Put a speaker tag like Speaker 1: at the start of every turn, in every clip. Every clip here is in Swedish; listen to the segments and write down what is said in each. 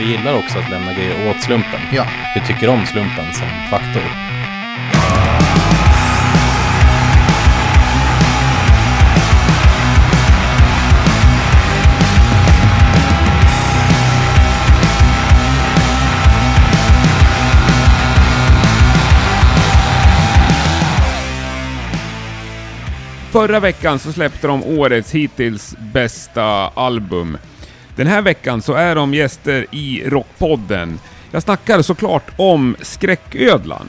Speaker 1: gillar också att lämna grejer åt slumpen.
Speaker 2: Ja.
Speaker 1: Vi tycker om slumpen som faktor.
Speaker 3: Förra veckan så släppte de årets hittills bästa album. Den här veckan så är de gäster i Rockpodden. Jag snackar såklart om Skräcködlan.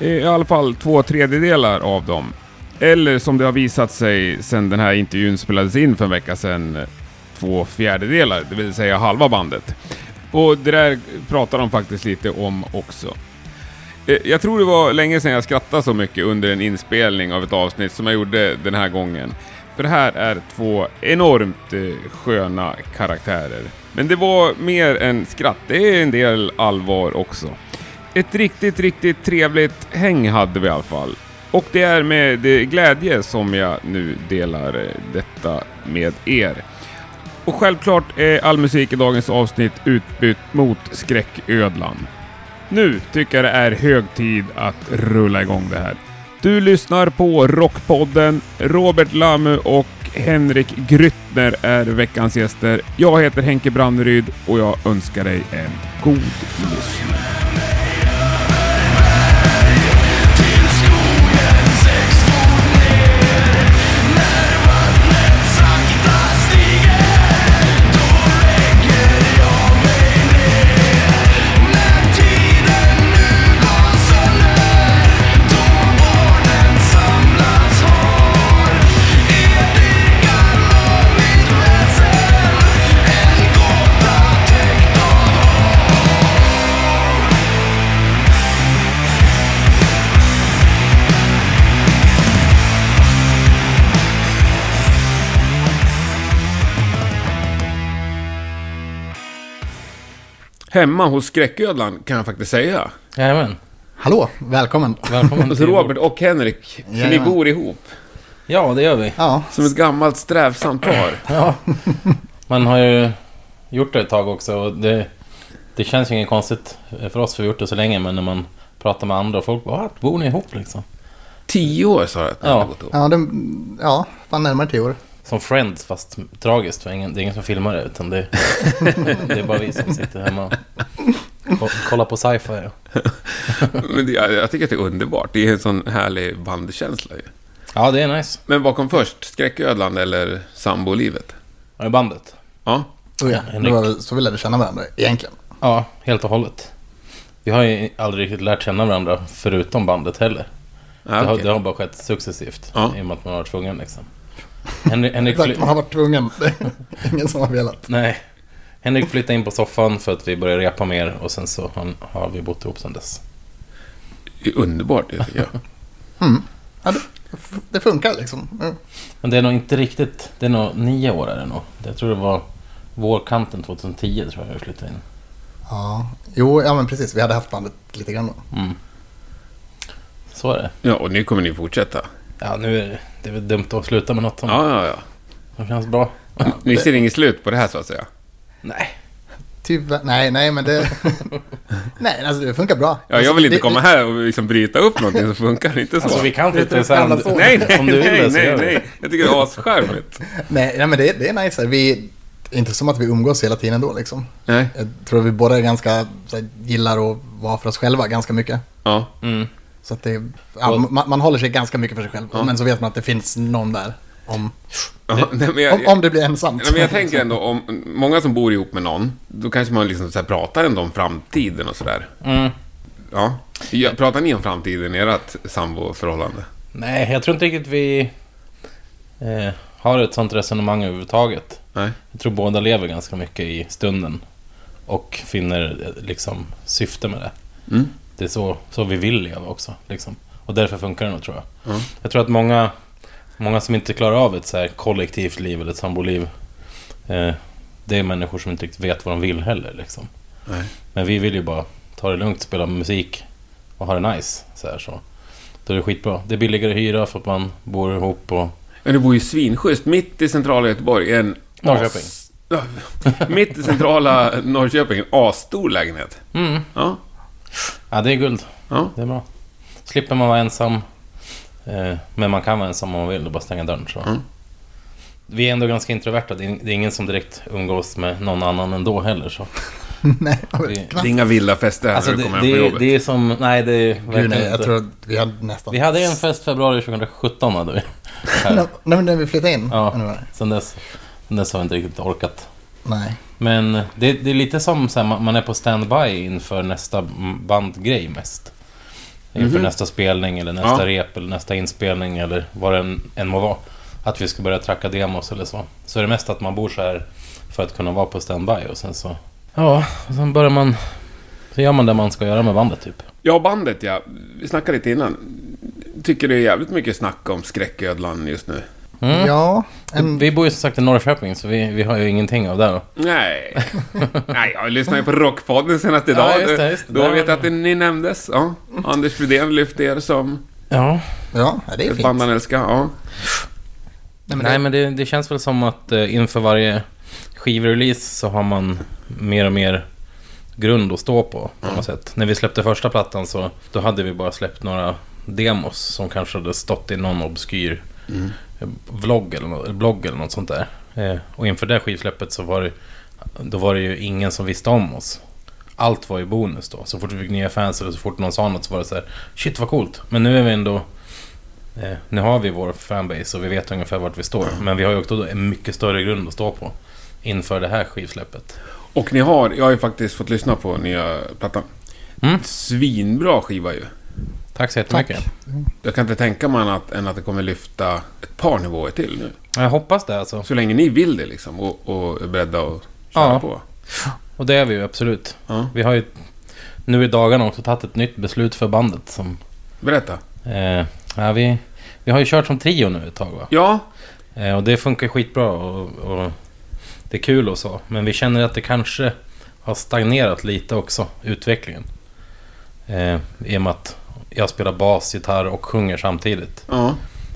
Speaker 3: Eh, I alla fall två tredjedelar av dem. Eller som det har visat sig sedan den här intervjun spelades in för en vecka sedan, eh, två fjärdedelar, det vill säga halva bandet. Och det där pratar de faktiskt lite om också. Eh, Jag tror det var länge sedan jag skrattade så mycket under en inspelning av ett avsnitt som jag gjorde den här gången. För det här är två enormt eh, sköna karaktärer. Men det var mer än skratt, det är en del allvar också. Ett riktigt, riktigt trevligt häng hade vi i alla fall. Och det är med det glädje som jag nu delar eh, detta med er. Och självklart är all musik i dagens avsnitt utbytt mot skräcködlan. Nu tycker jag det är hög tid att rulla igång det här. Du lyssnar på Rockpodden. Robert Lamu och Henrik Gryttner är veckans gäster. Jag heter Henke Branneryd och jag önskar dig en god lyssning. Hemma hos Skräcködlan kan jag faktiskt säga.
Speaker 4: Jajamän.
Speaker 2: Hallå, välkommen.
Speaker 4: Välkommen
Speaker 3: Hos
Speaker 4: till...
Speaker 3: Robert och Henrik, för ni
Speaker 2: Jajamän.
Speaker 3: bor ihop.
Speaker 4: Ja, det gör vi.
Speaker 2: Ja,
Speaker 3: Som ett gammalt strävsamt par.
Speaker 4: Ja. Man har ju gjort det ett tag också och det, det känns ju inget konstigt för oss för vi har gjort det så länge men när man pratar med andra och folk bara "Ah, bor ni ihop liksom?
Speaker 3: Tio år sa jag att ni
Speaker 4: Ja.
Speaker 3: hade gått ihop.
Speaker 2: ja, det, ja fan närmare tio år. Oh,
Speaker 4: Som Friends fast tragiskt för ingen, det är ingen som filmar det utan det, det är bara vi som sitter hemma och kollar på sci-fi.
Speaker 3: Men det, jag, jag tycker att det är underbart. Det är en sån härlig bandkänsla ju.
Speaker 4: Ja, det är nice.
Speaker 3: Men vad kom först? Skräcködlan eller sambolivet?
Speaker 4: Ja, i bandet.
Speaker 3: Ja.
Speaker 2: Oh, ja. Det
Speaker 4: Henrik.
Speaker 2: var väl så vi lärde känna varandra egentligen.
Speaker 4: Ja, helt och hållet. Vi har ju aldrig riktigt lärt känna varandra förutom bandet heller.
Speaker 3: Ja,
Speaker 4: det, har,
Speaker 3: okej.
Speaker 4: det har bara skett successivt
Speaker 3: Ja.
Speaker 4: i och med att man har varit tvungen liksom. Henrik, Henrik,
Speaker 2: Exakt, man
Speaker 4: fly-
Speaker 2: har varit tvungen. Det är Ingen som har velat.
Speaker 4: nej. Henrik flyttade in på soffan för att vi började repa mer och sen så han, har vi bott ihop sedan dess.
Speaker 3: Det är underbart det tycker jag.
Speaker 2: Ja, det, det funkar liksom. Mm.
Speaker 4: Men det är nog inte riktigt, det är nog nio år är det nog. Jag tror det var vårkanten 2010 tror jag vi flyttade in.
Speaker 2: Ja, jo, ja men precis. Vi hade haft bandet lite grann då.
Speaker 4: Så är det.
Speaker 3: Ja, och nu kommer ni fortsätta.
Speaker 4: Ja, nu är det, det är väl dumt att sluta med något som,
Speaker 3: Ja, ja, ja.
Speaker 4: som känns bra.
Speaker 3: Ni ser inget slut på det här så att säga.
Speaker 4: Nej.
Speaker 2: Tyvärr, nej, nej, men det... nej, alltså det funkar bra.
Speaker 3: Ja, jag vill inte
Speaker 2: Det-
Speaker 3: komma
Speaker 2: det-
Speaker 3: här och liksom bryta upp någonting så funkar det inte så.
Speaker 4: Alltså vi kan flytta
Speaker 2: Det är
Speaker 4: isär om,
Speaker 2: ett jävla
Speaker 4: du-
Speaker 2: sår.
Speaker 3: Nej, nej,
Speaker 4: om du vill
Speaker 3: nej,
Speaker 4: det så
Speaker 3: nej,
Speaker 4: gör vi det.
Speaker 3: nej. Jag tycker det är ascharmigt.
Speaker 2: Nej, nej men det, det är nice. Vi, det är inte som att vi umgås hela tiden då liksom.
Speaker 3: Nej.
Speaker 2: Jag tror vi båda är ganska, så här, gillar att vara för oss själva ganska mycket.
Speaker 3: Ja.
Speaker 4: Mm.
Speaker 2: Så att det, ja, man, man håller sig ganska mycket för sig själv, men så vet man att det finns någon där. Om,
Speaker 3: ja. Nej, men jag,
Speaker 2: om, om det blir ensamt.
Speaker 3: Nej, men jag tänker ändå om många som bor ihop med någon, då kanske man liksom så här pratar ändå om framtiden och sådär.
Speaker 4: Mm.
Speaker 3: Ja. Ja, Pratar ni om framtiden i ert samboförhållande?
Speaker 4: Nej, jag tror inte riktigt vi eh, har ett sånt resonemang överhuvudtaget.
Speaker 3: Nej.
Speaker 4: Jag tror båda lever ganska mycket i stunden och finner eh, liksom syfte med det.
Speaker 3: Mm.
Speaker 4: Det är så, så vi vill leva också. Liksom. Och därför funkar det nog tror jag.
Speaker 3: Mm.
Speaker 4: Jag tror att många, många som inte klarar av ett så här kollektivt liv eller ett samboliv, eh, det är människor som inte riktigt vet vad de vill heller. Liksom.
Speaker 3: Nej.
Speaker 4: Men vi vill ju bara ta det lugnt, spela musik och ha det nice. Så här, så. Då är det skitbra. Det är billigare hyra för att man bor ihop och...
Speaker 3: Men du bor ju svinschysst, mitt i centrala Göteborg. i En
Speaker 4: Norrköping.
Speaker 3: as- Mitt i centrala Norrköping, en asstor lägenhet.
Speaker 4: Mm.
Speaker 3: Ja,
Speaker 4: Ja, det är guld.
Speaker 3: ja.
Speaker 4: Det är bra. Slipper man vara ensam. Eh, Men man kan vara ensam om man vill och bara stänga dörren. Så.
Speaker 3: Mm.
Speaker 4: Vi är ändå ganska introverta. Det är det är ingen som direkt umgås med någon annan ändå heller. Så.
Speaker 2: nej, jag
Speaker 4: Det-
Speaker 2: vet
Speaker 3: Det
Speaker 2: knappt.
Speaker 3: är inga villafester här
Speaker 4: Alltså,
Speaker 3: när du
Speaker 4: det,
Speaker 3: kommer hem
Speaker 4: det,
Speaker 3: från
Speaker 4: är-
Speaker 3: jobbet.
Speaker 4: det är som... Nej, det är verkligen
Speaker 2: Gud, nej, jag
Speaker 4: inte.
Speaker 2: tror att vi hade nästan...
Speaker 4: Vi hade en fest februari 2017. Hade vi.
Speaker 2: Nej, men när vi flyttade in.
Speaker 4: Ja.
Speaker 2: Ännu värre.
Speaker 4: Sen, dess, sen dess har vi inte riktigt orkat.
Speaker 2: Nej.
Speaker 4: Men det, det är lite som så här, man man är på standby inför nästa m- bandgrej mest. Inför nästa spelning eller nästa
Speaker 3: Ja.
Speaker 4: rep eller nästa inspelning eller vad det än- än må vara. Att vi ska börja tracka demos eller så. Så är det mest att man bor så här för att kunna vara på standby och sen så... Ja, och sen börjar man... Så gör man det man ska göra med bandet typ.
Speaker 3: Ja, bandet ja. Vi snackade lite innan. Tycker det är jävligt mycket snack om skräcködlan just nu.
Speaker 4: Mm.
Speaker 2: Ja, en...
Speaker 4: Vi bor ju som sagt i Norrköping så vi, vi har ju ingenting av det. Då.
Speaker 3: Nej. Nej, jag lyssnade ju på Rockpodden senast idag.
Speaker 4: Ja, just det, just det.
Speaker 3: Då
Speaker 4: Där
Speaker 3: vet
Speaker 4: var
Speaker 3: jag att ni nämndes. Ja. Anders Rydén lyfte er som
Speaker 4: Ja,
Speaker 2: Ja, det är
Speaker 3: ett
Speaker 2: fint.
Speaker 3: band han älskar. Ja.
Speaker 2: Nej, men
Speaker 4: Nej,
Speaker 2: det...
Speaker 4: men det, det känns väl som att eh, inför varje skivrelease så har man mer och mer grund att stå på. på något sätt. När vi släppte första plattan så då hade vi bara släppt några demos som kanske hade stått i någon obskyr eh, vlogg eller, nå- eller blogg eller något sånt där. Eh, och inför det skivsläppet så var det, då var det ju ingen som visste om oss. Allt var ju bonus då. Så fort vi fick nya fans eller så fort någon sa något så var det så här Shit vad coolt. Men nu är vi ändå Eh, Mm. nu har vi vår fanbase och vi vet ungefär vart vi står. Men vi har ju också då en mycket större grund att stå på inför det här skivsläppet.
Speaker 3: Och ni har, jag har ju faktiskt fått lyssna på nya plattan.
Speaker 4: Mm.
Speaker 3: Svinbra skiva ju.
Speaker 4: Tack så jättemycket. Tack.
Speaker 3: Jag kan inte tänka mig annat än att det kommer lyfta ett par nivåer till nu.
Speaker 4: Jag hoppas det alltså.
Speaker 3: Så länge ni vill det liksom och, och är beredda att köra
Speaker 4: Ja.
Speaker 3: på.
Speaker 4: Och det är vi ju absolut.
Speaker 3: Ja.
Speaker 4: Vi har ju nu i dagarna också tagit ett nytt beslut för bandet. Som,
Speaker 3: Berätta.
Speaker 4: eh, ja, vi, vi har ju kört som trio nu ett tag va?
Speaker 3: Ja,
Speaker 4: Eh, och det funkar skitbra och, och det är kul och så. Men vi känner att det kanske har stagnerat lite också, utvecklingen. Eh, I och med att jag spelar bas, gitarr och sjunger samtidigt.
Speaker 3: ja.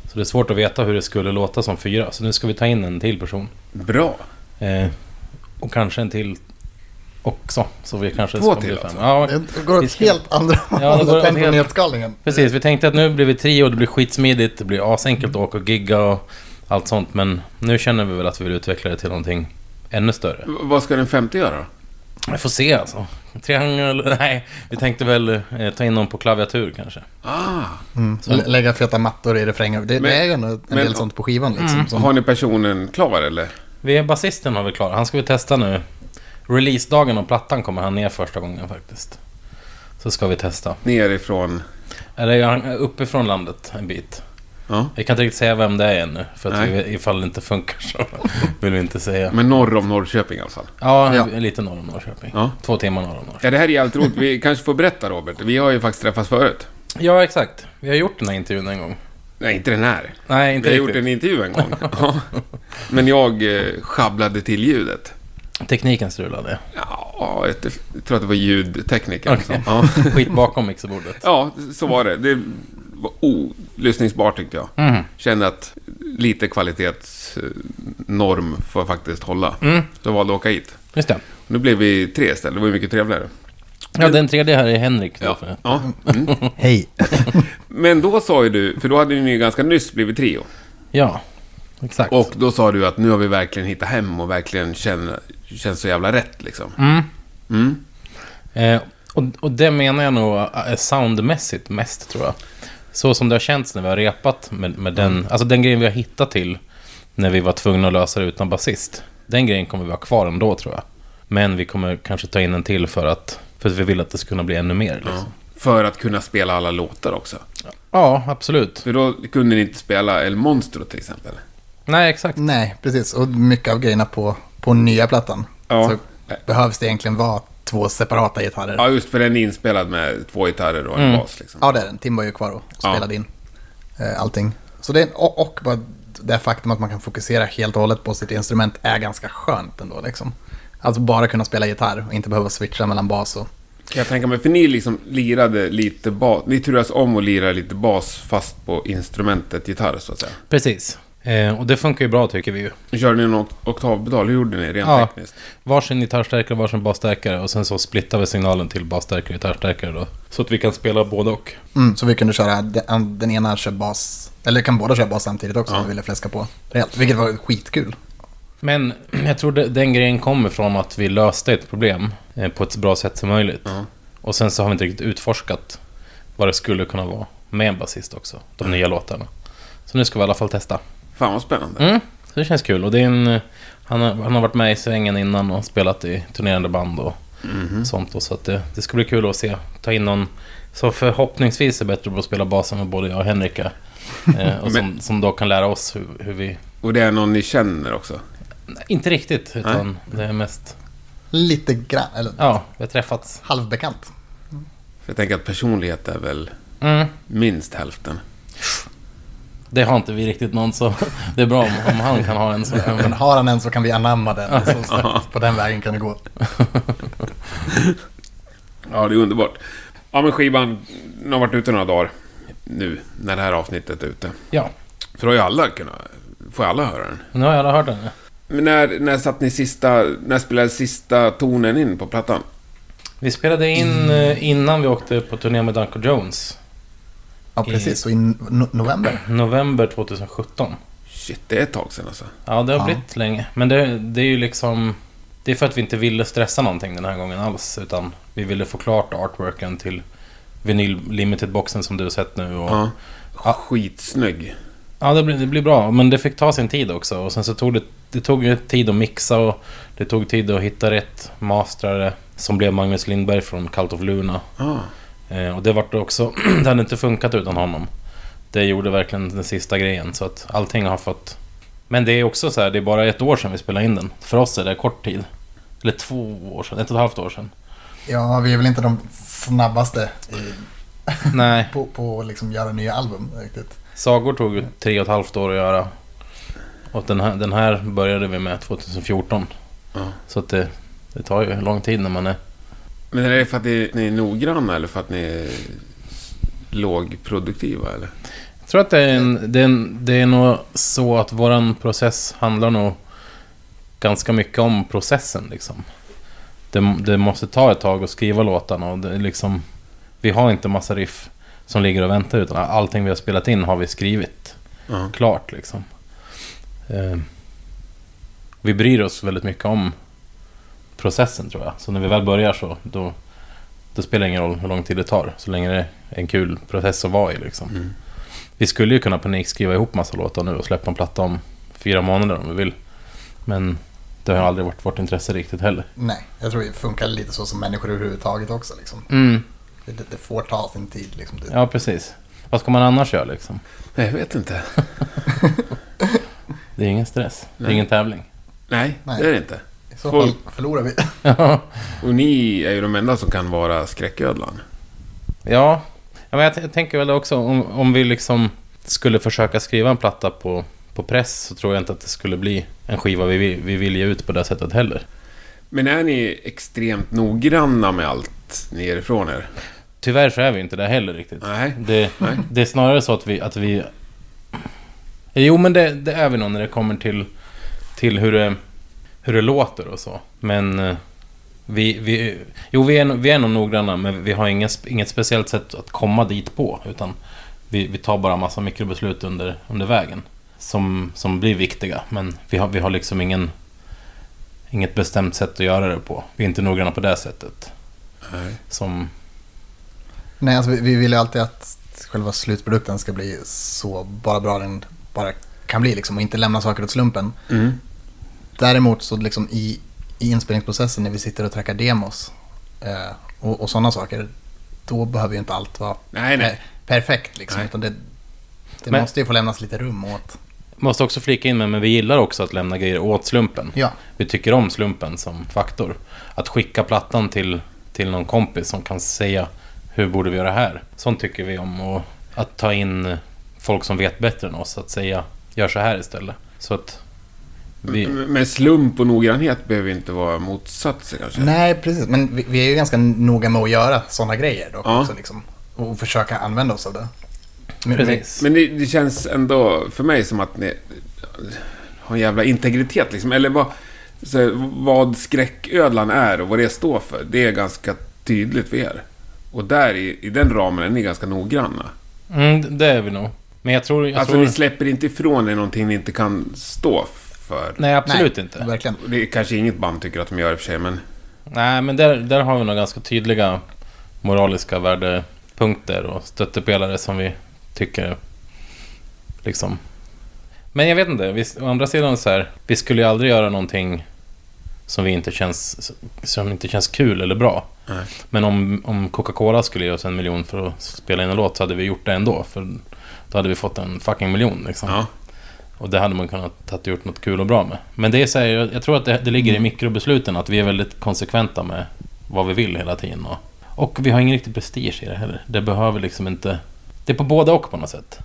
Speaker 4: Så det är svårt att veta hur det skulle låta som fyra. Så nu ska vi ta in en till person.
Speaker 3: Bra.
Speaker 4: Eh, och kanske en till också. Så vi kanske
Speaker 3: Två
Speaker 4: ska
Speaker 3: till
Speaker 4: bli fem.
Speaker 3: alltså?
Speaker 4: Ja,
Speaker 2: det går åt helt andra
Speaker 4: det går åt
Speaker 2: hållet än på
Speaker 4: helt-
Speaker 2: nedskalningen.
Speaker 4: Precis, vi tänkte att nu blir vi trio och det blir skitsmidigt. Det blir asenkelt att åka och gigga och allt sånt. Men nu känner vi väl att vi vill utveckla det till någonting ännu större.
Speaker 3: V- vad ska den femte göra då?
Speaker 4: Vi får se alltså. Triangel? Nej, vi tänkte väl eh, ta in någon på klaviatur kanske.
Speaker 3: Ah,
Speaker 2: Mm.
Speaker 4: Så-
Speaker 2: Lä- Lägga feta mattor i refränger. Det,
Speaker 3: Men-
Speaker 2: det är ju ändå en
Speaker 3: men-
Speaker 2: del sånt på skivan liksom.
Speaker 4: Mm.
Speaker 2: Som,
Speaker 3: har ni personen klar eller?
Speaker 4: Vi är basisten har vi klar. Han ska vi testa nu. Releasedagen och plattan kommer han ner första gången faktiskt. Så ska vi testa.
Speaker 3: Nerifrån?
Speaker 4: Eller är han uppifrån landet en bit.
Speaker 3: Ja.
Speaker 4: Vi kan inte riktigt säga vem det är ännu. För att
Speaker 3: Nej.
Speaker 4: vi, ifall det inte funkar så vill vi inte säga.
Speaker 3: Men norr om Norrköping i alla fall.
Speaker 4: Ja,
Speaker 2: Ja.
Speaker 4: lite norr om Norrköping.
Speaker 3: Ja.
Speaker 4: Två timmar norr om Norrköping.
Speaker 3: Ja, det här är jävligt roligt. Vi kanske får berätta Robert. Vi har ju faktiskt träffats förut.
Speaker 4: Ja, exakt. Vi har gjort den här intervjun en gång.
Speaker 3: Nej, inte den här.
Speaker 4: Nej,
Speaker 3: Vi
Speaker 4: inte
Speaker 3: har
Speaker 4: riktigt.
Speaker 3: gjort en intervju en gång. Ja. Men jag eh, sjabblade till ljudet.
Speaker 4: Tekniken strulade.
Speaker 3: Ja, jag t- tror att det var ljudtekniker.
Speaker 4: Okej.
Speaker 3: Liksom. Ja.
Speaker 4: Skit bakom mixerbordet.
Speaker 3: ja, så var det. Det var olyssningsbart tyckte jag.
Speaker 4: Mm.
Speaker 3: Kände att lite kvalitetsnorm får faktiskt hålla.
Speaker 4: Mm.
Speaker 3: Så jag valde att åka hit.
Speaker 4: Just det.
Speaker 3: Nu blev vi tre istället. Det var ju mycket trevligare.
Speaker 4: Ja, den tredje här är Henrik. Då, för-
Speaker 3: ja. Mm.
Speaker 2: Hej.
Speaker 3: Men då sa ju du, för då hade ni ju ganska nyss blivit trio.
Speaker 4: ja exakt.
Speaker 3: Och då sa du att nu har vi verkligen hittat hem och verkligen känner, känns så jävla rätt liksom.
Speaker 4: Mm.
Speaker 3: Mm.
Speaker 4: Eh, och, och det menar jag nog eh, soundmässigt mest, tror jag. Så som det har känts när vi har repat med, med
Speaker 3: Mm.
Speaker 4: den, alltså den grejen vi har hittat till när vi var tvungna att lösa det utan basist. Den grejen kommer vi ha kvar ändå, tror jag. Men vi kommer kanske ta in en till för att, för att vi vill att det ska kunna bli ännu mer. Liksom.
Speaker 3: Ja. För att kunna spela alla låtar också.
Speaker 4: Ja, absolut.
Speaker 3: För då kunde ni inte spela El Monstro till exempel.
Speaker 4: Nej, exakt.
Speaker 2: Nej, precis. Och mycket av grejerna på, på nya plattan.
Speaker 3: Ja.
Speaker 2: Så behövs det egentligen vara två separata gitarrer. Ja,
Speaker 3: Ja, just för den är inspelad med två gitarrer och en
Speaker 4: Mm.
Speaker 3: bas liksom.
Speaker 2: det är den. Tim var ju kvar och
Speaker 3: Ja.
Speaker 2: spelade in eh, allting. Så det är, och, och bara det faktum att man kan fokusera helt och hållet på sitt instrument är ganska skönt ändå. Liksom. Alltså bara kunna spela gitarr och inte behöva switcha mellan bas och...
Speaker 3: Kan jag tänka mig, för ni liksom lirade lite bas, ni turas om och lirade lite bas fast på instrumentet gitarr så att säga.
Speaker 4: Precis. Eh, Eh, och det funkar ju bra tycker vi ju.
Speaker 3: Körde ni någon oktavpedal? Hur gjorde ni rent
Speaker 4: Ja.
Speaker 3: tekniskt?
Speaker 4: Varsin gitarrstärkare och varsin basstärkare och sen så splittar vi signalen till basstärkare och gitarrstärkare då. Så att vi kan spela både och.
Speaker 2: Mm, så vi kunde köra, den, den ena kör bas, eller kan båda köra bas samtidigt också
Speaker 3: Ja.
Speaker 2: om vi ville fläska på rejält. Vilket var skitkul.
Speaker 4: Men jag tror det, den grejen kommer från att vi löste ett problem eh, på ett så bra sätt som möjligt.
Speaker 3: Ja.
Speaker 4: Och sen så har vi inte riktigt utforskat vad det skulle kunna vara med en basist också, de nya låtarna. Så nu ska vi i alla fall testa.
Speaker 3: Fan vad spännande.
Speaker 4: Mm, så det känns kul. Och det är en, eh, han, har, han har varit med i svängen innan och spelat i turnerande band och sånt. Då, så att det, det ska bli kul att se. Ta in någon som förhoppningsvis är bättre på att spela basen än både jag och Henrika. Eh, och som, som då kan lära oss hur, hur vi...
Speaker 3: Och det är någon ni känner också?
Speaker 4: Nej, inte riktigt, utan det är mest...
Speaker 2: Lite grann, eller
Speaker 4: Ja, vi har träffats.
Speaker 2: halvbekant.
Speaker 3: För jag tänker att personlighet är väl
Speaker 4: Mm.
Speaker 3: minst hälften.
Speaker 4: Det har inte vi riktigt någon, så det är bra om, om han kan ha en som kan...
Speaker 2: Men har han en så kan vi anamma den. Så, så, på den vägen kan det gå.
Speaker 3: Ja, det är underbart. Ja, men skivan den har varit ute några dagar nu när det här avsnittet är ute.
Speaker 4: Ja,
Speaker 3: För då har ju alla kunnat... Får ju alla höra den.
Speaker 4: nu har jag alla hört den.
Speaker 3: Men när, när satt ni sista... När spelade sista tonen in på plattan?
Speaker 4: Vi spelade in eh, innan vi åkte på turné med Danko Jones.
Speaker 2: Ja, precis. Så i no november.
Speaker 4: November 2017.
Speaker 3: Shit, det är ett tag sedan alltså.
Speaker 4: Ja, det har
Speaker 2: Ja.
Speaker 4: blivit länge. Men det, det är ju liksom... Det är för att vi inte ville stressa någonting den här gången alls. Utan vi ville få klart artworken till vinyl limited-boxen som du har sett nu. Och,
Speaker 3: Ja.
Speaker 4: Ja.
Speaker 3: Skitsnygg.
Speaker 4: Ja, det blir, det blir bra. Men det fick ta sin tid också. Och sen så tog det, det tog ju tid att mixa och det tog tid att hitta rätt mastrare. Som blev Magnus Lindberg från Cult of Luna.
Speaker 3: Ja.
Speaker 4: Eh, och det vart det också... det hade inte funkat utan honom. Det gjorde verkligen den sista grejen. Så att allting har fått... Men det är också så här, det är bara ett år sedan vi spelade in den. För oss är det kort tid. Eller två år sedan, ett och ett halvt år sedan.
Speaker 2: Ja, vi är väl inte de snabbaste i,
Speaker 4: Nej,
Speaker 2: på, på att liksom göra nya album riktigt.
Speaker 4: Sagor tog ju tre och ett halvt år att göra. Och den här, den här började vi med 2014.
Speaker 3: Ja.
Speaker 4: Så att det, det tar ju lång tid när man är...
Speaker 3: Men är det för att ni, ni är noggranna eller för att ni är lågproduktiva eller?
Speaker 4: Jag tror att det är, en, det, är en, det är nog så att våran process handlar nog ganska mycket om processen liksom. Det, det måste ta ett tag att skriva låtarna och det är liksom... Vi har inte massa riff som ligger och väntar utan allting vi har spelat in har vi skrivit
Speaker 3: Ja.
Speaker 4: klart liksom. Eh, vi bryr oss väldigt mycket om processen tror jag. Så när vi väl börjar så då, då spelar det ingen roll hur lång tid det tar. Så länge det är en kul process att vara i liksom.
Speaker 3: Mm.
Speaker 4: Vi skulle ju kunna panikskriva ihop massa låtar nu och släppa en platta om fyra månader om vi vill. Men det har aldrig varit vårt intresse riktigt heller.
Speaker 2: Nej, jag tror det funkar lite så som människor överhuvudtaget också. Liksom. Det, det det får ta sin tid. Liksom. Det,
Speaker 4: Ja, precis. Vad ska man annars göra liksom?
Speaker 3: Nej, jag vet inte.
Speaker 4: Det är ingen stress. Det är
Speaker 3: Nej.
Speaker 4: ingen tävling.
Speaker 3: Nej,
Speaker 2: Nej.
Speaker 3: det är det inte.
Speaker 2: I så
Speaker 3: folk-
Speaker 2: fall förlorar vi.
Speaker 3: Och ni är ju de enda som kan vara skräcködlan.
Speaker 4: Ja, ja, men jag, t- jag tänker väl också om, om vi liksom skulle försöka skriva en platta på, på press så tror jag inte att det skulle bli en skiva vi, vill- vi vill ge ut på det sättet heller.
Speaker 3: Men är ni extremt noggranna med allt ni ger ifrån er?
Speaker 4: Tyvärr så är vi inte det heller riktigt.
Speaker 3: Nej.
Speaker 4: Det,
Speaker 3: Nej.
Speaker 4: det är snarare så att vi... Att vi jo, men det, det är vi nog när det kommer till, till hur, det, hur det låter och så. Men eh, vi... vi jo, vi är, nog- vi är nog noggranna, men vi har inget, inget speciellt sätt att komma dit på. Utan vi, vi tar bara massa mikrobeslut under, under vägen som, som blir viktiga. Men vi har, vi har liksom ingen, inget bestämt sätt att göra det på. Vi är inte noggranna på det sättet.
Speaker 3: Nej.
Speaker 4: Som,
Speaker 2: Nej, alltså, vi, vi vill ju alltid att själva slutprodukten ska bli så bara bra den bara kan bli liksom, och inte lämna saker åt slumpen.
Speaker 3: Mm.
Speaker 2: Däremot så liksom i, i inspelningsprocessen när vi sitter och trackar demos eh, och, och sådana saker, då behöver ju inte allt vara
Speaker 3: Nej, nej.
Speaker 2: per- perfekt. Liksom,
Speaker 3: Nej.
Speaker 2: utan det det
Speaker 4: Men-
Speaker 2: måste ju få lämnas lite rum åt.
Speaker 4: Måste också flika in med, men vi gillar också att lämna grejer åt slumpen.
Speaker 2: Ja,
Speaker 4: Vi tycker om slumpen som faktor. Att skicka plattan till, till någon kompis som kan säga hur borde vi göra här? Sånt tycker vi om. Och att ta in folk som vet bättre än oss. Att säga gör så här istället. Så att vi...
Speaker 3: M- Men slump och noggrannhet behöver inte vara motsatser kanske?
Speaker 2: nej precis. Men vi, vi är ju ganska noga med att göra sådana grejer dock
Speaker 3: Ja.
Speaker 2: också. Liksom, och försöka använda oss av det. Men-
Speaker 4: Precis.
Speaker 3: Men det, det känns ändå för mig som att ni, har en jävla integritet liksom. Eller vad, så, här, vad skräcködlan är och vad det står för. Det är ganska tydligt för er. Och där i, i den ramen är ni ganska noggranna.
Speaker 4: Mm, det är vi nog. Men jag tror... Jag
Speaker 3: alltså
Speaker 4: tror
Speaker 3: ni släpper inte ifrån er någonting ni inte kan stå för.
Speaker 4: nej, absolut
Speaker 2: Nej,
Speaker 4: inte.
Speaker 2: Verkligen.
Speaker 3: Och Det är kanske inget band tycker att de gör i och för sig, men...
Speaker 4: Nej, men där, där har vi nog ganska tydliga moraliska värdepunkter och stöttepelare som vi tycker liksom. Men jag vet inte, vi, å andra sidan så här, vi skulle ju aldrig göra någonting som, vi inte känns, som inte känns kul eller bra.
Speaker 3: Nej.
Speaker 4: Men om, om Coca-Cola skulle ge oss en miljon för att spela in en låt så hade vi gjort det ändå. För då hade vi fått en fucking miljon liksom.
Speaker 3: Ja.
Speaker 4: Och det hade man kunnat ha gjort något kul och bra med. Men det är så här, jag, jag tror att det, det ligger i mikrobesluten att vi är väldigt konsekventa med vad vi vill hela tiden. Och, och vi har ingen riktig prestige i det heller. Det behöver liksom inte... Det är på båda och på något sätt.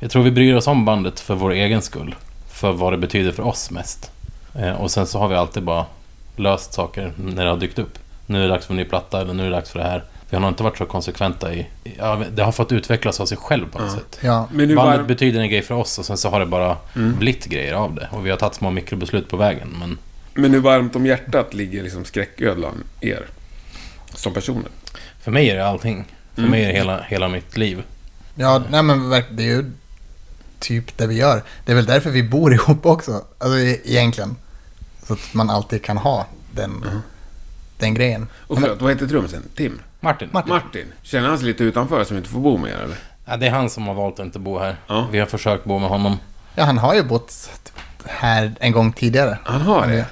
Speaker 4: Jag tror vi bryr oss om bandet för vår egen skull. För vad det betyder för oss mest. Eh, och sen så har vi alltid bara löst saker när det har dykt upp. Nu är det dags för en ny platta eller nu är det dags för det här. Vi har nog inte varit så konsekventa i... i- Ja, det har fått utvecklas av sig själv på något
Speaker 3: Ja.
Speaker 4: sätt.
Speaker 2: Ja,
Speaker 3: Men nu
Speaker 4: Bandet
Speaker 3: var... Mm.
Speaker 4: betyder en grej för oss och sen så har det bara blivit grejer av det. Och vi har tagit små mikrobeslut på vägen. Men
Speaker 3: Men hur varmt om hjärtat ligger liksom skräcködlan er? Som personer?
Speaker 4: för mig är det allting. För
Speaker 3: Mm.
Speaker 4: mig är det hela, hela mitt liv.
Speaker 2: ja nej, men verk- det är ju typ det vi gör. Det är väl därför vi bor ihop också. Alltså e- egentligen. Så att man alltid kan ha den,
Speaker 3: Mm.
Speaker 2: den grejen.
Speaker 3: Och förlåt, vad heter trummisen? Tim?
Speaker 4: Martin,
Speaker 2: Martin.
Speaker 3: Martin? Känner han sig lite utanför som inte får bo med er, eller?
Speaker 4: Ja, det är han som har valt att inte bo här.
Speaker 3: Ja.
Speaker 4: Vi har försökt bo med honom.
Speaker 2: Ja, han har ju bott här en gång tidigare.
Speaker 3: Han har det?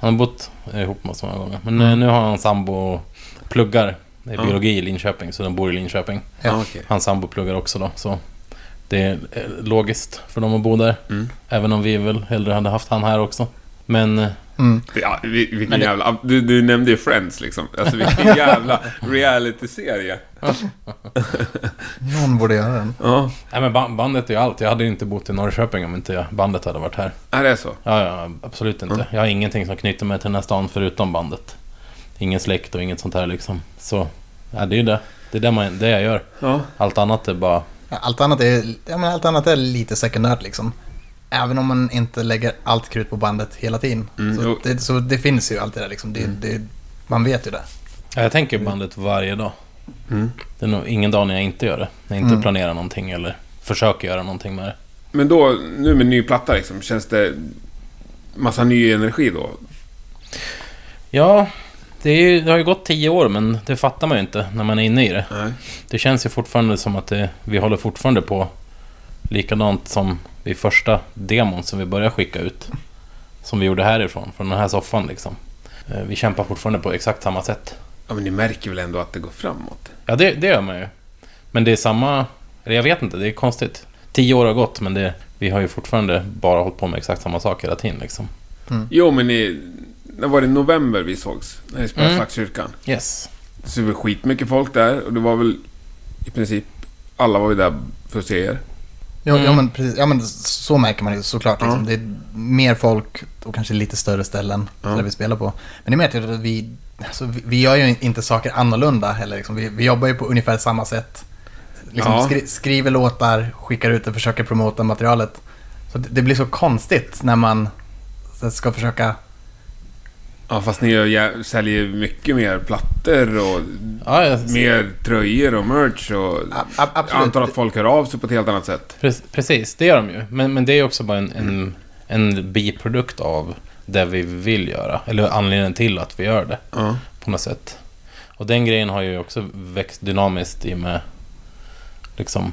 Speaker 4: Han har bott ihop med oss många gånger.
Speaker 3: Mm.
Speaker 4: Men eh, nu har han sambo och pluggar i biologi i Linköping, så de bor i Linköping.
Speaker 2: Ja.
Speaker 3: Ah, okej.
Speaker 4: Hans sambo pluggar också då, så det är eh, logiskt för dem att bo där.
Speaker 3: Mm.
Speaker 4: Även om vi väl hellre hade haft han här också. Men eh,
Speaker 2: Mm.
Speaker 3: Det- Ja, vi- vilken
Speaker 2: Men det-
Speaker 3: jävla... ah, Du, du nämnde ju Friends liksom. Alltså vilken jävla reality-serie.
Speaker 2: Någon borde göra den.
Speaker 3: Ja.
Speaker 4: Nej men ban- bandet är ju allt. Jag hade ju inte bott i Norrköping om inte jag- bandet hade varit här.
Speaker 3: Ja, det är så.
Speaker 4: Ja, ja absolut inte. Jag har ingenting som knyter mig till den här stan förutom bandet. Ingen släkt och inget sånt här liksom. Så, ja det är ju det. Det är det, man, det jag gör.
Speaker 3: Ja.
Speaker 4: Allt annat är bara...
Speaker 2: Ja, Allt annat, är, ja, men allt annat är lite sekundärt liksom. Även om man inte lägger allt krut på bandet hela tiden.
Speaker 3: Mm,
Speaker 2: så,
Speaker 3: jo. Mm.
Speaker 2: det, så det finns ju alltid där liksom. Det, det, man vet ju det.
Speaker 4: Ja, jag tänker bandet varje dag.
Speaker 3: Mm.
Speaker 4: Det är nog ingen dag när jag inte gör det. När jag inte
Speaker 2: Mm.
Speaker 4: planerar någonting eller försöker göra någonting med det.
Speaker 3: Men då, nu med ny platta liksom, känns det massa ny energi då?
Speaker 4: Ja, det, är ju, det har ju gått tio år men det fattar man ju inte när man är inne i det.
Speaker 3: Nej.
Speaker 4: Det känns ju fortfarande som att det, vi håller fortfarande på likadant som i första demon som vi började skicka ut. Som vi gjorde härifrån, från den här soffan liksom. Eh, Vi kämpar fortfarande på exakt samma sätt.
Speaker 3: Ja, men ni märker väl ändå att det går framåt?
Speaker 4: Ja, det, det gör man ju. Men det är samma... Eller jag vet inte, det är konstigt. Tio år har gått men det, vi har ju fortfarande bara hållit på med exakt samma sak hela tiden liksom.
Speaker 3: Jo, men ni... När var det november vi sågs? När ni spelade
Speaker 4: Mm.
Speaker 3: Slagskyrkan.
Speaker 4: Yes.
Speaker 3: Så det var skitmycket folk där och det var väl i princip... Alla var ju där för att se er.
Speaker 2: Ja, ja,
Speaker 4: Mm.
Speaker 2: men precis, ja, men så märker man ju såklart. Liksom.
Speaker 3: Ja.
Speaker 2: Det är mer folk och kanske lite större ställen
Speaker 3: Ja.
Speaker 2: där vi spelar på. Men det märker jag att vi, alltså, vi, vi gör ju inte saker annorlunda heller. Liksom. Vi, vi jobbar ju på ungefär samma sätt. Liksom,
Speaker 3: Ja.
Speaker 2: skri, skriver låtar, skickar ut det, försöker promota materialet. Så det, det blir så konstigt när man så här, ska försöka...
Speaker 3: Ja, fast ni gör, jä- säljer mycket mer plattor och
Speaker 4: Ja, jag,
Speaker 3: mer tröjor och merch och...
Speaker 2: A, a,
Speaker 3: Jag
Speaker 2: absolut.
Speaker 3: antar att folk hör av sig på ett helt annat sätt.
Speaker 4: Pre- Precis, det gör de ju. Men, men det är ju också bara en, en, en biprodukt av det vi vill göra. Eller anledningen till att vi gör det
Speaker 3: Ja.
Speaker 4: på något sätt. Och den grejen har ju också växt dynamiskt i och med... Liksom,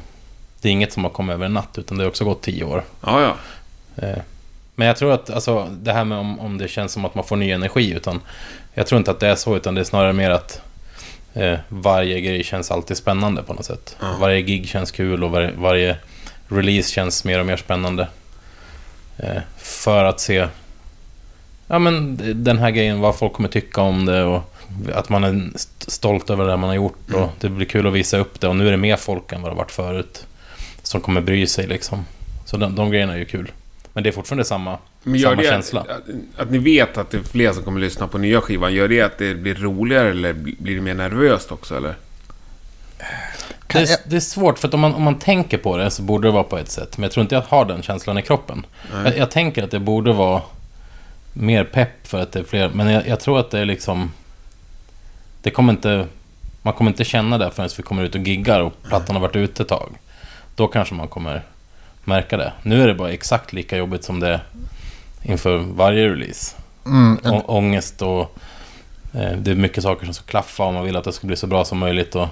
Speaker 4: det är inget som har kommit över en natt, utan det har också gått tio år.
Speaker 3: Ja, ja.
Speaker 4: Eh, Men jag tror att alltså, det här med om, om det känns som att man får ny energi, utan jag tror inte att det är så, utan det är snarare mer att eh, varje grej känns alltid spännande på något sätt.
Speaker 3: Ja.
Speaker 4: Varje gig känns kul och var, varje release känns mer och mer spännande. Eh, för att se ja, men, d- den här grejen, vad folk kommer tycka om det och att man är st- stolt över det man har gjort och det blir kul att visa upp det och nu är det mer folk än vad det varit förut som kommer bry sig liksom. Så de, de grejerna är ju kul. Men det är fortfarande samma,
Speaker 3: Men gör
Speaker 4: samma
Speaker 3: det
Speaker 4: känsla.
Speaker 3: Att, att ni vet att det är fler som kommer lyssna på nya skivan, gör det att det blir roligare eller blir det mer nervöst också eller?
Speaker 2: Kan
Speaker 4: det, är,
Speaker 2: jag-
Speaker 4: det är svårt, för att om man, om man tänker på det så borde det vara på ett sätt. Men jag tror inte jag har den känslan i kroppen. Jag, jag tänker att det borde vara mer pepp för att det är fler. Men jag, jag tror att det är liksom... Det kommer inte... Man kommer inte känna det förrän vi kommer ut och giggar och plattan har varit ute ett tag. Då kanske man kommer märka det. Nu är det bara exakt lika jobbigt som det är inför varje release.
Speaker 2: Mm,
Speaker 4: Å- ångest och... Eh, det är mycket saker som ska klaffa och man vill att det ska bli så bra som möjligt. Och,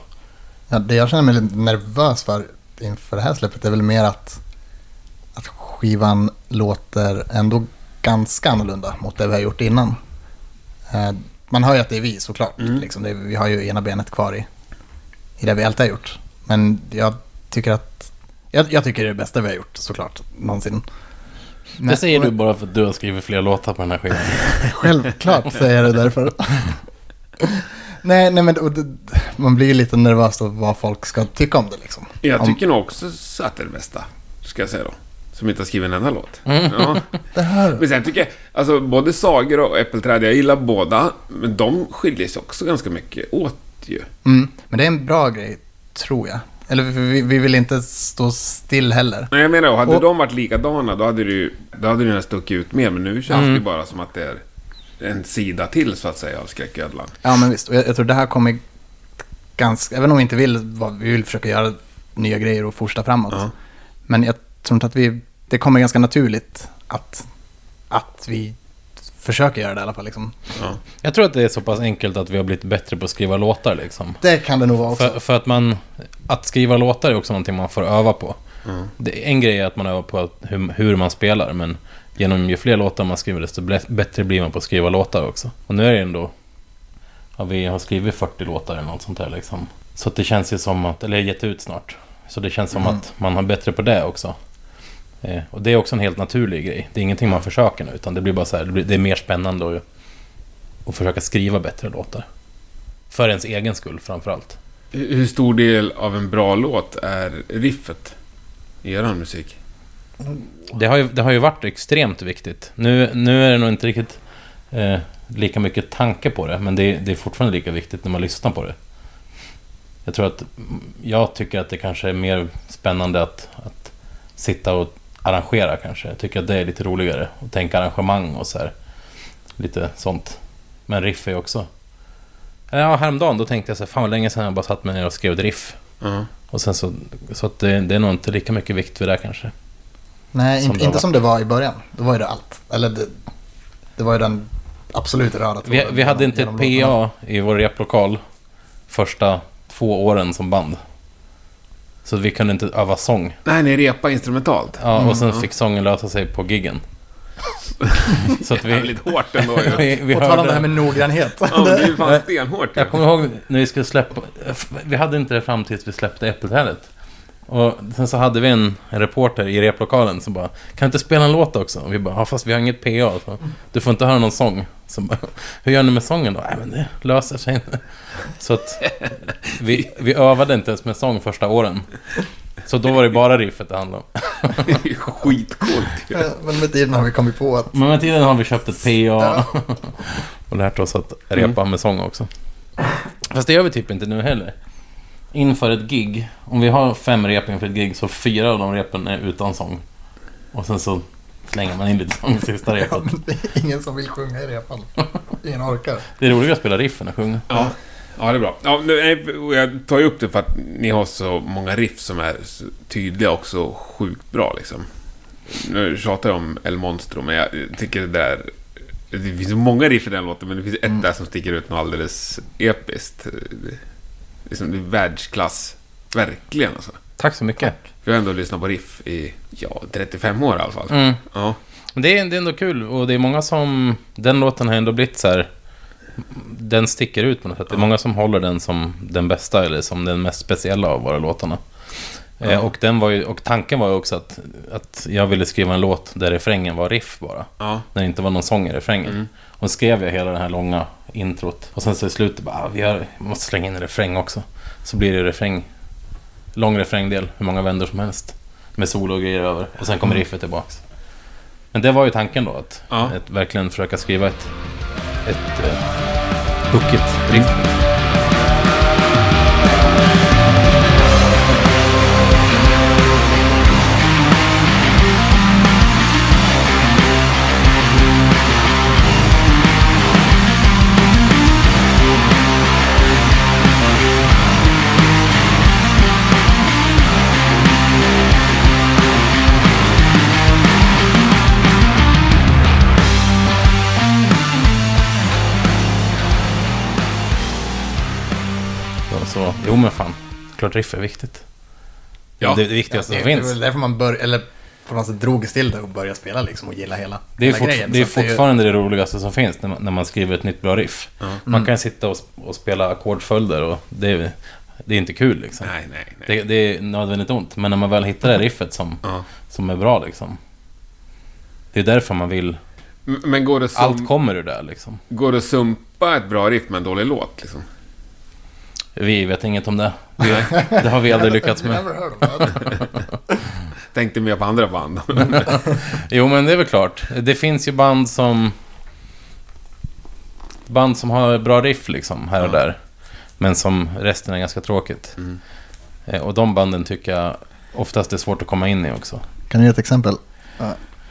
Speaker 2: Ja, det jag känner mig lite nervös för inför det här släppet är väl mer att, att skivan låter ändå ganska annorlunda mot det vi har gjort innan. Eh, man hör ju att det är vi såklart.
Speaker 4: Mm.
Speaker 2: Liksom, det, vi har ju ena benet kvar i, i det vi alltid har gjort. Men jag tycker att jag, jag tycker det är det bästa vi har gjort såklart någonsin.
Speaker 4: det säger du bara för att du har skrivit fler låtar på den här skivan.
Speaker 2: Självklart säger jag det därför. nej, nej, men och det, man blir ju lite nervös av vad folk ska tycka om det liksom.
Speaker 3: Jag
Speaker 2: Om-
Speaker 3: tycker nog också att det är det bästa, ska jag säga då. Som inte har skrivit en enda låt.
Speaker 4: Mm.
Speaker 3: Ja.
Speaker 2: Det här
Speaker 3: Men sen tycker jag, alltså både Sager och Äppelträd, jag gillar båda, men de skiljer sig också ganska mycket åt ju.
Speaker 2: Mm, men det är en bra grej, tror jag. Eller vi, vi vill inte stå still heller.
Speaker 3: Nej, jag menar, och hade
Speaker 2: Och-
Speaker 3: de varit likadana, då hade det ju, då hade det nästan stuckit ut mer, men nu känns det bara som att det är en sida till, så att säga, av Skräcködlan.
Speaker 2: Ja, men visst. Och jag, jag tror det här kommer ganska... Även om vi inte vill... vad- Vi vill försöka göra nya grejer och fortsätta framåt.
Speaker 3: Ja.
Speaker 2: Men jag tror inte att vi... Det kommer ganska naturligt att, att vi försöker göra det i alla fall. Liksom.
Speaker 3: Ja.
Speaker 4: Jag tror att det är så pass enkelt att vi har blivit bättre på att skriva låtar liksom.
Speaker 2: Det kan det nog vara också.
Speaker 4: För, för att man... Att skriva låtar är också någonting man får öva på. Det, en grej är att man övar på att, hur, hur man spelar, men genom ju fler låtar man skriver, desto ble- bättre blir man på att skriva låtar också. Och nu är det ändå... Ja, vi har skrivit 40 låtar eller något sånt där liksom. Så att det känns ju som att... Eller gett ut snart. Så det känns som att man har bättre på det också. Eh, och det är också en helt naturlig grej. Det är ingenting man försöker nu, utan det blir bara så här, det, blir, det är mer spännande att, att försöka skriva bättre låtar. För ens egen skull framförallt.
Speaker 3: Hur hur stor del av en bra låt är riffet i er musik?
Speaker 4: Det har ju, det har ju varit extremt viktigt. Nu, nu är det nog inte riktigt eh, lika mycket tanke på det, men det, det är fortfarande lika viktigt när man lyssnar på det. Jag tror att, jag tycker att det kanske är mer spännande att, att sitta och arrangera kanske. Jag tycker att det är lite roligare att tänka arrangemang och så här. Lite sånt. Men riff är ju också... Ja, häromdagen då tänkte jag så här, fan vad länge sedan jag bara satt mig ner och skrev ett riff.
Speaker 3: Ja.
Speaker 4: Och sen så, så att det, det är nog inte lika mycket vikt vid det kanske.
Speaker 2: Nej,
Speaker 4: som
Speaker 2: inte,
Speaker 4: det har
Speaker 2: inte som det var i början. Då var ju det allt. Eller det, det var ju den absolut röda
Speaker 4: Vi,
Speaker 2: tråden
Speaker 4: vi hade
Speaker 2: genom-
Speaker 4: inte ett
Speaker 2: genom låtarna.
Speaker 4: PA i vår replokal första två åren som band. Så vi kunde inte öva sång.
Speaker 3: Nej, ni repar instrumentalt.
Speaker 4: Ja, och
Speaker 2: Mm.
Speaker 4: sen fick sången lösa sig på giggen. Så att vi,
Speaker 3: Jävligt hårt ändå ju.
Speaker 4: vi, vi
Speaker 2: På tal om det här
Speaker 4: hörde...
Speaker 2: med noggrannhet.
Speaker 3: Ja, men det är ju fan stenhårt ju.
Speaker 4: Jag kommer ihåg när vi skulle släppa... Vi hade inte det fram tills vi släppte Äppelträdet. Och sen så hade vi en, en reporter i replokalen som bara Kan du inte spela en låt också? Och vi bara, ja fast vi har inget PA. Så, du får inte höra någon sång. Så bara, Hur gör ni med sången då? Nej men det löser sig. Så att vi, vi övade inte ens med sång första åren. Så då var det bara riffet det handlade om.
Speaker 3: Det är ju Skitcoolt ju.
Speaker 2: Ja, Men med tiden har vi kommit på att
Speaker 4: Men med tiden har vi köpt ett PA och lärt oss att repa med sång också. Fast det gör vi typ inte nu heller. Inför ett gig, om vi har fem rep inför ett gig så fyra av de repen är utan sång. Och sen så slänger man in lite sång i sista repet.
Speaker 2: det är ingen som vill sjunga i repan. Ingen orkar.
Speaker 4: Det är roligare att spela riff än att sjunga.
Speaker 3: Ja, ja det är bra. Ja, nu, nej, och jag tar ju upp det för att ni har så många riff som är så tydliga och så sjukt bra liksom. Nu tjatar jag om El Monstro, men jag tycker det där... Det finns så många riff i den låten, men det finns ett
Speaker 4: Mm.
Speaker 3: där som sticker ut något alldeles episkt. Det- Liksom, det är världsklass. Verkligen alltså.
Speaker 4: Tack så mycket.
Speaker 3: Jag har ändå lyssnat på riff i, ja, 35 år i alla fall.
Speaker 4: Mm.
Speaker 3: Ja.
Speaker 4: Men det är, det är ändå kul och det är många som... Den låten har ändå blivit så här... Den sticker ut på något sätt. Det är många som håller den som den bästa eller som den mest speciella av våra låtarna. Eh, och, den var ju, och tanken var ju också att, att jag ville skriva en låt där refrängen var riff bara.
Speaker 3: Ja.
Speaker 4: När det inte var någon sång i refrängen. Och skrev jag hela det här långa introt. Och sen så i slutet bara, ah, vi har, vi måste slänga in en refräng också. Så blir det refräng. Lång refrängdel, hur många vändor som helst. Med solo och grejer över. Och sen kommer riffet tillbaks. Men det var ju tanken då, att,
Speaker 3: Ja.
Speaker 4: att verkligen försöka skriva ett, ett eh, hookigt riff.
Speaker 3: Hur
Speaker 4: Jo men fan, klart riff är viktigt.
Speaker 3: Ja.
Speaker 4: Det är det viktigaste
Speaker 2: det,
Speaker 4: som
Speaker 2: Det
Speaker 4: finns.
Speaker 2: var därför man började, eller på något sätt drogs till det och började spela liksom och gilla hela,
Speaker 4: Det är,
Speaker 2: hela
Speaker 4: fort,
Speaker 2: grejen.
Speaker 4: det är
Speaker 2: Så att
Speaker 4: fortfarande det roligaste som finns när man, när man skriver ett nytt bra riff. Man kan sitta och, sp- och spela ackordföljder och det är, det är inte kul liksom.
Speaker 3: Nej, nej, nej.
Speaker 4: Det, det är nödvändigt ont, men när man väl hittar det riffet som,
Speaker 3: Ja.
Speaker 4: som är bra liksom. Det är därför man vill...
Speaker 3: M- Men går det,
Speaker 4: Allt
Speaker 3: sum,
Speaker 4: kommer ur det liksom.
Speaker 3: går det att sumpa ett bra riff med en dålig låt? Liksom?
Speaker 4: Vi vet inget om det. Vi, det har vi aldrig lyckats
Speaker 2: You
Speaker 4: med.
Speaker 2: never heard of that.
Speaker 3: Tänkte mer på andra band.
Speaker 4: Jo, men det är väl klart. Det finns ju band som... Band som har bra riff liksom, här och där. Men som resten är ganska tråkigt.
Speaker 2: Mm.
Speaker 4: Eh, Och de banden tycker jag oftast är svårt att komma in i också.
Speaker 2: Kan du ge ett exempel?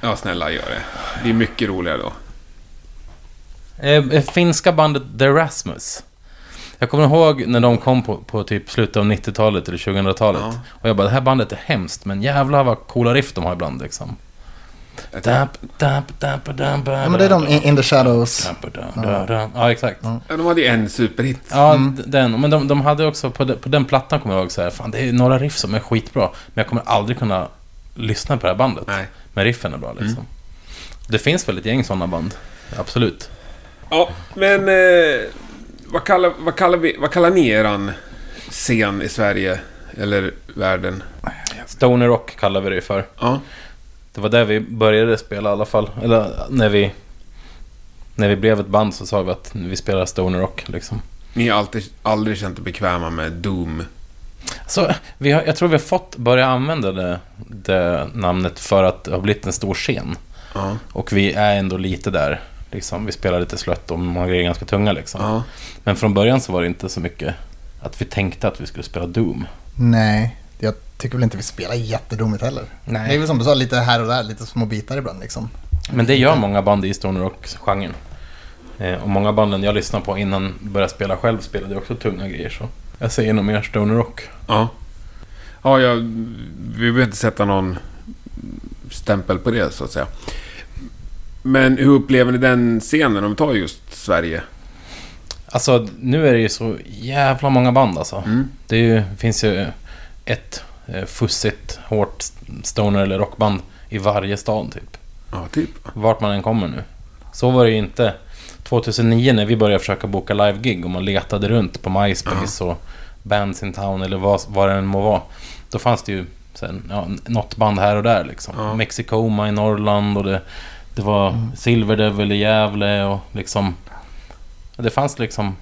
Speaker 3: ja, snälla gör det. Det är mycket roligare då.
Speaker 4: Eh, eh, finska bandet The Rasmus. Jag kommer ihåg när de kom på, på typ slutet av 90-talet eller 2000-talet.
Speaker 3: Ja.
Speaker 4: Och jag bara, det här bandet är hemskt, men jävlar vad coola riff de har ibland liksom.
Speaker 3: Jag
Speaker 4: Damp, damp, damp, damp,
Speaker 2: Ja, men det är de In, in the Shadows.
Speaker 4: Ja, ja exakt.
Speaker 2: Ja.
Speaker 3: Ja, de hade ju en superhit.
Speaker 4: Ja, d- den. Men de, de hade också, på den, på den plattan kommer jag ihåg så här, fan det är några riff som är skitbra, men jag kommer aldrig kunna lyssna på det här bandet.
Speaker 3: Nej.
Speaker 4: Men riffen är bra liksom. Det finns väl ett gäng sådana band, absolut.
Speaker 3: Ja, men eh, vad, kallar, vad, kallar vi, vad kallar ni eran scen i Sverige? Eller världen?
Speaker 4: Stoner Rock kallar vi det för.
Speaker 3: Ja.
Speaker 4: Det var där vi började spela i alla fall. Eller när vi... När vi blev ett band så sa vi att vi spelar stoner rock liksom.
Speaker 3: Ni har alltid, aldrig känt er bekväma med Doom.
Speaker 4: Så vi har, jag tror vi har fått börja använda det, det namnet för att det har blivit en stor scen.
Speaker 3: Ja.
Speaker 4: Och vi är ändå lite där. Liksom, vi spelar lite slött och många grejer är ganska tunga liksom.
Speaker 3: ja.
Speaker 4: Men från början så var det inte så mycket att vi tänkte att vi skulle spela Doom.
Speaker 2: Nej, jag tycker väl inte vi spelar jättedomigt heller.
Speaker 4: Nej.
Speaker 2: Det är väl som du sa, lite här och där, lite små bitar ibland liksom.
Speaker 4: Men det gör många band i stoner rock-genren. Eh, och många banden jag lyssnade på innan jag började spela själv spelade också tunga grejer. Så jag säger nog mer stoner rock.
Speaker 3: Ja. Ja, jag, vi behöver inte sätta någon stämpel på det så att säga. Men hur upplever ni den scenen om vi tar just Sverige?
Speaker 4: Alltså nu är det ju så jävla många band alltså. Det är ju, finns ju eh, ett eh, fussigt, hårt stoner eller rockband i varje stad typ.
Speaker 3: Ja, typ.
Speaker 4: Vart man än kommer nu. Så var det ju inte 2009 när vi började försöka boka live-gig och man letade runt på MySpace och Bands in Town eller vad, vad det än må vara. Då fanns det ju sen, ja, något band här och där liksom.
Speaker 3: Ja.
Speaker 4: Mexicoma i Norrland och det, det var Silver Devil i Gävle och liksom... Det fanns liksom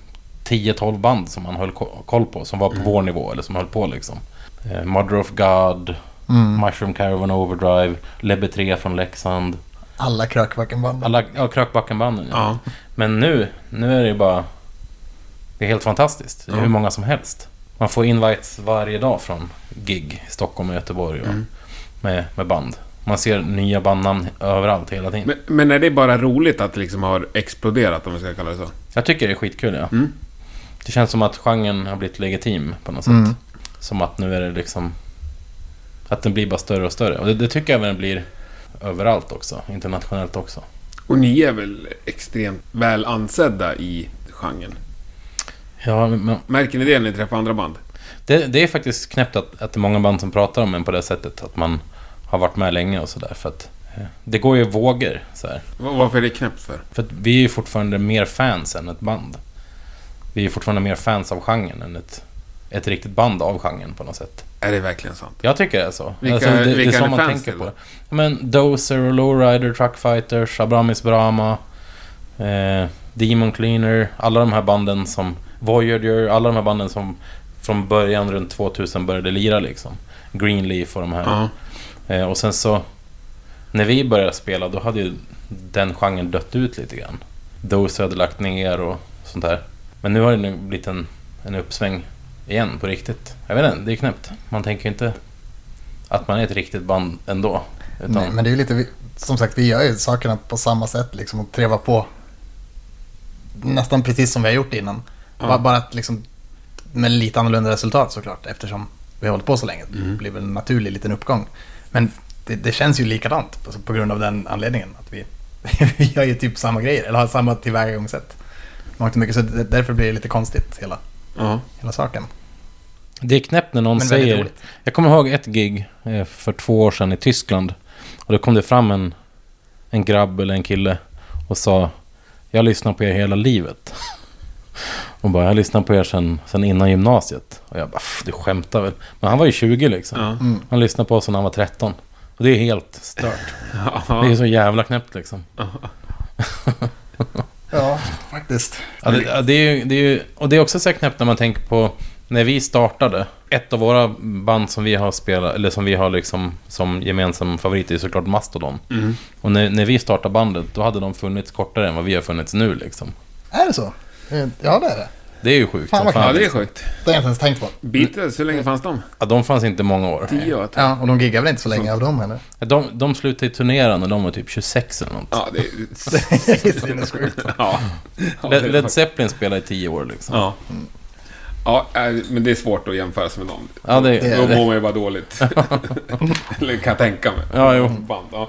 Speaker 4: 10-12 band som man höll ko- koll på, som var på vår nivå eller som höll på liksom. Eh, Mother of God, Mushroom Caravan Overdrive, Lebbe 3 från Leksand.
Speaker 2: Alla krökbackenband.
Speaker 4: Alla, ja, Krökbackenbanden. Ja.
Speaker 3: Ja.
Speaker 4: Men nu, nu är det ju bara... Det är helt fantastiskt. Det är
Speaker 3: Ja.
Speaker 4: hur många som helst. Man får invites varje dag från gig i Stockholm och Göteborg och
Speaker 3: Mm.
Speaker 4: med, med band. Man ser nya bandnamn överallt hela tiden.
Speaker 3: Men, men är det bara roligt att det liksom har exploderat om vi ska kalla det så?
Speaker 4: Jag tycker det är skitkul, ja.
Speaker 3: Mm.
Speaker 4: Det känns som att genren har blivit legitim på något sätt.
Speaker 2: Mm.
Speaker 4: Som att nu är det liksom... Att den blir bara större och större. Och det, det tycker jag även den blir överallt också. Internationellt också.
Speaker 3: Och ni är väl extremt väl ansedda i genren?
Speaker 4: Ja, men
Speaker 3: Märker ni det när ni träffar andra band?
Speaker 4: Det, det är faktiskt knäppt att, att det är många band som pratar om en på det sättet. Att man har varit med länge och sådär. För att eh, det går ju vågor så här.
Speaker 3: Va- Varför är det knäppt för?
Speaker 4: För att vi är ju fortfarande mer fans än ett band. Vi är ju fortfarande mer fans av genren än ett, ett riktigt band av genren på något sätt.
Speaker 3: Är det verkligen sant?
Speaker 4: Jag tycker det är så.
Speaker 3: Vilka- vilka är ni fans till då?
Speaker 4: det. Ja, Men Dozer, och Lowrider, Truckfighters, Abramis Brahma, eh, Demon Cleaner, alla de här banden som... Voyager, alla de här banden som från början runt 2000 började lira liksom. Greenleaf och de här.
Speaker 3: Ja.
Speaker 4: Eh, och sen så... När vi började spela då hade ju den genren dött ut lite grann. Dozer hade lagt ner och sånt där. Men nu har det nu blivit en, en uppsväng igen på riktigt. Jag vet inte, det är knäppt. Man tänker ju inte att man är ett riktigt band ändå. Utan,
Speaker 2: Nej, men det är ju lite, vi- som sagt, vi gör ju sakerna på samma sätt liksom och trevar på nästan precis som vi har gjort innan. Bara, bara att liksom med lite annorlunda resultat såklart eftersom vi har hållit på så länge. Det blir väl en naturlig liten uppgång. Men det, det känns ju likadant alltså, på grund av den anledningen. Att vi, vi gör ju typ samma grejer eller har samma tillvägagångssätt. Mångt och mycket, så det, därför blir det lite konstigt hela,
Speaker 3: Ja.
Speaker 2: hela saken.
Speaker 4: Det är knäppt när någon
Speaker 2: Men väldigt
Speaker 4: säger...
Speaker 2: roligt.
Speaker 4: Jag kommer ihåg ett gig eh, för två år sedan i Tyskland. Och då kom det fram en, en grabb eller en kille och sa Jag lyssnar på er hela livet. Och bara, jag lyssnar på er sen, sen innan gymnasiet. Och jag bara, "Pff, du skämtar väl? Men han var ju 20 liksom.
Speaker 3: Ja.
Speaker 4: Han lyssnade på oss när han var 13. Och det är helt stört. Det är så jävla knäppt liksom.
Speaker 2: Ja, faktiskt.
Speaker 4: Ja, det, ja, det är ju, det är ju, och det är också så här knäppt när man tänker på när vi startade. Ett av våra band som vi har spelat, eller som vi har liksom som gemensam favorit är ju såklart Mastodon. Och när, när vi startade bandet, då hade de funnits kortare än vad vi har funnits nu liksom.
Speaker 2: Är det så? Ja, det är det.
Speaker 4: Det är ju sjukt
Speaker 2: Fan,
Speaker 4: som
Speaker 2: vad
Speaker 3: Ja, det är
Speaker 4: liksom.
Speaker 2: Det
Speaker 3: sjukt.
Speaker 2: har jag inte ens tänkt på.
Speaker 3: Beatles, hur länge fanns de?
Speaker 4: ja, de fanns inte många år.
Speaker 3: Tio år? typ. tror jag.
Speaker 2: Ja, och de giggar väl inte så länge av dem heller.
Speaker 4: De, de slutade ju turnera när de var typ 26 eller något.
Speaker 3: Ja, det är...
Speaker 2: Det är sinnessjukt.
Speaker 3: Ja. Ja, det är
Speaker 4: Led, Led
Speaker 3: faktiskt-
Speaker 4: Zeppelin spelade i 10 år liksom.
Speaker 3: Ja. Ja, eh, men det är svårt att jämföra sig med dem.
Speaker 4: Ja, det-
Speaker 2: det är
Speaker 3: Då
Speaker 2: det.
Speaker 3: mår man ju bara dåligt. Eller kan jag tänka mig.
Speaker 4: Ja, jo.
Speaker 3: Band, ja.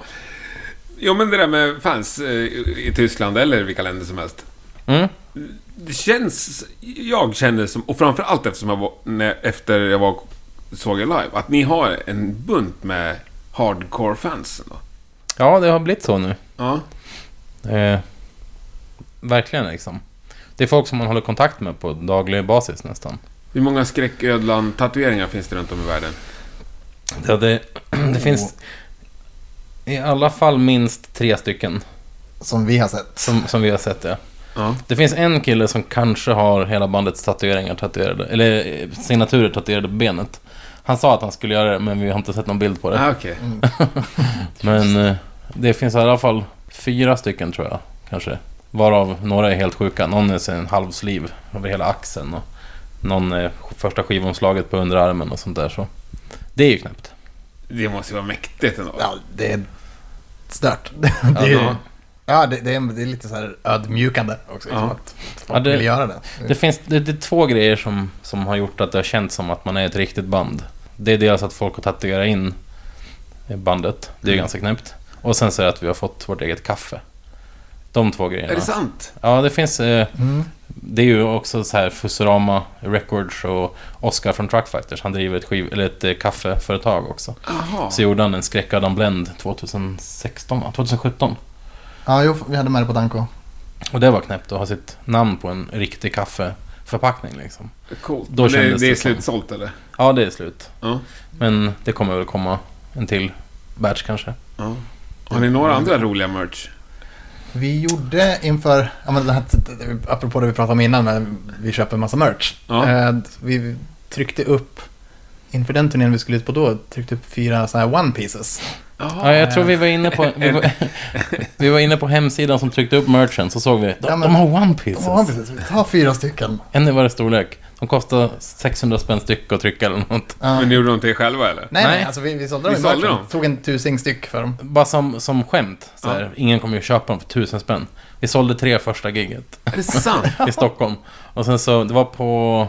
Speaker 3: Jo, men det där med fans eh, i i Tyskland eller vilka länder som helst.
Speaker 4: Mm.
Speaker 3: Det känns... Jag känner som, och framförallt eftersom jag var, när, efter jag var, såg er live, att ni har en bunt med hardcore-fans. ändå.
Speaker 4: ja, det har blivit så nu.
Speaker 3: Ja.
Speaker 4: Eh, verkligen liksom. Det är folk som man håller kontakt med på daglig basis nästan.
Speaker 3: Hur många skräcködlan-tatueringar finns det runt om i världen?
Speaker 4: Ja, det, det finns i alla fall minst tre stycken
Speaker 2: Som vi har sett.
Speaker 4: som, som vi har sett det.
Speaker 3: Ja.
Speaker 4: Det finns en kille som kanske har hela bandets tatueringar tatuerade, eller eh, signaturer tatuerade på benet. Han sa att han skulle göra det, men vi har inte sett någon bild på det.
Speaker 3: Ah, okej.
Speaker 4: Men eh, det finns i alla fall fyra stycken tror jag, kanske. Varav några är helt sjuka. Någon är sen halvsliv över hela axeln och någon är första skivomslaget på underarmen och sånt där. Så det är ju knäppt.
Speaker 3: Det måste ju vara mäktigt ändå.
Speaker 2: Ja, det är stört. Det är,
Speaker 4: Ja.
Speaker 2: ja, ja det, det, är, det är lite så här ödmjukande också.
Speaker 3: Ja.
Speaker 2: Liksom, att folk
Speaker 4: Ja, det-
Speaker 2: vill göra det.
Speaker 3: Mm.
Speaker 4: Det finns det, det är två grejer som, som har gjort att det har känts som att man är ett riktigt band. Det är dels att folk har tatuerat in bandet, det är
Speaker 3: Mm.
Speaker 4: ju ganska knäppt. Och sen så är det att vi har fått vårt eget kaffe. De två grejerna.
Speaker 3: Är det sant?
Speaker 4: Ja, det finns... Eh,
Speaker 2: Mm.
Speaker 4: det är ju också så här Fusurama Records och Oscar från Truck Fighters. Han driver ett, skiv, eller ett eh, kaffeföretag också.
Speaker 3: Jaha.
Speaker 4: Så gjorde han en skräckadan blend 2016, va? 2017.
Speaker 2: Ja, jo, vi hade med det på Danko.
Speaker 4: Och det var knäppt att ha sitt namn på en riktig kaffeförpackning liksom.
Speaker 3: Coolt.
Speaker 4: Då
Speaker 3: Men det,
Speaker 4: kändes
Speaker 3: det är
Speaker 4: det som-
Speaker 3: slutsålt eller?
Speaker 4: Ja, det är slut.
Speaker 3: Ja.
Speaker 4: Men det kommer väl komma en till batch kanske.
Speaker 3: ja. Har ni några andra roliga merch?
Speaker 2: Vi gjorde inför, ja, men det här, apropå det vi pratade om innan, men vi köper en massa merch.
Speaker 3: Ja.
Speaker 2: Eh, Vi tryckte upp, inför den turnén vi skulle ut på då, tryckte upp fyra så här one pieces.
Speaker 3: Jaha.
Speaker 4: Ja, jag tror vi var inne på, vi var, vi var inne på hemsidan som tryckte upp merchen, så såg vi. De,
Speaker 2: Ja, men-
Speaker 4: de har One Pieces!
Speaker 2: Ja, precis. Vi tar fyra stycken.
Speaker 4: En i varje storlek. De kostar 600 spänn styck att trycka eller något.
Speaker 2: Ja.
Speaker 3: Men ni gjorde de till er själva eller?
Speaker 2: Eh, Nej,
Speaker 4: Nej.
Speaker 2: nej, alltså vi, vi sålde dem
Speaker 3: Vi
Speaker 2: i
Speaker 3: sålde
Speaker 2: merchen.
Speaker 3: dem.
Speaker 2: Tog en tusing styck för dem.
Speaker 4: Bara som, som skämt. Så här,
Speaker 3: Ja.
Speaker 4: Ingen kommer ju köpa dem för 1000 spänn. Vi sålde tre första giget
Speaker 3: Är det sant?
Speaker 4: i Stockholm. Och sen så, det var på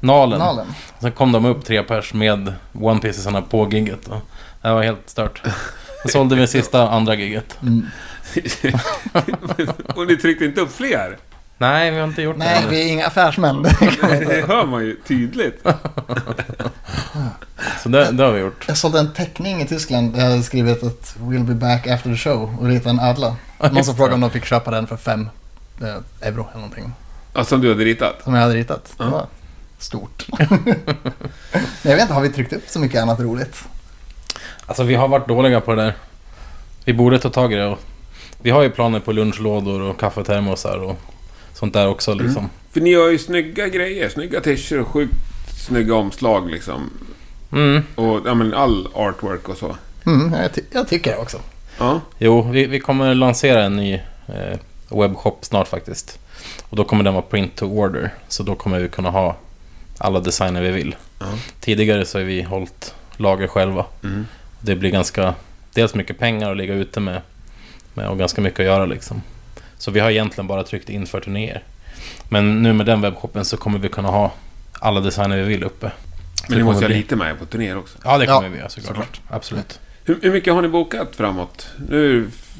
Speaker 4: Nalen.
Speaker 2: Nalen.
Speaker 4: Sen kom de upp tre pers med One Piecesarna på giget. och Det var helt stört. Sen sålde vi sista andra giget.
Speaker 3: Och ni tryckte inte upp fler?
Speaker 4: Nej, vi har inte gjort
Speaker 2: Nej,
Speaker 4: det.
Speaker 2: vi är inga affärsmän. Det kan man inte.
Speaker 3: Det hör man ju tydligt.
Speaker 4: Så det, det har vi gjort.
Speaker 2: Jag sålde en teckning i Tyskland där jag hade skrivit att We'll be back after the show och ritat en ödla. Någon som frågade om de fick köpa den för fem eh, euro eller någonting.
Speaker 3: Ja, Alltså, som du hade ritat?
Speaker 2: Som jag hade ritat. Det
Speaker 3: Ja.
Speaker 2: var stort. Men jag vet inte, har vi tryckt upp så mycket annat roligt?
Speaker 4: Alltså vi har varit dåliga på det där. Vi borde ta tag i det. Och vi har ju planer på lunchlådor och kaffetermosar och sånt där också liksom.
Speaker 3: För ni har ju snygga grejer. Snygga t-shirts och sjukt snygga omslag liksom.
Speaker 4: Mm.
Speaker 3: Och ja, men all artwork och så.
Speaker 2: Mm, jag, ty- jag tycker det också.
Speaker 3: Ja.
Speaker 4: Jo, vi, vi kommer lansera en ny eh, webbshop snart faktiskt. Och då kommer den vara print to order. Så då kommer vi kunna ha alla designer vi vill.
Speaker 3: Ja.
Speaker 4: Tidigare så har vi hållit lager själva.
Speaker 3: Mm.
Speaker 4: Det blir ganska, dels mycket pengar att ligga ute med, med och ganska mycket att göra liksom. Så vi har egentligen bara tryckt in för turnéer. Men nu med den webbshoppen så kommer vi kunna ha alla designer vi vill uppe. Så
Speaker 3: Men
Speaker 4: det
Speaker 3: ni måste
Speaker 4: kommer
Speaker 3: ju ha
Speaker 4: bli-
Speaker 3: lite med er på turnéer också.
Speaker 4: Ja, det kommer
Speaker 2: Ja,
Speaker 4: vi göra såklart.
Speaker 2: såklart.
Speaker 4: Absolut.
Speaker 3: Hur, hur mycket har ni bokat framåt? Nu är det f-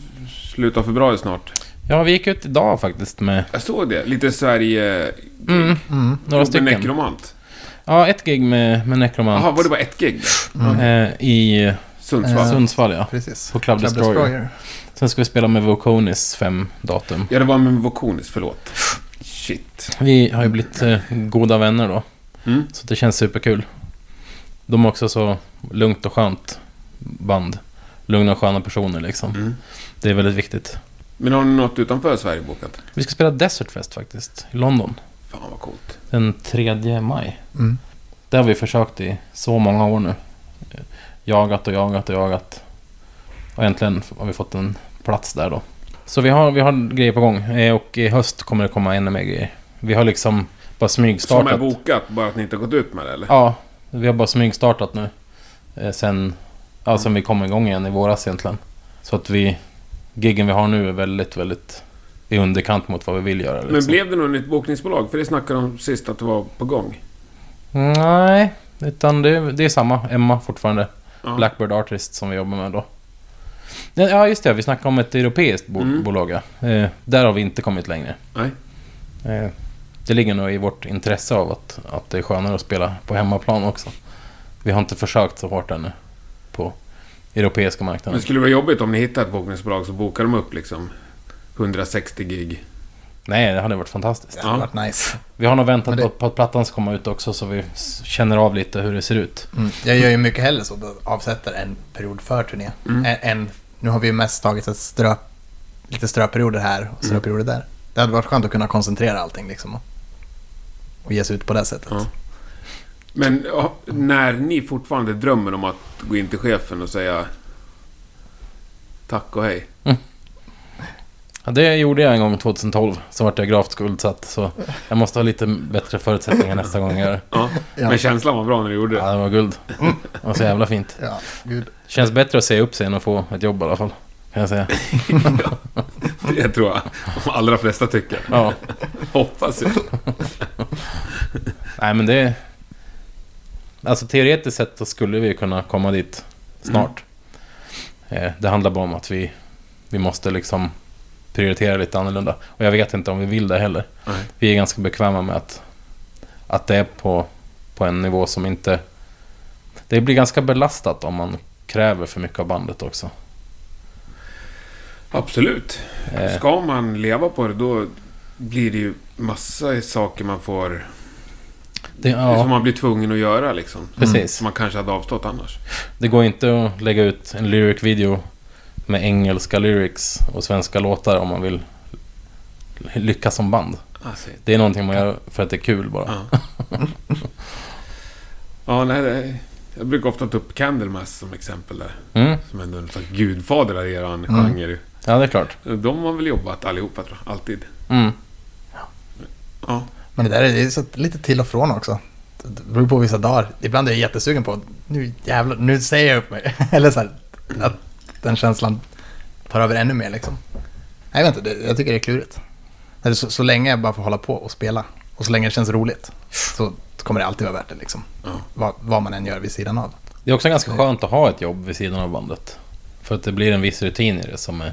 Speaker 3: slutet av februari snart.
Speaker 4: Ja, vi gick ut idag faktiskt med
Speaker 3: Jag såg det. Lite Sverige...
Speaker 4: mm, några
Speaker 3: Robin
Speaker 4: stycken.
Speaker 3: Nekromant.
Speaker 4: Ja, ett gig med, med Necromant.
Speaker 3: Jaha, var det bara ett gig? där?
Speaker 4: eh, I Eh,
Speaker 3: Sundsvall?
Speaker 4: Sundsvall, ja.
Speaker 2: Precis.
Speaker 4: På Club Destroyer. Sen ska vi spela med Voconis fem datum.
Speaker 3: Ja, det var med Vokonis, förlåt. Shit.
Speaker 4: Vi har ju blivit eh, goda vänner då.
Speaker 3: Mm.
Speaker 4: Så det känns superkul. De är också så lugnt och skönt band. Lugna och sköna personer liksom.
Speaker 3: Mm.
Speaker 4: Det är väldigt viktigt.
Speaker 3: Men har ni något utanför Sverige bokat?
Speaker 4: Vi ska spela Desert Fest faktiskt, i London.
Speaker 3: Fan vad coolt.
Speaker 4: Den 3 maj.
Speaker 2: Mm.
Speaker 4: Det har vi försökt i så många år nu. Jagat och jagat och jagat. Och äntligen har vi fått en plats där då. Så vi har, vi har grejer på gång. eh, Och i höst kommer det komma ännu mer grejer. Vi har liksom bara
Speaker 3: Som
Speaker 4: smygstartat.
Speaker 3: är bokat, bara att ni inte har gått ut med det eller?
Speaker 4: Ja, vi har bara smygstartat nu. Eh, Sen, ja, sen vi kom igång igen i våras egentligen. Så att vi, giggen vi har nu är väldigt, väldigt i underkant mot vad vi vill göra. liksom.
Speaker 3: Men blev det något nytt bokningsbolag? För det snackade de sist att det var på gång.
Speaker 4: Nej, utan det, det är samma. Emma fortfarande.
Speaker 3: Ja.
Speaker 4: Blackbird Artist som vi jobbar med då. Ja, Ja, just det. Vi snackade om ett europeiskt bo-
Speaker 3: Mm.
Speaker 4: bolag. Ja. Eh, där har vi inte kommit längre.
Speaker 3: Nej.
Speaker 4: Eh, det ligger nog i vårt intresse av att, att det är skönare att spela på hemmaplan också. Vi har inte försökt så hårt ännu på europeiska
Speaker 3: Men
Speaker 4: marknaden.
Speaker 3: skulle det vara jobbigt om ni hittar ett bokningsbolag så bokar de upp liksom 160 gig.
Speaker 4: Nej, det hade varit fantastiskt.
Speaker 2: Det hade varit nice.
Speaker 4: Vi har nog väntat
Speaker 2: Men det-
Speaker 4: på- på att plattan ska komma ut också så vi s- känner av lite hur det ser ut.
Speaker 2: Mm. Jag gör ju mycket hellre så. Då avsätter en period för turné. En, en, nu har vi ju mest tagit ett strö, lite ströperioder här och ströperioder där. Det hade varit skönt att kunna koncentrera allting liksom. Och, och ge sig ut på det sättet.
Speaker 3: Ja. Men ja, när ni fortfarande drömmer om att gå in till chefen och säga tack och hej.
Speaker 4: Ja, det gjorde jag en gång 2012, så vart jag gravt skuldsatt. Så jag måste ha lite bättre förutsättningar nästa gång jag gör det.
Speaker 3: Ja.
Speaker 2: Ja.
Speaker 3: Men känslan var bra när du gjorde det.
Speaker 4: Ja, det var guld. Det var så jävla fint.
Speaker 2: Ja, gud.
Speaker 4: Känns bättre att säga upp sig än att få ett jobb i alla fall. Kan jag säga.
Speaker 3: Det tror jag de allra flesta tycker.
Speaker 4: Ja.
Speaker 3: Hoppas jag.
Speaker 4: Nej, men det... Alltså teoretiskt sett så skulle vi kunna komma dit snart. Eh, Det handlar bara om att vi, vi måste liksom prioritera lite annorlunda. Och jag vet inte om vi vill det heller.
Speaker 3: Nej.
Speaker 4: Vi är ganska bekväma med att, att det är på, på en nivå som inte... Det blir ganska belastat om man kräver för mycket av bandet också.
Speaker 3: Absolut.
Speaker 4: Eh,
Speaker 3: Ska man leva på det då blir det ju massa saker man får...
Speaker 4: det,
Speaker 3: Som
Speaker 4: ja,
Speaker 3: man blir tvungen att göra liksom.
Speaker 4: precis.
Speaker 3: Som man kanske hade avstått annars.
Speaker 4: Det går inte att lägga ut en lyric-video med engelska lyrics och svenska låtar om man vill lyckas som band.
Speaker 3: Alltså,
Speaker 4: Det är någonting man gör för att det är kul bara.
Speaker 3: ja. ja, nej, det, jag brukar ofta ta upp Candlemass som exempel där.
Speaker 4: Mm.
Speaker 3: Som ändå är en slags gudfader av eran genre. ju.
Speaker 4: Ja, det är klart.
Speaker 3: De har väl jobbat allihopa tror jag. Alltid.
Speaker 4: Mm.
Speaker 3: Ja.
Speaker 2: Men det där är det är så lite till och från också. Det beror på vissa dagar. Ibland är jag jättesugen på nu jävlar, nu säger jag upp mig. Eller så här, att den känslan tar över ännu mer liksom. Nej, jag vet inte, det, jag tycker det är klurigt. När det- Så, så länge jag bara får hålla på och spela och så länge det känns roligt så kommer det alltid vara värt det liksom.
Speaker 3: Ja.
Speaker 2: Vad, vad man än gör vid sidan av.
Speaker 4: Det är också ganska skönt att ha ett jobb vid sidan av bandet. För att det blir en viss rutin i det som är...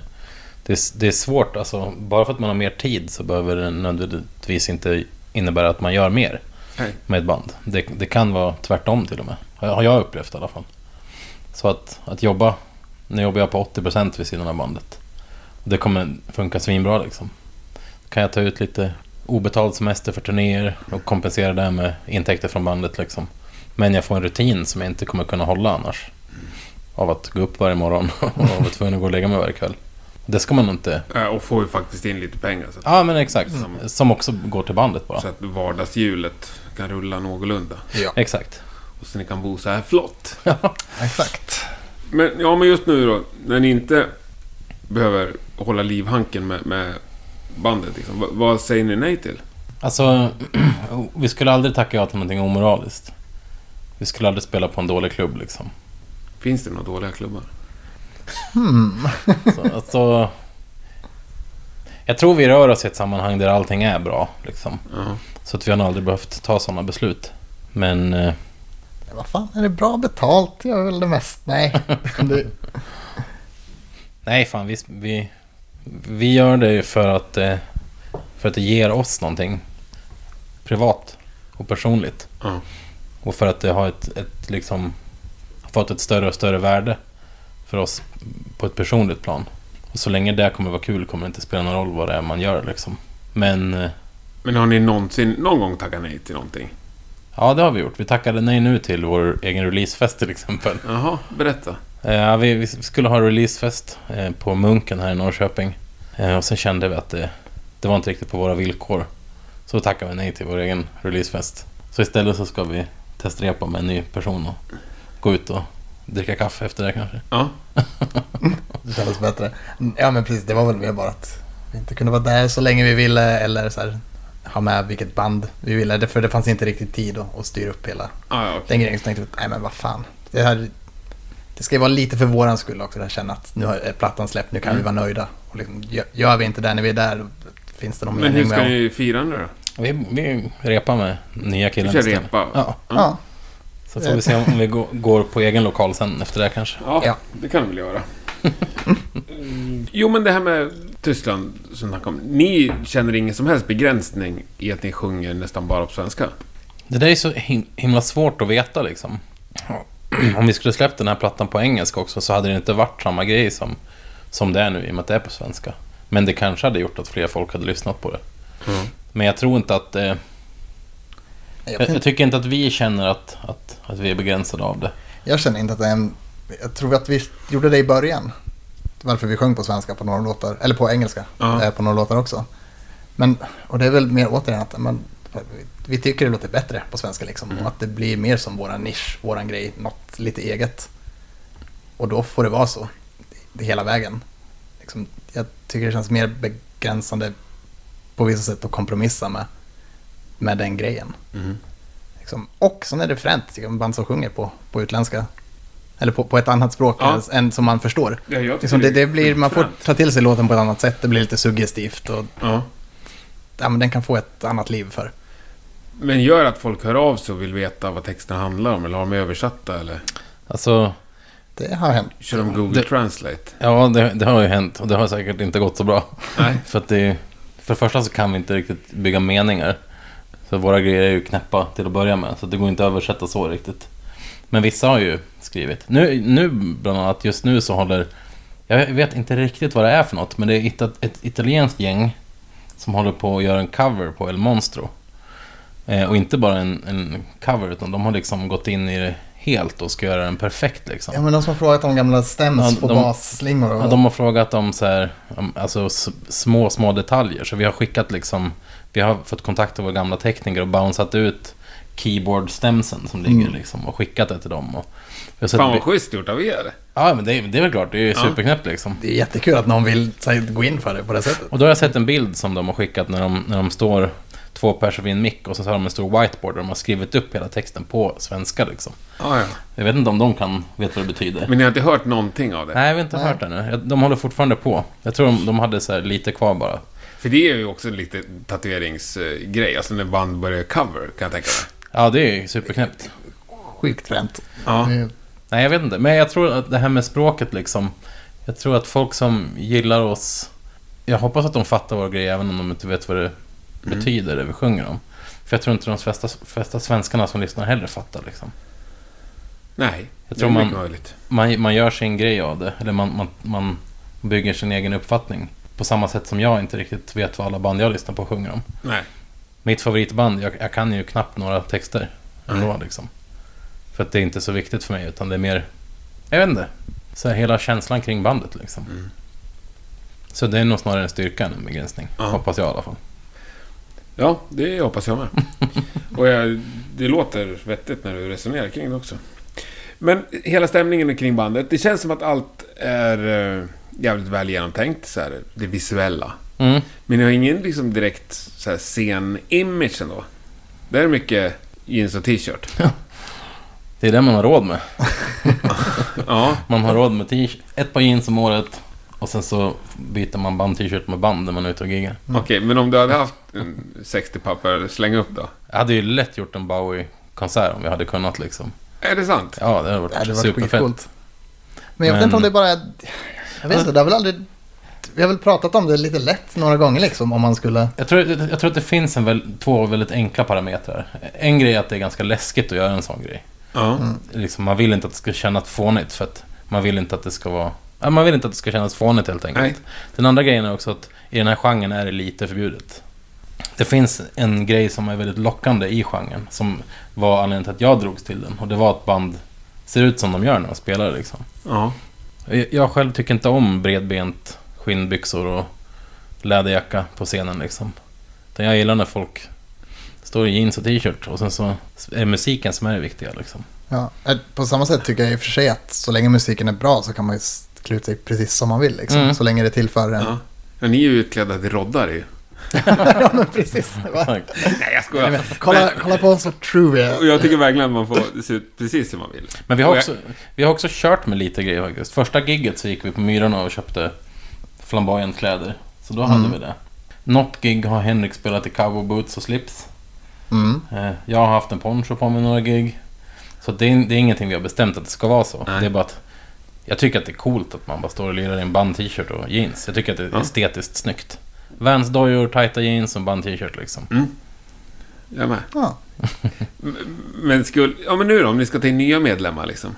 Speaker 4: Det är, det är svårt, alltså. Bara för att man har mer tid så behöver det nödvändigtvis inte innebära att man gör mer
Speaker 3: Nej.
Speaker 4: med ett band. Det, det kan vara tvärtom till och med. Har jag- Har jag upplevt i alla fall. Så att, att jobba... Nu jobbar jag på 80% vid sidan av bandet. Det kommer funka svinbra liksom. Kan jag ta ut lite obetald semester för turnéer och kompensera det här med intäkter från bandet liksom. Men jag får en rutin som jag inte kommer kunna hålla annars. Av att gå upp varje morgon och vara tvungen att gå och lägga mig varje kväll. Det ska man nog inte...
Speaker 3: Eh, Och får ju faktiskt in lite pengar. Så att,
Speaker 4: Ja men exakt. Som också går till bandet bara.
Speaker 3: så att vardagshjulet kan rulla någorlunda.
Speaker 2: Ja,
Speaker 4: Exakt.
Speaker 3: Och så ni kan bo så här flott.
Speaker 2: exakt.
Speaker 3: Men, ja, men just nu då, när ni inte behöver hålla livhanken med, med bandet, liksom, vad, vad säger ni nej till?
Speaker 4: Alltså, vi skulle aldrig tacka ja till någonting omoraliskt. Vi skulle aldrig spela på en dålig klubb liksom.
Speaker 3: Finns det några dåliga klubbar?
Speaker 4: Så, alltså, jag tror vi rör oss i ett sammanhang där allting är bra. Liksom.
Speaker 3: Ja.
Speaker 4: Så att vi har nog aldrig behövt ta sådana beslut. Men eh,
Speaker 2: Men Vad fan, är det bra betalt? Jag är väl det mest. Nej, det,
Speaker 4: nej, fan, vi, vi, vi gör det ju för att, eh, för att det ger oss någonting privat och personligt.
Speaker 3: Ja.
Speaker 4: Och för att det har ett, ett liksom, har fått ett större och större värde för oss på ett personligt plan. Och så länge det kommer vara kul kommer det inte spela någon roll vad det är man gör liksom. Men eh,
Speaker 3: Men har ni någonsin, någon gång tackat nej till någonting?
Speaker 4: ja, det har vi gjort. Vi tackade nej nu till vår egen releasefest till exempel.
Speaker 3: Jaha, berätta.
Speaker 4: Eh, Ja, vi, vi skulle ha releasefest eh, på Munken här i Norrköping. Eh, och sen kände vi att det, det var inte riktigt på våra villkor. Så då tackade vi nej till vår egen releasefest. Så istället så ska vi testrepa med en ny person och gå ut och dricka kaffe efter det kanske.
Speaker 3: Ja.
Speaker 2: Det kändes bättre. Ja men precis, det var väl mer bara att vi inte kunde vara där så länge vi ville eller så här, ha med vilket band vi ville. Det- För det fanns inte riktigt tid att, att styra upp hela
Speaker 3: Ah, ja, okej.
Speaker 2: den grejen. Så tänkte vi, nej men vad fan. Det, här, det ska ju vara lite för våran skull också, det här känna att nu har- är plattan släppt, nu kan vi vara nöjda. Och liksom, gö- gör vi inte det när vi är där, då finns det någon
Speaker 3: Men hur
Speaker 2: mening
Speaker 3: ska
Speaker 2: med
Speaker 3: ni fira nu då?
Speaker 4: Vi, vi repar med nya killen.
Speaker 3: Vi kör
Speaker 4: istället.
Speaker 3: repa.
Speaker 4: Ja,
Speaker 2: Ja,
Speaker 4: så får vi se om vi gå- går på egen lokal sen efter det här kanske.
Speaker 3: Ja,
Speaker 2: Ja.
Speaker 3: det kan vi väl göra. Mm. Jo, men det här med Tyskland som ni snackade om. Ni känner ingen som helst begränsning i att ni sjunger nästan bara på svenska?
Speaker 4: Det där är så him- himla svårt att veta liksom. Om vi skulle släppt den här plattan på engelska också så hade det inte varit samma grej som, som det är nu i och med att det är på svenska. Men det kanske hade gjort att fler folk hade lyssnat på det.
Speaker 3: Mm.
Speaker 4: Men jag tror inte att... Eh,
Speaker 2: jag,
Speaker 4: jag, jag tycker inte att vi känner att, att, att vi är begränsade av det.
Speaker 2: jag känner inte att det är en... Jag tror att vi gjorde det i början. Varför vi sjöng på svenska på några låtar, eller på engelska
Speaker 3: Ja.
Speaker 2: eh, på några låtar också. Men, och det är väl mer återigen att man, vi tycker det låter bättre på svenska liksom. Och att det blir mer som våran nisch, våran grej, något lite eget. Och då får det vara så, det, hela vägen. Liksom, jag tycker det känns mer begränsande på vissa sätt att kompromissa med, med den grejen.
Speaker 4: Mm-hmm.
Speaker 3: Mhm.
Speaker 2: Liksom. Och sen är det fränt, tycker jag, band som sjunger på, på utländska. Eller på, på ett annat språk
Speaker 3: Ja.
Speaker 2: än- än som man förstår.
Speaker 3: Ja, jag tycker
Speaker 2: Liksom det, det blir, man får
Speaker 3: skitfränt.
Speaker 2: ta till sig låten på ett annat sätt, det blir lite suggestivt och
Speaker 3: Ja.
Speaker 2: ja, men den kan få ett annat liv för.
Speaker 3: Men gör att folk hör av sig och vill veta vad texterna handlar om? Eller har de översatta? Eller
Speaker 4: Alltså,
Speaker 2: Det har hänt.
Speaker 3: kör de Google
Speaker 4: Det-
Speaker 3: Translate?
Speaker 4: ja det, det har ju hänt och det har säkert inte gått så bra.
Speaker 3: Nej.
Speaker 4: För att det är, För det första så kan vi inte riktigt bygga meningar. Så våra grejer är ju knäppa till att börja med, så det går inte att översätta så riktigt. Men vissa har ju skrivit. Nu, nu bland annat, just nu så håller... Jag vet inte riktigt vad det är för något, men det är ita- ett italienskt gäng som håller på att göra en cover på El Monstro. Eh, och inte bara en, en cover, utan de har liksom gått in i det helt och ska göra den perfekt liksom.
Speaker 2: Ja, men de som har frågat om gamla stems
Speaker 4: Ja,
Speaker 2: på
Speaker 4: de-
Speaker 2: basslingor och...
Speaker 4: Ja, de har frågat om så här, om, alltså s- små, små detaljer. Så vi har skickat liksom, vi har fått kontakt med våra gamla tekniker och bounceat ut keyboard-stemsen som ligger liksom och skickat det till dem. Och vi har sett
Speaker 3: Mm. Fan
Speaker 4: bi-
Speaker 3: vad schysst gjort av er.
Speaker 4: ja, men det, är- det är väl klart, det är ju superknäppt liksom.
Speaker 2: Det är jättekul att någon vill så här, gå in för det på det sättet.
Speaker 4: Och då har jag sett en bild som de har skickat när de, när de står två personer vid en mick och så har de en stor whiteboard där de har skrivit upp hela texten på svenska liksom.
Speaker 3: Ja, ja.
Speaker 4: Jag vet inte om de kan, vet vad det betyder.
Speaker 3: Men ni har inte hört någonting av det?
Speaker 4: Nej, vi har inte
Speaker 2: Nej.
Speaker 4: hört det nu. Jag- De håller fortfarande på. Jag tror de, de hade så här lite kvar bara.
Speaker 3: För det är ju också en lite tatueringsgrej. Alltså när band börjar cover, kan jag tänka mig.
Speaker 4: Ja, det är ju superknäppt.
Speaker 2: Sjukt fränt.
Speaker 3: Ja.
Speaker 2: Det är-
Speaker 4: Nej, jag vet inte. Men jag tror att det här med språket liksom. Jag tror att folk som gillar oss... Jag hoppas att de fattar vår grej även om de inte vet vad det betyder, det vi sjunger om. För jag tror inte de flesta, flesta svenskarna som lyssnar heller fattar liksom.
Speaker 3: Nej,
Speaker 4: Jag
Speaker 3: det
Speaker 4: tror
Speaker 3: är mycket
Speaker 4: man-
Speaker 3: möjligt.
Speaker 4: Man, man gör sin grej av det, eller man, man, man bygger sin egen uppfattning. På samma sätt som jag inte riktigt vet vad alla band jag lyssnar på sjunger om.
Speaker 3: Nej.
Speaker 4: Mitt favoritband, jag, jag kan ju knappt några texter ändå liksom. För att det är inte så viktigt för mig, utan det är mer, jag vet inte, så här, hela känslan kring bandet liksom. Så det är nog snarare en styrka än en begränsning,
Speaker 3: Ja.
Speaker 4: hoppas jag i alla fall.
Speaker 3: Ja, det hoppas jag med. Och jag, det låter vettigt när du resonerar kring det också. Men hela stämningen kring bandet, det känns som att allt är eh, jävligt väl genomtänkt. Så här, det visuella.
Speaker 4: Mm.
Speaker 3: Men ni har ingen liksom, direkt så här, scen-image ändå? Det är mycket jeans och t-shirt.
Speaker 4: Det är det man har råd med.
Speaker 3: Ja,
Speaker 4: Man har råd med t-shirt, ett par jeans om året och sen så byter man band t-shirt med band när man är ute och giggar.
Speaker 3: okej. men om du hade haft en 60 papper, släng upp då?
Speaker 4: Jag hade ju lätt gjort en Bowie-konsert om vi hade kunnat liksom.
Speaker 3: Är det sant?
Speaker 4: Ja, det hade
Speaker 2: Det
Speaker 4: varit
Speaker 2: hade varit
Speaker 4: superfett.
Speaker 2: skitcoolt. Men jag vet
Speaker 4: Men-
Speaker 2: inte om det bara... Jag vet inte, det har väl aldrig... vi har väl pratat om det lite lätt några gånger liksom om man skulle...
Speaker 4: Jag tror, jag tror att det finns en väl, två väldigt enkla parametrar. En grej är att det är ganska läskigt att göra en sån grej.
Speaker 3: Ja.
Speaker 4: Liksom, man vill inte att det ska kännas fånigt för att man vill inte att det ska vara... ja, Man vill inte att det ska kännas fånigt helt enkelt.
Speaker 3: Nej.
Speaker 4: Den andra grejen är också att i den här genren är det lite förbjudet. Det finns en grej som är väldigt lockande i genren, som var anledningen till att jag drogs till den. Och det var att band ser ut som de gör när de spelar liksom.
Speaker 3: Ja.
Speaker 4: Jag- Jag själv tycker inte om bredbent, skinnbyxor och läderjacka på scenen liksom. Utan jag gillar när folk står i jeans och t-shirt och sen så är musiken som är det viktiga liksom.
Speaker 2: Ja, eh, på samma sätt tycker jag i och för sig att så länge musiken är bra så kan man ju s- klä ut sig precis som man vill. Liksom,
Speaker 4: Mm.
Speaker 2: Så länge det tillför en.
Speaker 3: ja. Ja, ni är ju utklädda till roddar ju.
Speaker 2: ja, men precis. Det var-
Speaker 4: Exakt.
Speaker 3: Nej, jag
Speaker 2: Jag
Speaker 3: skojar.
Speaker 2: vet, kolla, kolla på oss så true vi
Speaker 3: Och
Speaker 2: är.
Speaker 3: jag tycker verkligen att man får se ut precis hur man vill.
Speaker 4: Men vi har,
Speaker 3: Och jag-
Speaker 4: också, vi har också kört med lite grejer faktiskt. Första gigget så gick vi på Myrorna och köpte flamboyant kläder. Så då
Speaker 3: Mm.
Speaker 4: hade vi det. Något gig har Henrik spelat i cowboy boots och slips.
Speaker 2: Mm.
Speaker 4: Eh, Jag har haft en poncho på mig några gig. Så det är, det är ingenting vi har bestämt att det ska vara så.
Speaker 3: Nej.
Speaker 4: Det är bara att jag tycker att det är coolt att man bara står och lirar i en band-t-shirt och jeans. Jag tycker att det är
Speaker 3: Ja.
Speaker 4: estetiskt snyggt. Vans-dojor, tajta jeans och band-t-shirt liksom.
Speaker 3: Mm. Jag med.
Speaker 2: Ja.
Speaker 3: Men skulle... Ja, men nu då, om ni ska ta in nya medlemmar liksom.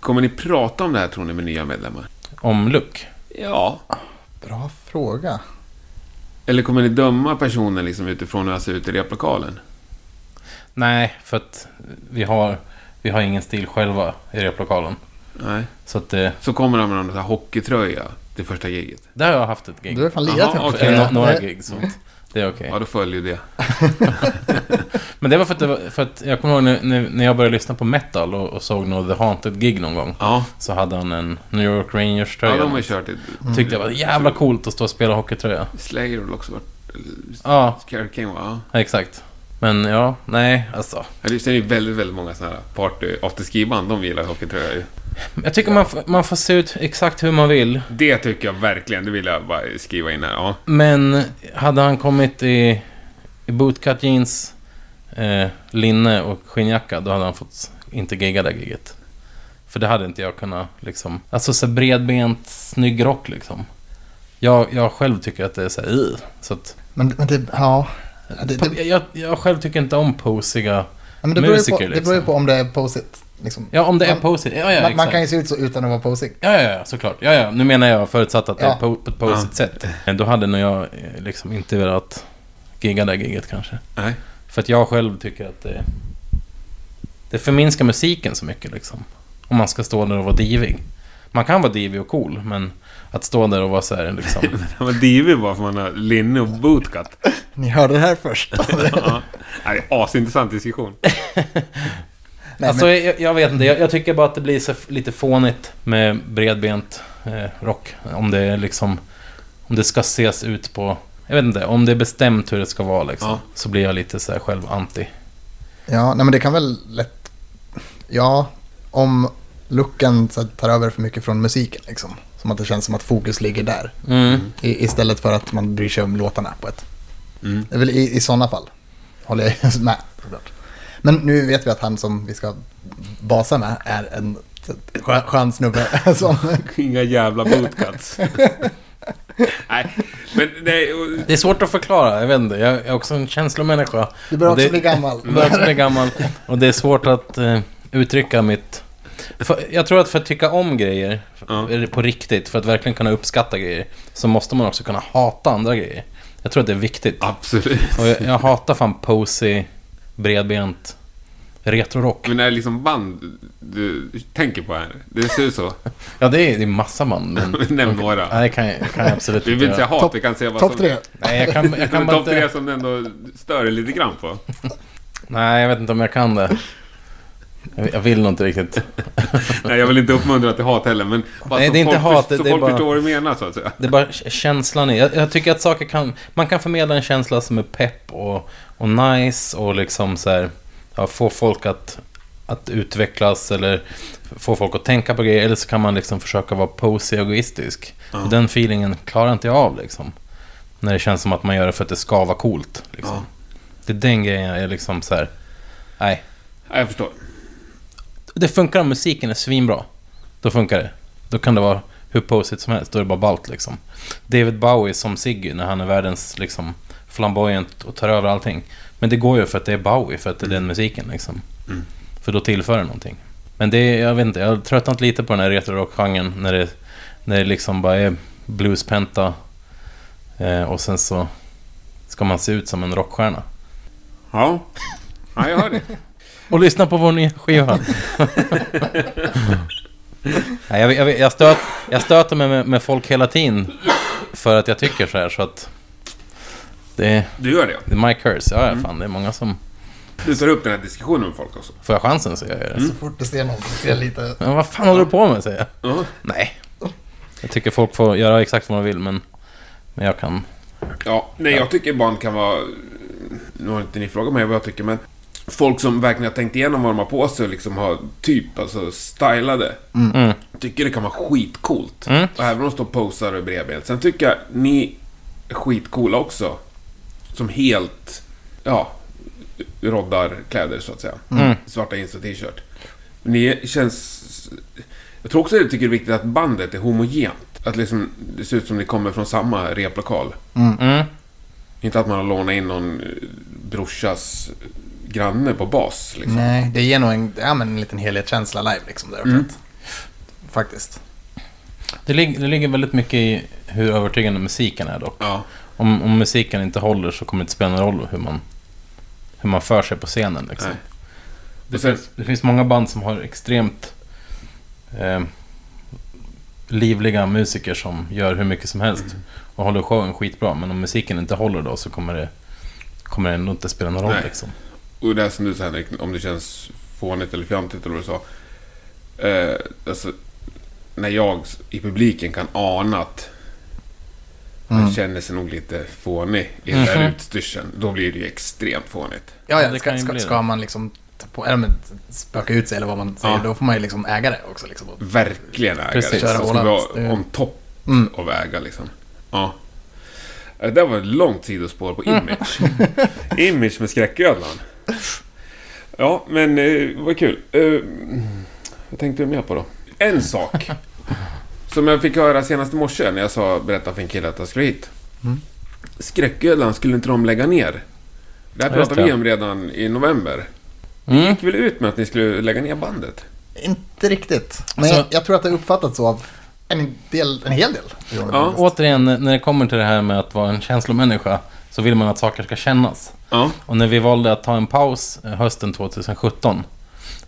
Speaker 3: Kommer ni prata om det här tror ni med nya medlemmar?
Speaker 4: Om look.
Speaker 3: Ja.
Speaker 2: Bra fråga.
Speaker 3: Eller kommer ni döma personen liksom utifrån hur han ser ut i replokalen?
Speaker 4: Nej, för att vi har, vi har ingen stil själva i replokalen.
Speaker 3: Nej.
Speaker 4: Så att eh, det,
Speaker 3: Så kommer han med någon sån här hockeytröja till första giget.
Speaker 4: där har jag haft ett gig.
Speaker 2: Du har fan Eh, lirat
Speaker 3: Jaha,
Speaker 2: ihop
Speaker 3: okej.
Speaker 2: det.
Speaker 4: Nå- några
Speaker 2: Det-
Speaker 4: gig, så att det är okej.
Speaker 3: Ja, då följer ju det.
Speaker 4: Men det var för att, det var, för att jag kommer ihåg när, när- när jag började lyssna på metal och, och såg nog The Haunted-gig någon gång.
Speaker 3: Ja.
Speaker 4: Så hade han en New York Rangers-tröja.
Speaker 3: Ja, de har ju kört det.
Speaker 4: Tyckte jag var jävla coolt att stå och spela hockeytröja.
Speaker 3: Slayer har väl också varit... eller
Speaker 4: Ja,
Speaker 3: Scary King, va?
Speaker 4: exakt. Men ja, nej, alltså.
Speaker 3: Ja. Det sen är ju väldigt, väldigt många sådana här party afterski-band. De gillar ju hockeytröja ju.
Speaker 4: Jag tycker man, f- man får se ut exakt hur man vill.
Speaker 3: Det tycker jag verkligen. Det vill jag bara skriva in här. Ja.
Speaker 4: Men hade han kommit i, i bootcut jeans, eh, linne och skinnjacka, då hade han fått inte gigga det giget. För det hade inte jag kunnat liksom... Alltså så bredbent, snygg rock liksom. Jag, jag själv tycker att det är så här, "Ugh." så att,
Speaker 2: Men, men det, ja. Det, det,
Speaker 4: jag, jag själv tycker inte om posiga...
Speaker 2: Ja, men det beror ju på,
Speaker 4: Musiker,
Speaker 2: det beror ju
Speaker 4: liksom.
Speaker 2: på om det är posit. Liksom.
Speaker 4: Ja, om det är
Speaker 2: Man-
Speaker 4: posigt. Ja, ja,
Speaker 2: man, man
Speaker 4: exakt.
Speaker 2: kan ju se ut så utan att vara posig.
Speaker 4: Ja, ja, ja, såklart. Ja, ja. Nu menar jag förutsatt att det
Speaker 2: Ja.
Speaker 4: är på, på ett posit sätt. Men Då hade nog jag eh, liksom inte velat gigga det giget kanske.
Speaker 3: Nej.
Speaker 4: För att jag själv tycker att det, det förminskar musiken så mycket liksom. Om man ska stå där och vara divig. Man kan vara divig och cool, men att stå där och vara så här liksom.
Speaker 3: Ja, men det är ju bara för man har linne och bootcut.
Speaker 2: Ni hörde det här först.
Speaker 3: Ja. Nej, det är asintressant diskussion.
Speaker 2: Nej,
Speaker 4: alltså,
Speaker 2: men,
Speaker 4: jag, jag vet inte. Jag, jag tycker bara att det blir så f- lite fånigt med bredbent eh, rock. Om det är liksom... Om det ska ses ut på... Jag vet inte. Om det är bestämt hur det ska vara liksom.
Speaker 3: Ja.
Speaker 4: Så blir jag lite så här själv anti.
Speaker 2: ja, nej, men det kan väl lätt... Ja, om looken så tar över för mycket från musiken. Liksom. Som att det känns som att fokus ligger där.
Speaker 4: Mm.
Speaker 2: I, istället för att man bryr sig om låtarna på ett...
Speaker 3: Mm.
Speaker 2: Det är väl i, i sådana fall. Håller jag ju med såklart. Men nu vet vi att han som vi ska basa med är en skön, skön snubbe. Som,
Speaker 3: Inga jävla bootcuts. Nej, men det...
Speaker 4: Det är svårt att förklara. Jag vet inte. Jag är också en känslomänniska.
Speaker 2: du börjar
Speaker 4: Och
Speaker 2: också
Speaker 4: det-
Speaker 2: bli gammal.
Speaker 4: Jag börjar också bli gammal. Och det är svårt att eh, uttrycka mitt... För, jag tror att för att tycka om grejer
Speaker 3: Ja.
Speaker 4: eller på riktigt, för att verkligen kunna uppskatta grejer, så måste man också kunna hata andra grejer. Jag tror att det är viktigt.
Speaker 3: Absolut.
Speaker 4: Och jag, jag hatar fan posy, bredbent, retrorock.
Speaker 3: Men är det liksom band du tänker på här? Det ser ut så.
Speaker 4: Ja, det är, det är massa man. Men,
Speaker 3: Nämn några.
Speaker 4: Mm. nej, det kan, jag- kan jag absolut
Speaker 3: Vi vill
Speaker 4: inte
Speaker 3: inte säga
Speaker 4: göra.
Speaker 3: hat,
Speaker 2: Topp-
Speaker 3: vi kan säga vad
Speaker 2: Topp
Speaker 3: som...
Speaker 2: tre.
Speaker 4: Nej, jag kan, jag kan bara
Speaker 3: Topp tre
Speaker 4: inte...
Speaker 3: som du ändå stör dig lite grann på.
Speaker 4: Nej, jag vet inte om jag kan det. Jag- Jag vill nog inte riktigt.
Speaker 3: Nej, jag vill inte uppmuntra till hat heller, men... bara
Speaker 4: Nej,
Speaker 3: så
Speaker 4: det är inte
Speaker 3: folk
Speaker 4: hat,
Speaker 3: först- Så
Speaker 4: det är
Speaker 3: folk
Speaker 4: bara-
Speaker 3: förstår vad du menar, så att säga.
Speaker 4: Det är bara k- känslan i. Jag, jag tycker att saker kan... Man kan förmedla en känsla som är pepp och, och nice och liksom så här... Ja, få folk att, att utvecklas eller få folk att tänka på grejer. Eller så kan man liksom försöka vara posig och egoistisk. Och den feelingen klarar inte jag av liksom. När det känns som att man gör det för att det ska vara coolt. Liksom. Det är den grejen jag är liksom så här... Nej.
Speaker 3: Ja, jag förstår.
Speaker 4: Det funkar om musiken är svinbra. Då funkar det. Då kan det vara hur posigt som helst. Då är det bara balt liksom. David Bowie som Ziggy när han är världens liksom flamboyant och tar över allting. Men det går ju för att det är Bowie, för att det är den musiken liksom.
Speaker 3: Mm.
Speaker 4: För då tillför det någonting. Men det är, jag vet inte, jag har tröttnat lite på den här retro-rock-genren när det, när det liksom bara är bluespenta eh, och sen så ska man se ut som en rockstjärna.
Speaker 3: Ja. ja, jag hör det.
Speaker 4: Och lyssna på vår nya skiva. Nej, jag, jag, jag, stöt, jag stöter mig med, med folk hela tiden för att jag tycker så här. Så att det, är-
Speaker 3: Du gör det, ja.
Speaker 4: det är my curse. Ja, ja, fan, det är många som...
Speaker 3: Du tar upp den här diskussionen med folk också.
Speaker 4: Får jag chansen så gör jag det.
Speaker 2: Så fort du ser någon som ser lite...
Speaker 4: Men vad fan håller du på med, säger jag.
Speaker 3: Ja.
Speaker 4: Nej. Jag tycker folk får göra exakt vad de vill, men, men jag kan...
Speaker 3: Ja, nej jag tycker band kan vara... Nu har inte ni frågat mig vad jag tycker men... Folk som verkligen har tänkt igenom vad de har på sig och liksom har typ alltså stylade.
Speaker 4: Mm.
Speaker 3: Tycker det kan vara skitcoolt.
Speaker 4: Mm.
Speaker 3: Och även om de står och posar och är bredbent. Sen tycker jag ni är skitcoola också. Som helt... Ja. Roddar kläder så att säga.
Speaker 4: Mm.
Speaker 3: Svarta jeans och t-shirt. Ni känns... Jag tror också att jag tycker det är viktigt att bandet är homogent. Att liksom, det ser ut som ni kommer från samma replokal.
Speaker 4: Mm.
Speaker 3: Inte att man har lånat in någon eh, brorsas granne på bas. Liksom.
Speaker 2: Nej, det ger nog en, ja, men en liten helhetskänsla live liksom. Där mm. Faktiskt.
Speaker 4: Det, lig- det ligger väldigt mycket i hur övertygande musiken är dock.
Speaker 3: Ja.
Speaker 4: Om, om musiken inte håller så kommer det inte spela någon roll hur man, hur man för sig på scenen. Liksom.
Speaker 3: Nej.
Speaker 4: Det,
Speaker 3: Och sen-
Speaker 4: finns, det finns många band som har extremt eh, livliga musiker som gör hur mycket som helst och håller showen skitbra. Men om musiken inte håller då så kommer det, kommer det ändå inte spela någon roll.
Speaker 3: Nej.
Speaker 4: Liksom.
Speaker 3: Och det här som du sa Henrik, om det känns fånigt eller fjantigt eller vad du sa. Eh, alltså, när jag s- i publiken kan ana att man känner sig nog lite fånig i den där
Speaker 4: Mhm.
Speaker 3: utstyrseln. Då blir det ju extremt fånigt.
Speaker 2: Ja,
Speaker 4: Ja,
Speaker 2: ja
Speaker 4: det kan
Speaker 2: ska,
Speaker 4: ju bli
Speaker 2: ska,
Speaker 4: det.
Speaker 2: ska man liksom ta på, eller, men, spöka ut sig eller vad man säger,
Speaker 3: Ja.
Speaker 2: då får man ju liksom äga det också. Liksom. Och-
Speaker 3: Verkligen äga
Speaker 4: Precis.
Speaker 3: det.
Speaker 2: Köra
Speaker 3: Så ska vi
Speaker 2: all
Speaker 3: vara
Speaker 2: out. Det-
Speaker 3: on top
Speaker 2: Mm.
Speaker 3: av äga liksom. Ja. Eh, Det var ett långt sidospår på
Speaker 4: Mm.
Speaker 3: image. image med skräcködlan. Ja, men eh, vad kul. Eh, vad tänkte du mer på då? En sak. som jag fick höra senast i morse när jag sa, berättade för en kille att jag skulle hit.
Speaker 4: Mm.
Speaker 3: Skräcködlan skulle inte de lägga ner. Det här
Speaker 4: Ja, just
Speaker 3: pratade vi
Speaker 4: det.
Speaker 3: om redan i november.
Speaker 4: Mm.
Speaker 3: Gick väl ut med att ni skulle lägga ner bandet?
Speaker 2: Inte riktigt. Men
Speaker 4: Alltså-
Speaker 2: jag, jag tror att det uppfattats så av en, del, en hel del.
Speaker 3: Ja.
Speaker 4: Återigen, när det kommer till det här med att vara en känslomänniska så vill man att saker ska kännas.
Speaker 3: Ja.
Speaker 4: Och när vi valde att ta en paus eh, hösten 2017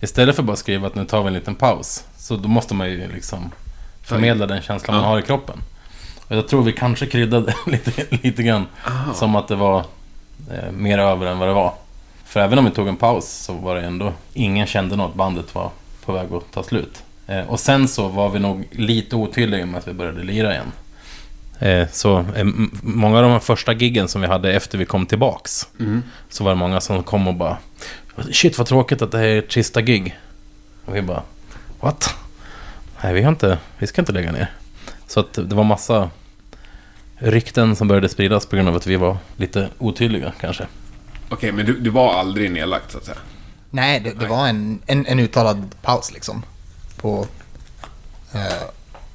Speaker 4: Istället för bara att skriva att nu tar vi en liten paus Så då måste man ju liksom Förmedla den känslan man
Speaker 3: Ja.
Speaker 4: har i kroppen Och jag tror vi kanske kryddade lite, lite grann Som att det var eh, Mer över än vad det var För även om vi tog en paus så var det ändå Ingen kände något, bandet var på väg att ta slut eh, Och sen så var vi nog lite otydliga med att vi började lira igen Eh, Så eh, m- många av de här första giggen som vi hade efter vi kom tillbaks Så var det många som kom och bara Shit vad tråkigt att det här är ett sista gig Och vi bara What? Nej vi har inte, vi ska inte lägga ner Så att det var massa Rykten som började spridas på grund av att vi var lite otydliga kanske
Speaker 3: Okej, men du, du var aldrig nedlagt så att säga?
Speaker 2: Nej, det, det var en, en, en uttalad paus liksom. På, eh,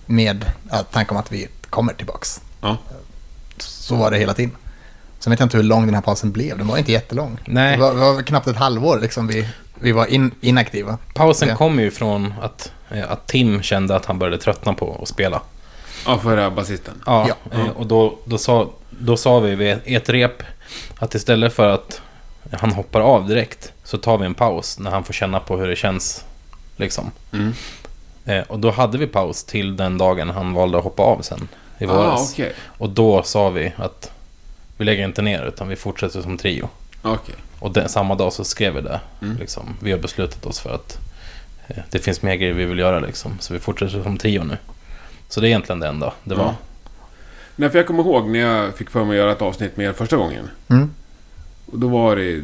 Speaker 2: med ja, tanke om att vi kommer tillbaks.
Speaker 3: Ja.
Speaker 2: Så var det hela tiden. Sen vet jag inte hur lång den här pausen blev. Den var inte jättelång.
Speaker 4: Nej.
Speaker 2: Det var, det var väl knappt ett halvår liksom vi, vi var in, inaktiva.
Speaker 4: Pausen
Speaker 2: Ja.
Speaker 4: kom ju från att, eh, att Tim kände att han började tröttna på att spela
Speaker 3: Ja, förra basisten.
Speaker 4: Ja,
Speaker 2: Ja.
Speaker 4: eh, och då, då, sa, då sa vi vid ett- ett rep att istället för att han hoppar av direkt så tar vi en paus när han får känna på hur det känns. Liksom.
Speaker 3: Mm.
Speaker 4: Eh, och då hade vi paus till den dagen han valde att hoppa av sen i
Speaker 3: Ah,
Speaker 4: våras.
Speaker 3: okej.
Speaker 4: Och då sa vi att vi lägger inte ner utan vi fortsätter som trio.
Speaker 3: Okej.
Speaker 4: Och den, samma dag så skrev vi det.
Speaker 3: Mm.
Speaker 4: Liksom. Vi har beslutat oss för att eh, det finns mer grejer vi vill göra liksom. Så vi fortsätter som trio nu. Så det är egentligen det enda det var.
Speaker 3: Ja. Nej, för jag kommer ihåg när jag fick för mig att göra ett avsnitt med er första gången.
Speaker 2: Mm.
Speaker 3: Och då var det...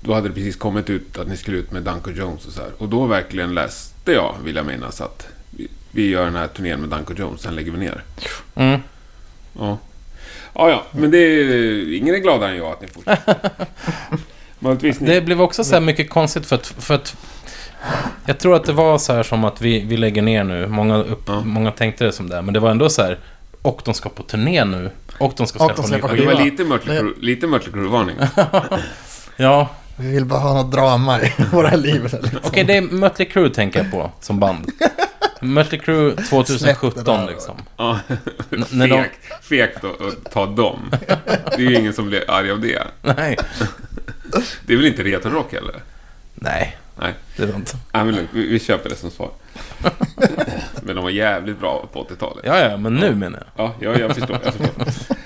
Speaker 3: Då hade det precis kommit ut att ni skulle ut med Danko Jones och så här. Och då verkligen läste jag, vill jag minnas, att vi, vi gör den här turnén med Danko Jones, sen lägger vi ner.
Speaker 4: Mm.
Speaker 3: Ja. Ja, ja, men det är... Ingen är gladare än jag att ni fortsätter. Möjligtvis ni...
Speaker 2: Mm.
Speaker 4: Det blev också så här mycket konstigt för att, för att Jag tror att det var så här som att vi, vi lägger ner nu. Många, upp,
Speaker 3: Ja.
Speaker 4: många tänkte det som det, men det var ändå så här. Och de ska på turné nu. Och de ska
Speaker 2: Och de
Speaker 4: släppa en ny
Speaker 2: släpper
Speaker 3: Det
Speaker 4: skiva.
Speaker 3: var lite
Speaker 2: Nej.
Speaker 3: Mötley Crüe- lite Mötley Crüe-varning.
Speaker 4: Ja,
Speaker 2: Vi vill bara ha något drama i våra liv. Liksom.
Speaker 4: okej det är Mötley Crüe tänker jag på som band. Mötley Crüe 2017
Speaker 2: där.
Speaker 4: liksom.
Speaker 3: Ja.
Speaker 4: N- när de-
Speaker 3: Fegt- Fegt att att ta dem. Det är ju ingen som blir arg av det.
Speaker 4: Nej,
Speaker 3: Det är väl inte Reton Rock heller?
Speaker 4: nej,
Speaker 3: Nej.
Speaker 4: det är inte.
Speaker 3: Nej, men lugnt. Vi, vi köper det som svar. Men de var jävligt bra på 80-talet.
Speaker 4: Ja, ja, men nu menar jag.
Speaker 3: Ja, ja jag, förstår, jag förstår.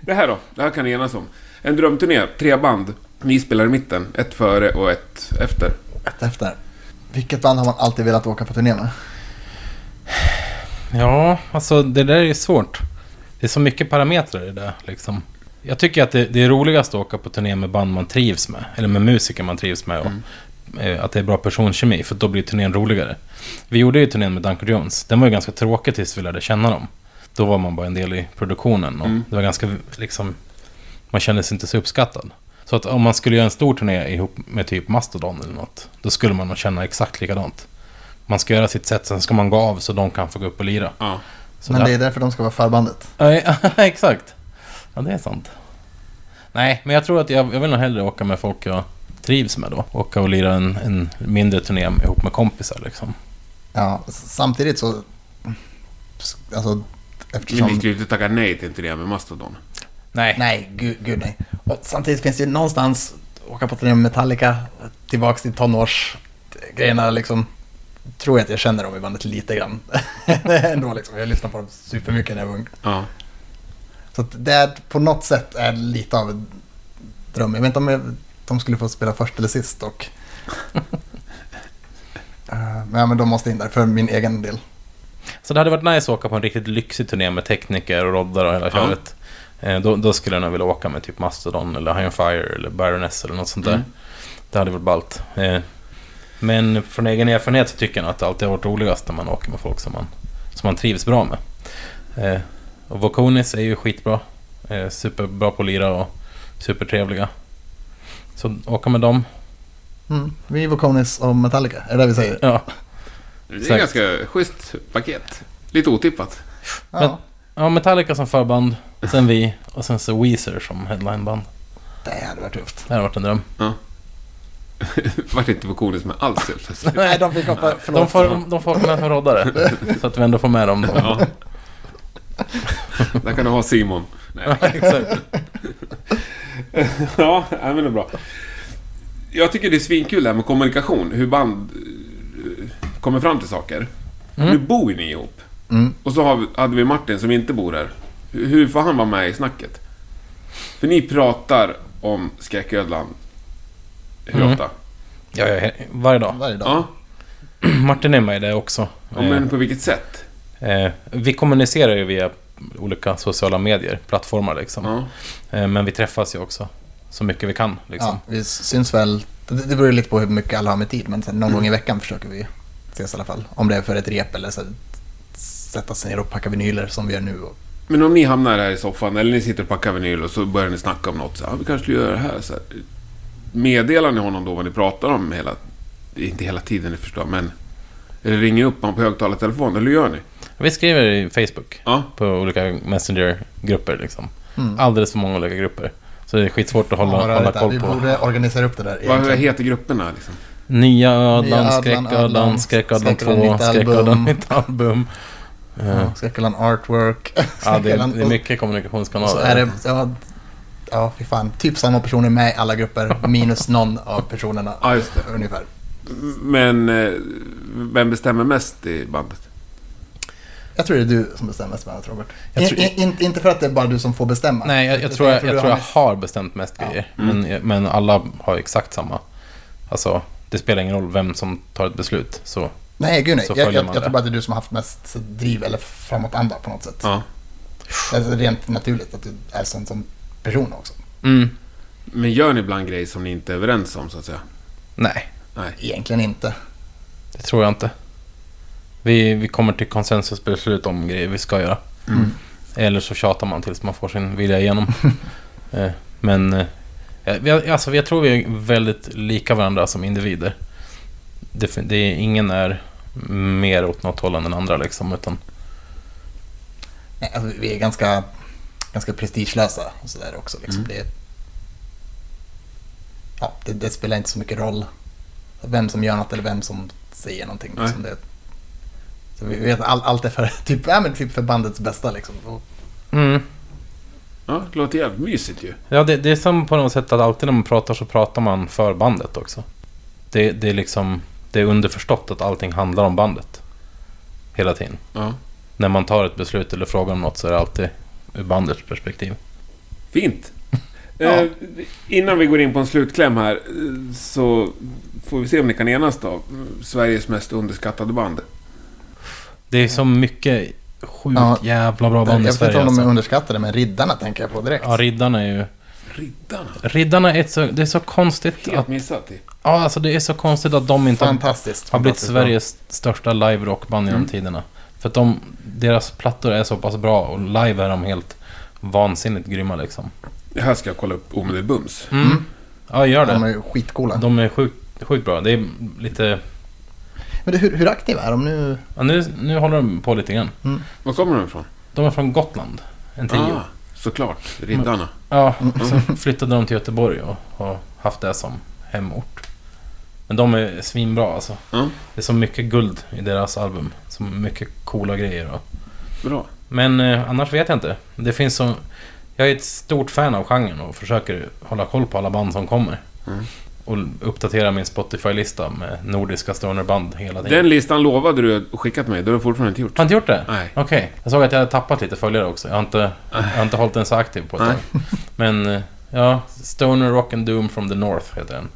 Speaker 3: Det här då? Det här kan ni enas om. En drömturné, tre band. Vi spelar i mitten, ett före och ett efter.
Speaker 2: Ett efter. Vilket band har man alltid velat åka på turné med?
Speaker 4: Ja, alltså det där är ju svårt. Det är så mycket parametrar i det där, liksom. Jag tycker att det, det är roligast att åka på turné med band man trivs med. Eller med musiker man trivs med. Och, eh, Att det är bra personkemi, för då blir turnén roligare. Vi gjorde ju turnén med Duncan Jones. Den var ju ganska tråkig tills vi lärde känna dem. Då var man bara en del i produktionen och
Speaker 3: Mm.
Speaker 4: det var ganska liksom... Man kände sig inte så uppskattad. Så att om man skulle göra en stor turné ihop med typ Mastodon eller något, då skulle man nog känna exakt likadant. Man ska göra sitt sätt, sen ska man gå av så de kan få gå upp och lira.
Speaker 3: Ja.
Speaker 4: Så
Speaker 2: Men
Speaker 4: där-
Speaker 2: det är därför de ska vara förbandet.
Speaker 4: Ja, ja, exakt. Ja, det är sant. Nej, men jag tror att jag, jag vill nog hellre åka med folk jag trivs med då. Åka och lira en, en mindre turné ihop med kompisar liksom.
Speaker 2: Ja, s- samtidigt så... Alltså,
Speaker 3: Men ni
Speaker 2: eftersom...
Speaker 3: skulle ju inte tacka nej till en turné med Mastodon.
Speaker 4: Nej.
Speaker 2: Nej, gud, gud nej. Och samtidigt finns det ju någonstans, åka på turné med Metallica, tillbaks till tonårsgrejerna liksom. Tror jag att jag känner dem i bandet lite grann. Ändå liksom, jag lyssnade på dem supermycket när jag var ung.
Speaker 3: Ja.
Speaker 2: Så att det är på något sätt är lite av en dröm. Jag vet inte om jag, de skulle få spela först eller sist dock. Eh, Men, ja, men de måste in där för min egen del.
Speaker 4: Så det hade varit nice att åka på en riktigt lyxig turné med tekniker och roddar och hela
Speaker 3: Ja.
Speaker 4: köret. Eh, då, då skulle jag nog vilja åka med typ Mastodon eller High on Fire eller Baroness eller något sånt där.
Speaker 3: Mm.
Speaker 4: Det hade varit ballt. Eh, men från egen erfarenhet så tycker jag nog att det alltid har varit roligast när man åker med folk som man, som man trivs bra med. Eh, och Vokonis är ju skitbra. Eh, superbra på att lira och supertrevliga. Så åka med dem.
Speaker 2: Mm. Vi är Vokonis och Metallica, är det det vi säger?
Speaker 4: Ja,
Speaker 3: Det är
Speaker 4: Exakt.
Speaker 3: ganska schysst paket. Lite otippat.
Speaker 4: Men-
Speaker 2: Ja,
Speaker 4: ja Metallica som förband, sen vi och sen så Weezer som headlineband.
Speaker 2: det hade varit tufft.
Speaker 4: Det hade varit en dröm.
Speaker 3: Vart inte vokonis med alls helt plötsligt.
Speaker 2: Nej, de fick hoppa, förlåt.
Speaker 4: De får, de får åka med som roddare, så att vi ändå får med dem. Då.
Speaker 3: Ja. Där kan du ha Simon. Nej.
Speaker 4: exakt.
Speaker 3: Ja, nej, men det är bra. Jag tycker det är svinkul det här med kommunikation. Hur band eh, kommer fram till saker. Nu bor ju ni ihop.
Speaker 2: Mm.
Speaker 3: Och så har vi, hade vi Martin som inte bor här. Hur, hur får han vara med i snacket? För ni pratar om Skräcködlan. Hur
Speaker 4: Mm.
Speaker 3: ofta?
Speaker 4: Ja, ja, he- varje dag.
Speaker 2: Varje dag.
Speaker 3: Ja.
Speaker 4: Martin är med i det också.
Speaker 3: ja, men på vilket sätt?
Speaker 4: Eh, eh, vi kommunicerar ju via olika sociala medier, plattformar liksom.
Speaker 3: Ja.
Speaker 4: Eh, men vi träffas ju också så mycket vi kan. Liksom.
Speaker 2: Ja, vi syns väl. Det, det beror ju lite på hur mycket alla har med tid, men sen
Speaker 4: Mm.
Speaker 2: någon gång i veckan försöker vi ses i alla fall. Om det är för ett rep eller så sätta sig ner och packa vinyler som vi gör nu. Och,
Speaker 3: Men om ni hamnar här i soffan eller ni sitter och packar vinyl och så börjar ni snacka om något. Så, här, ah, vi kanske skulle göra det här. Så här. Meddelar ni honom då vad ni pratar om hela... Inte hela tiden, ni förstår, men... Eller ringer upp honom på högtalartelefon, eller hur gör ni?
Speaker 4: Vi skriver i Facebook,
Speaker 3: Ja.
Speaker 4: på olika Messenger-grupper. Liksom.
Speaker 2: Mm.
Speaker 4: Alldeles för många olika grupper. Så det är skitsvårt att hålla,
Speaker 2: Ja, det är
Speaker 4: hålla
Speaker 2: det.
Speaker 4: koll
Speaker 2: vi
Speaker 4: på.
Speaker 2: borde organisera upp det där.
Speaker 3: Vad
Speaker 2: egentligen.
Speaker 3: heter grupperna liksom?
Speaker 4: Nya ödlan,
Speaker 2: ödlan, ödlan,
Speaker 4: skräcködlan, skräcködlan
Speaker 2: skräcködlan,
Speaker 4: 2,
Speaker 2: nytt
Speaker 4: skräcködlan,
Speaker 2: album.
Speaker 4: nytt album. Eh,
Speaker 2: Ja, Skräckölan Artwork.
Speaker 4: Ja, det är,
Speaker 2: Skräckölan-
Speaker 4: det är mycket
Speaker 2: och
Speaker 4: kommunikationskanaler.
Speaker 2: Så är det, ja, ja, fy fan. Typ samma personer med i alla grupper, minus någon av personerna.
Speaker 3: Ja, just det.
Speaker 2: Ungefär.
Speaker 3: Men eh, vem bestämmer mest i bandet?
Speaker 2: Jag tror det är du som bestämmer mest, Robert.
Speaker 4: Jag tror-
Speaker 2: In, in, inte för att det är bara du som får bestämma.
Speaker 4: Nej, jag, jag
Speaker 2: Utan
Speaker 4: tror jag,
Speaker 2: för
Speaker 4: jag,
Speaker 2: du
Speaker 4: tror
Speaker 2: har
Speaker 4: jag
Speaker 2: mest-
Speaker 4: har bestämt mest grejer. Men, men alla har ju exakt samma. Alltså, det spelar ingen roll vem som tar ett beslut. Så,
Speaker 2: Nej, gud nej.
Speaker 4: Så
Speaker 2: Jag, jag,
Speaker 4: följer man
Speaker 2: jag
Speaker 4: det.
Speaker 2: tror bara att det är du som har haft mest driv eller framåtanda på något sätt.
Speaker 3: Ja.
Speaker 2: Det är rent naturligt att du är sån som person också.
Speaker 4: mm,
Speaker 3: Men gör ni ibland grejer som ni inte är överens om så att säga?
Speaker 4: nej,
Speaker 3: Nej.
Speaker 2: Egentligen inte.
Speaker 4: det tror jag inte. Vi, vi kommer till konsensusbeslut om grejer vi ska göra.
Speaker 3: Mm.
Speaker 4: Eller så tjatar man tills man får sin vilja igenom. Eh, men eh, jag, vi- alltså, jag tror vi är väldigt lika varandra som individer. det, fin- det, är- ingen är mer åt något håll än den andra liksom. Utan,
Speaker 2: Nej, alltså, vi är ganska, ganska prestigelösa och sådär också.
Speaker 4: Mm.
Speaker 2: Liksom. Det, ja, det, det spelar inte så mycket roll vem som gör något eller vem som säger någonting.
Speaker 3: Nej.
Speaker 2: Liksom. Det, så vi vet all, allt är för, typ, ja, men typ för bandets bästa. Liksom. Och,
Speaker 4: mm.
Speaker 3: Ja, det låter jävligt mysigt ju.
Speaker 4: Ja, det, det är som på något sätt att alltid när man pratar så pratar man för bandet också. Det, det är liksom, det är underförstått att allting handlar om bandet. Hela tiden.
Speaker 3: Ja.
Speaker 4: När man tar ett beslut eller frågar om något så är det alltid ur bandets perspektiv.
Speaker 3: Fint! Eh, innan vi går in på en slutkläm här eh, så får vi se om ni kan enas då. Sveriges mest underskattade band.
Speaker 4: Det är så mycket sjukt
Speaker 2: Ja.
Speaker 4: jävla bra
Speaker 2: jag
Speaker 4: band i
Speaker 2: vet inte
Speaker 4: Sverige.
Speaker 2: om de är
Speaker 4: Alltså.
Speaker 2: underskattade, men Riddarna tänker jag på direkt.
Speaker 4: Ja, Riddarna är ju...
Speaker 3: Riddarna.
Speaker 4: Riddarna är ett så... Det är så konstigt
Speaker 3: Helt
Speaker 4: att...
Speaker 3: missat. det.
Speaker 4: Ja, alltså det är så konstigt att de inte har
Speaker 2: fantastiskt.
Speaker 4: har blivit
Speaker 2: fantastiskt bra.
Speaker 4: Sveriges största live-rockband genom tiderna. För att de, deras plattor är så pass bra och live är de helt vansinnigt grymma liksom.
Speaker 3: Det här ska jag kolla upp omedelbums.
Speaker 4: Mm. Ja, gör
Speaker 2: De är
Speaker 4: det.
Speaker 2: ju skitcoola.
Speaker 4: De är sjukt, sjukt bra. Det är lite...
Speaker 2: Men det, hur, hur aktiva är de nu?
Speaker 4: Ja, nu, nu håller de på lite grann.
Speaker 3: Var kommer de ifrån?
Speaker 4: De är från Gotland, en trio.
Speaker 3: Ah, såklart. Riddarna.
Speaker 4: Ja,
Speaker 2: Mm,
Speaker 4: sen flyttade de till Göteborg och har haft det som hemort. Men de är svinbra alltså.
Speaker 3: Ja,
Speaker 4: Det är så mycket guld i deras album. Så mycket coola grejer. Och
Speaker 3: bra.
Speaker 4: Men eh, annars vet jag inte. Det finns så... Jag är ett stort fan av genren och försöker hålla koll på alla band som kommer.
Speaker 3: Mm.
Speaker 4: Och uppdatera min Spotify-lista med nordiska stonerband hela tiden.
Speaker 3: Den listan lovade du att skicka till mig. Det har du fortfarande inte gjort.
Speaker 4: Har inte gjort det?
Speaker 3: Nej.
Speaker 4: Okej. Jag såg att jag hade tappat lite följare också. Jag har inte, jag har inte hållit den så aktiv på ett
Speaker 3: Nej.
Speaker 4: tag. Men eh, ja, Stoner Rock and Doom from the North heter den.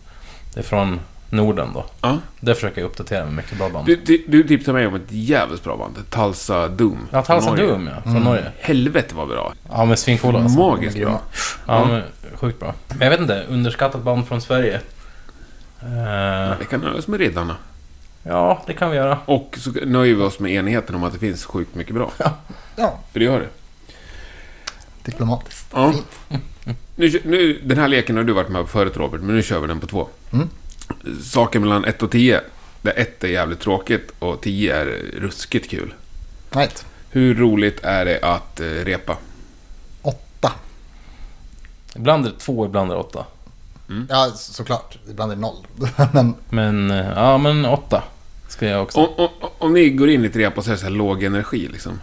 Speaker 4: Det är från Norden då.
Speaker 3: Ja.
Speaker 4: Där försöker jag uppdatera med mycket bra band.
Speaker 3: Du, du, du tipsade mig om ett jävligt bra band. Talsa Doom.
Speaker 4: Ja, Talsa
Speaker 3: Från Norge.
Speaker 4: Doom ja, från Norge.
Speaker 3: Helvete vad bra.
Speaker 4: Ja, men svincoola alltså.
Speaker 3: Magiskt bra.
Speaker 4: Ja, men sjukt bra. Men jag vet inte, underskattat band från Sverige. Eh,
Speaker 3: Vi kan nöja oss med Riddarna.
Speaker 4: ja, det kan vi göra.
Speaker 3: Och så nöjer vi oss med enigheten om att det finns sjukt mycket bra.
Speaker 2: Ja,
Speaker 3: För det gör det.
Speaker 2: diplomatiskt.
Speaker 3: Ja.
Speaker 2: Fint.
Speaker 3: Nu, kö- nu, den här leken har du varit med på förut Robert, men nu kör vi den på två.
Speaker 2: Mm.
Speaker 3: Saker mellan 1 och 10. Där 1 är jävligt tråkigt och 10 är ruskigt kul.
Speaker 2: Right.
Speaker 3: Hur roligt är det att eh, repa?
Speaker 2: Åtta.
Speaker 4: Ibland är det två, ibland är det åtta. Mm.
Speaker 2: Ja, så- såklart. Ibland är det noll. men
Speaker 4: Men, eh, ja men åtta. Ska jag också.
Speaker 3: Om, om, om ni går in i ett rep och säger så här låg energi liksom.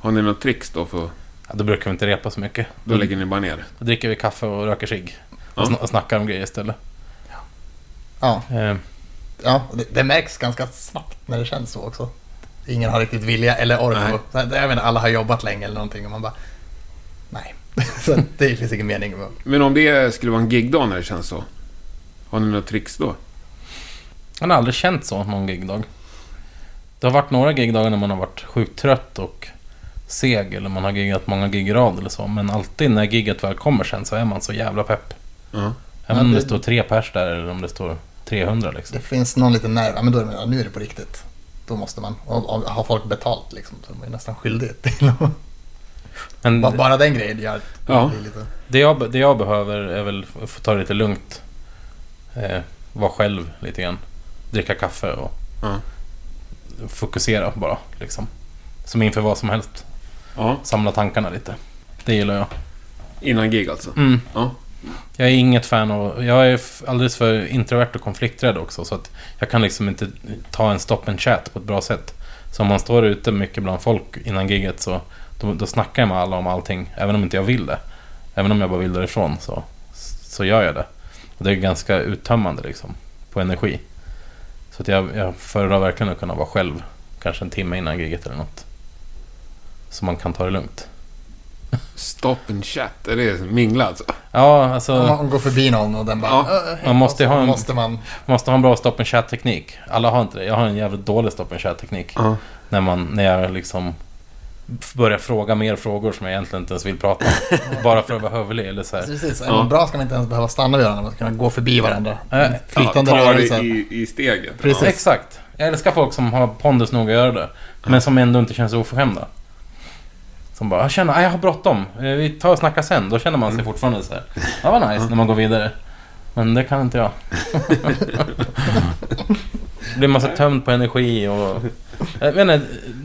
Speaker 3: Har ni något tricks då? För,
Speaker 4: Ja, då brukar vi inte repa så mycket.
Speaker 3: då lägger ni bara ner.
Speaker 4: Då dricker vi kaffe och röker cigg.
Speaker 3: Mm. Ja.
Speaker 4: Och, sn- och snackar om grejer istället.
Speaker 2: ja,
Speaker 4: Eh,
Speaker 2: ja det, det märks ganska snabbt när det känns så också. Ingen har riktigt vilja eller ork.
Speaker 3: Nej.
Speaker 2: och- så här, Jag menar, alla har jobbat länge eller någonting och man bara... Nej, så det finns ingen mening. med-
Speaker 3: Men om det skulle vara en gigdag när det känns så. Har ni något tricks då?
Speaker 4: man har aldrig känt så någon gigdag. Det har varit några gigdagar när man har varit sjukt trött och seg. Eller man har giggat många gig i rad eller så. Men alltid när gigget väl kommer sen så är man så jävla pepp.
Speaker 3: Ja.
Speaker 4: Även
Speaker 2: Ja,
Speaker 4: om
Speaker 2: det-
Speaker 4: det står tre pers där eller om det står 300 liksom.
Speaker 2: Det finns någon liten nerv. Ja, men då är det, ja, nu är det på riktigt. Då måste man. Och, och, har folk betalt liksom, så är man ju nästan skyldig till att-
Speaker 4: Men
Speaker 2: Bara- Bara den grejen gör att
Speaker 3: Ja.
Speaker 2: det blir lite...
Speaker 4: det jag, det jag behöver är väl att få ta det lite lugnt. Eh, vara själv lite grann. Dricka kaffe och
Speaker 3: Ja.
Speaker 4: fokusera bara liksom. Som inför vad som helst.
Speaker 3: ja.
Speaker 4: Samla tankarna lite. Det gillar jag.
Speaker 3: Innan gig alltså?
Speaker 4: Mm.
Speaker 3: Ja.
Speaker 4: Jag är inget fan av... Jag är f- alldeles för introvert och konflikträdd också. Så att jag kan liksom inte ta en stop and chat på ett bra sätt. Så om man står ute mycket bland folk innan giget så då, då snackar jag med alla om allting. Även om inte jag vill det. Även om jag bara vill därifrån så, så gör jag det. Och det är ganska uttömmande liksom. På energi. Så att jag, jag föredrar verkligen att kunna vara själv. Kanske en timme innan giget eller något. Så man kan ta det lugnt.
Speaker 3: Stop and chat, är det mingla alltså?
Speaker 4: Ja, alltså...
Speaker 2: Om man går förbi någon och den bara...
Speaker 3: Ja.
Speaker 2: "Ö, hej",
Speaker 4: Man måste
Speaker 2: och så
Speaker 4: ha en-
Speaker 2: måste man...
Speaker 4: Måste ha en bra stop and chat-teknik. Alla har inte det. Jag har en jävligt dålig stop and chat-teknik.
Speaker 3: Ja.
Speaker 4: När, man, när jag liksom f- börjar fråga mer frågor som jag egentligen inte ens vill prata om. bara för att vara hövlig eller så här.
Speaker 2: Precis, är
Speaker 3: Ja.
Speaker 2: man bra ska man inte ens behöva stanna vid varandra. Man ska kunna gå förbi varandra.
Speaker 4: Äh,
Speaker 2: Flytande
Speaker 3: ta det
Speaker 2: rörelser.
Speaker 3: i, i steget.
Speaker 2: Precis.
Speaker 3: Ja.
Speaker 4: Exakt. Jag älskar folk som har pondus nog att göra det. Men som ändå inte känns oförskämda. Som bara, jag känner, "Ah, jag har bråttom. Eh, Vi tar och snackar sen. Då känner man sig fortfarande så här. Ja, vad nice när man går vidare. Men det kan inte jag. blir massa tömd på energi och... Jag vet inte,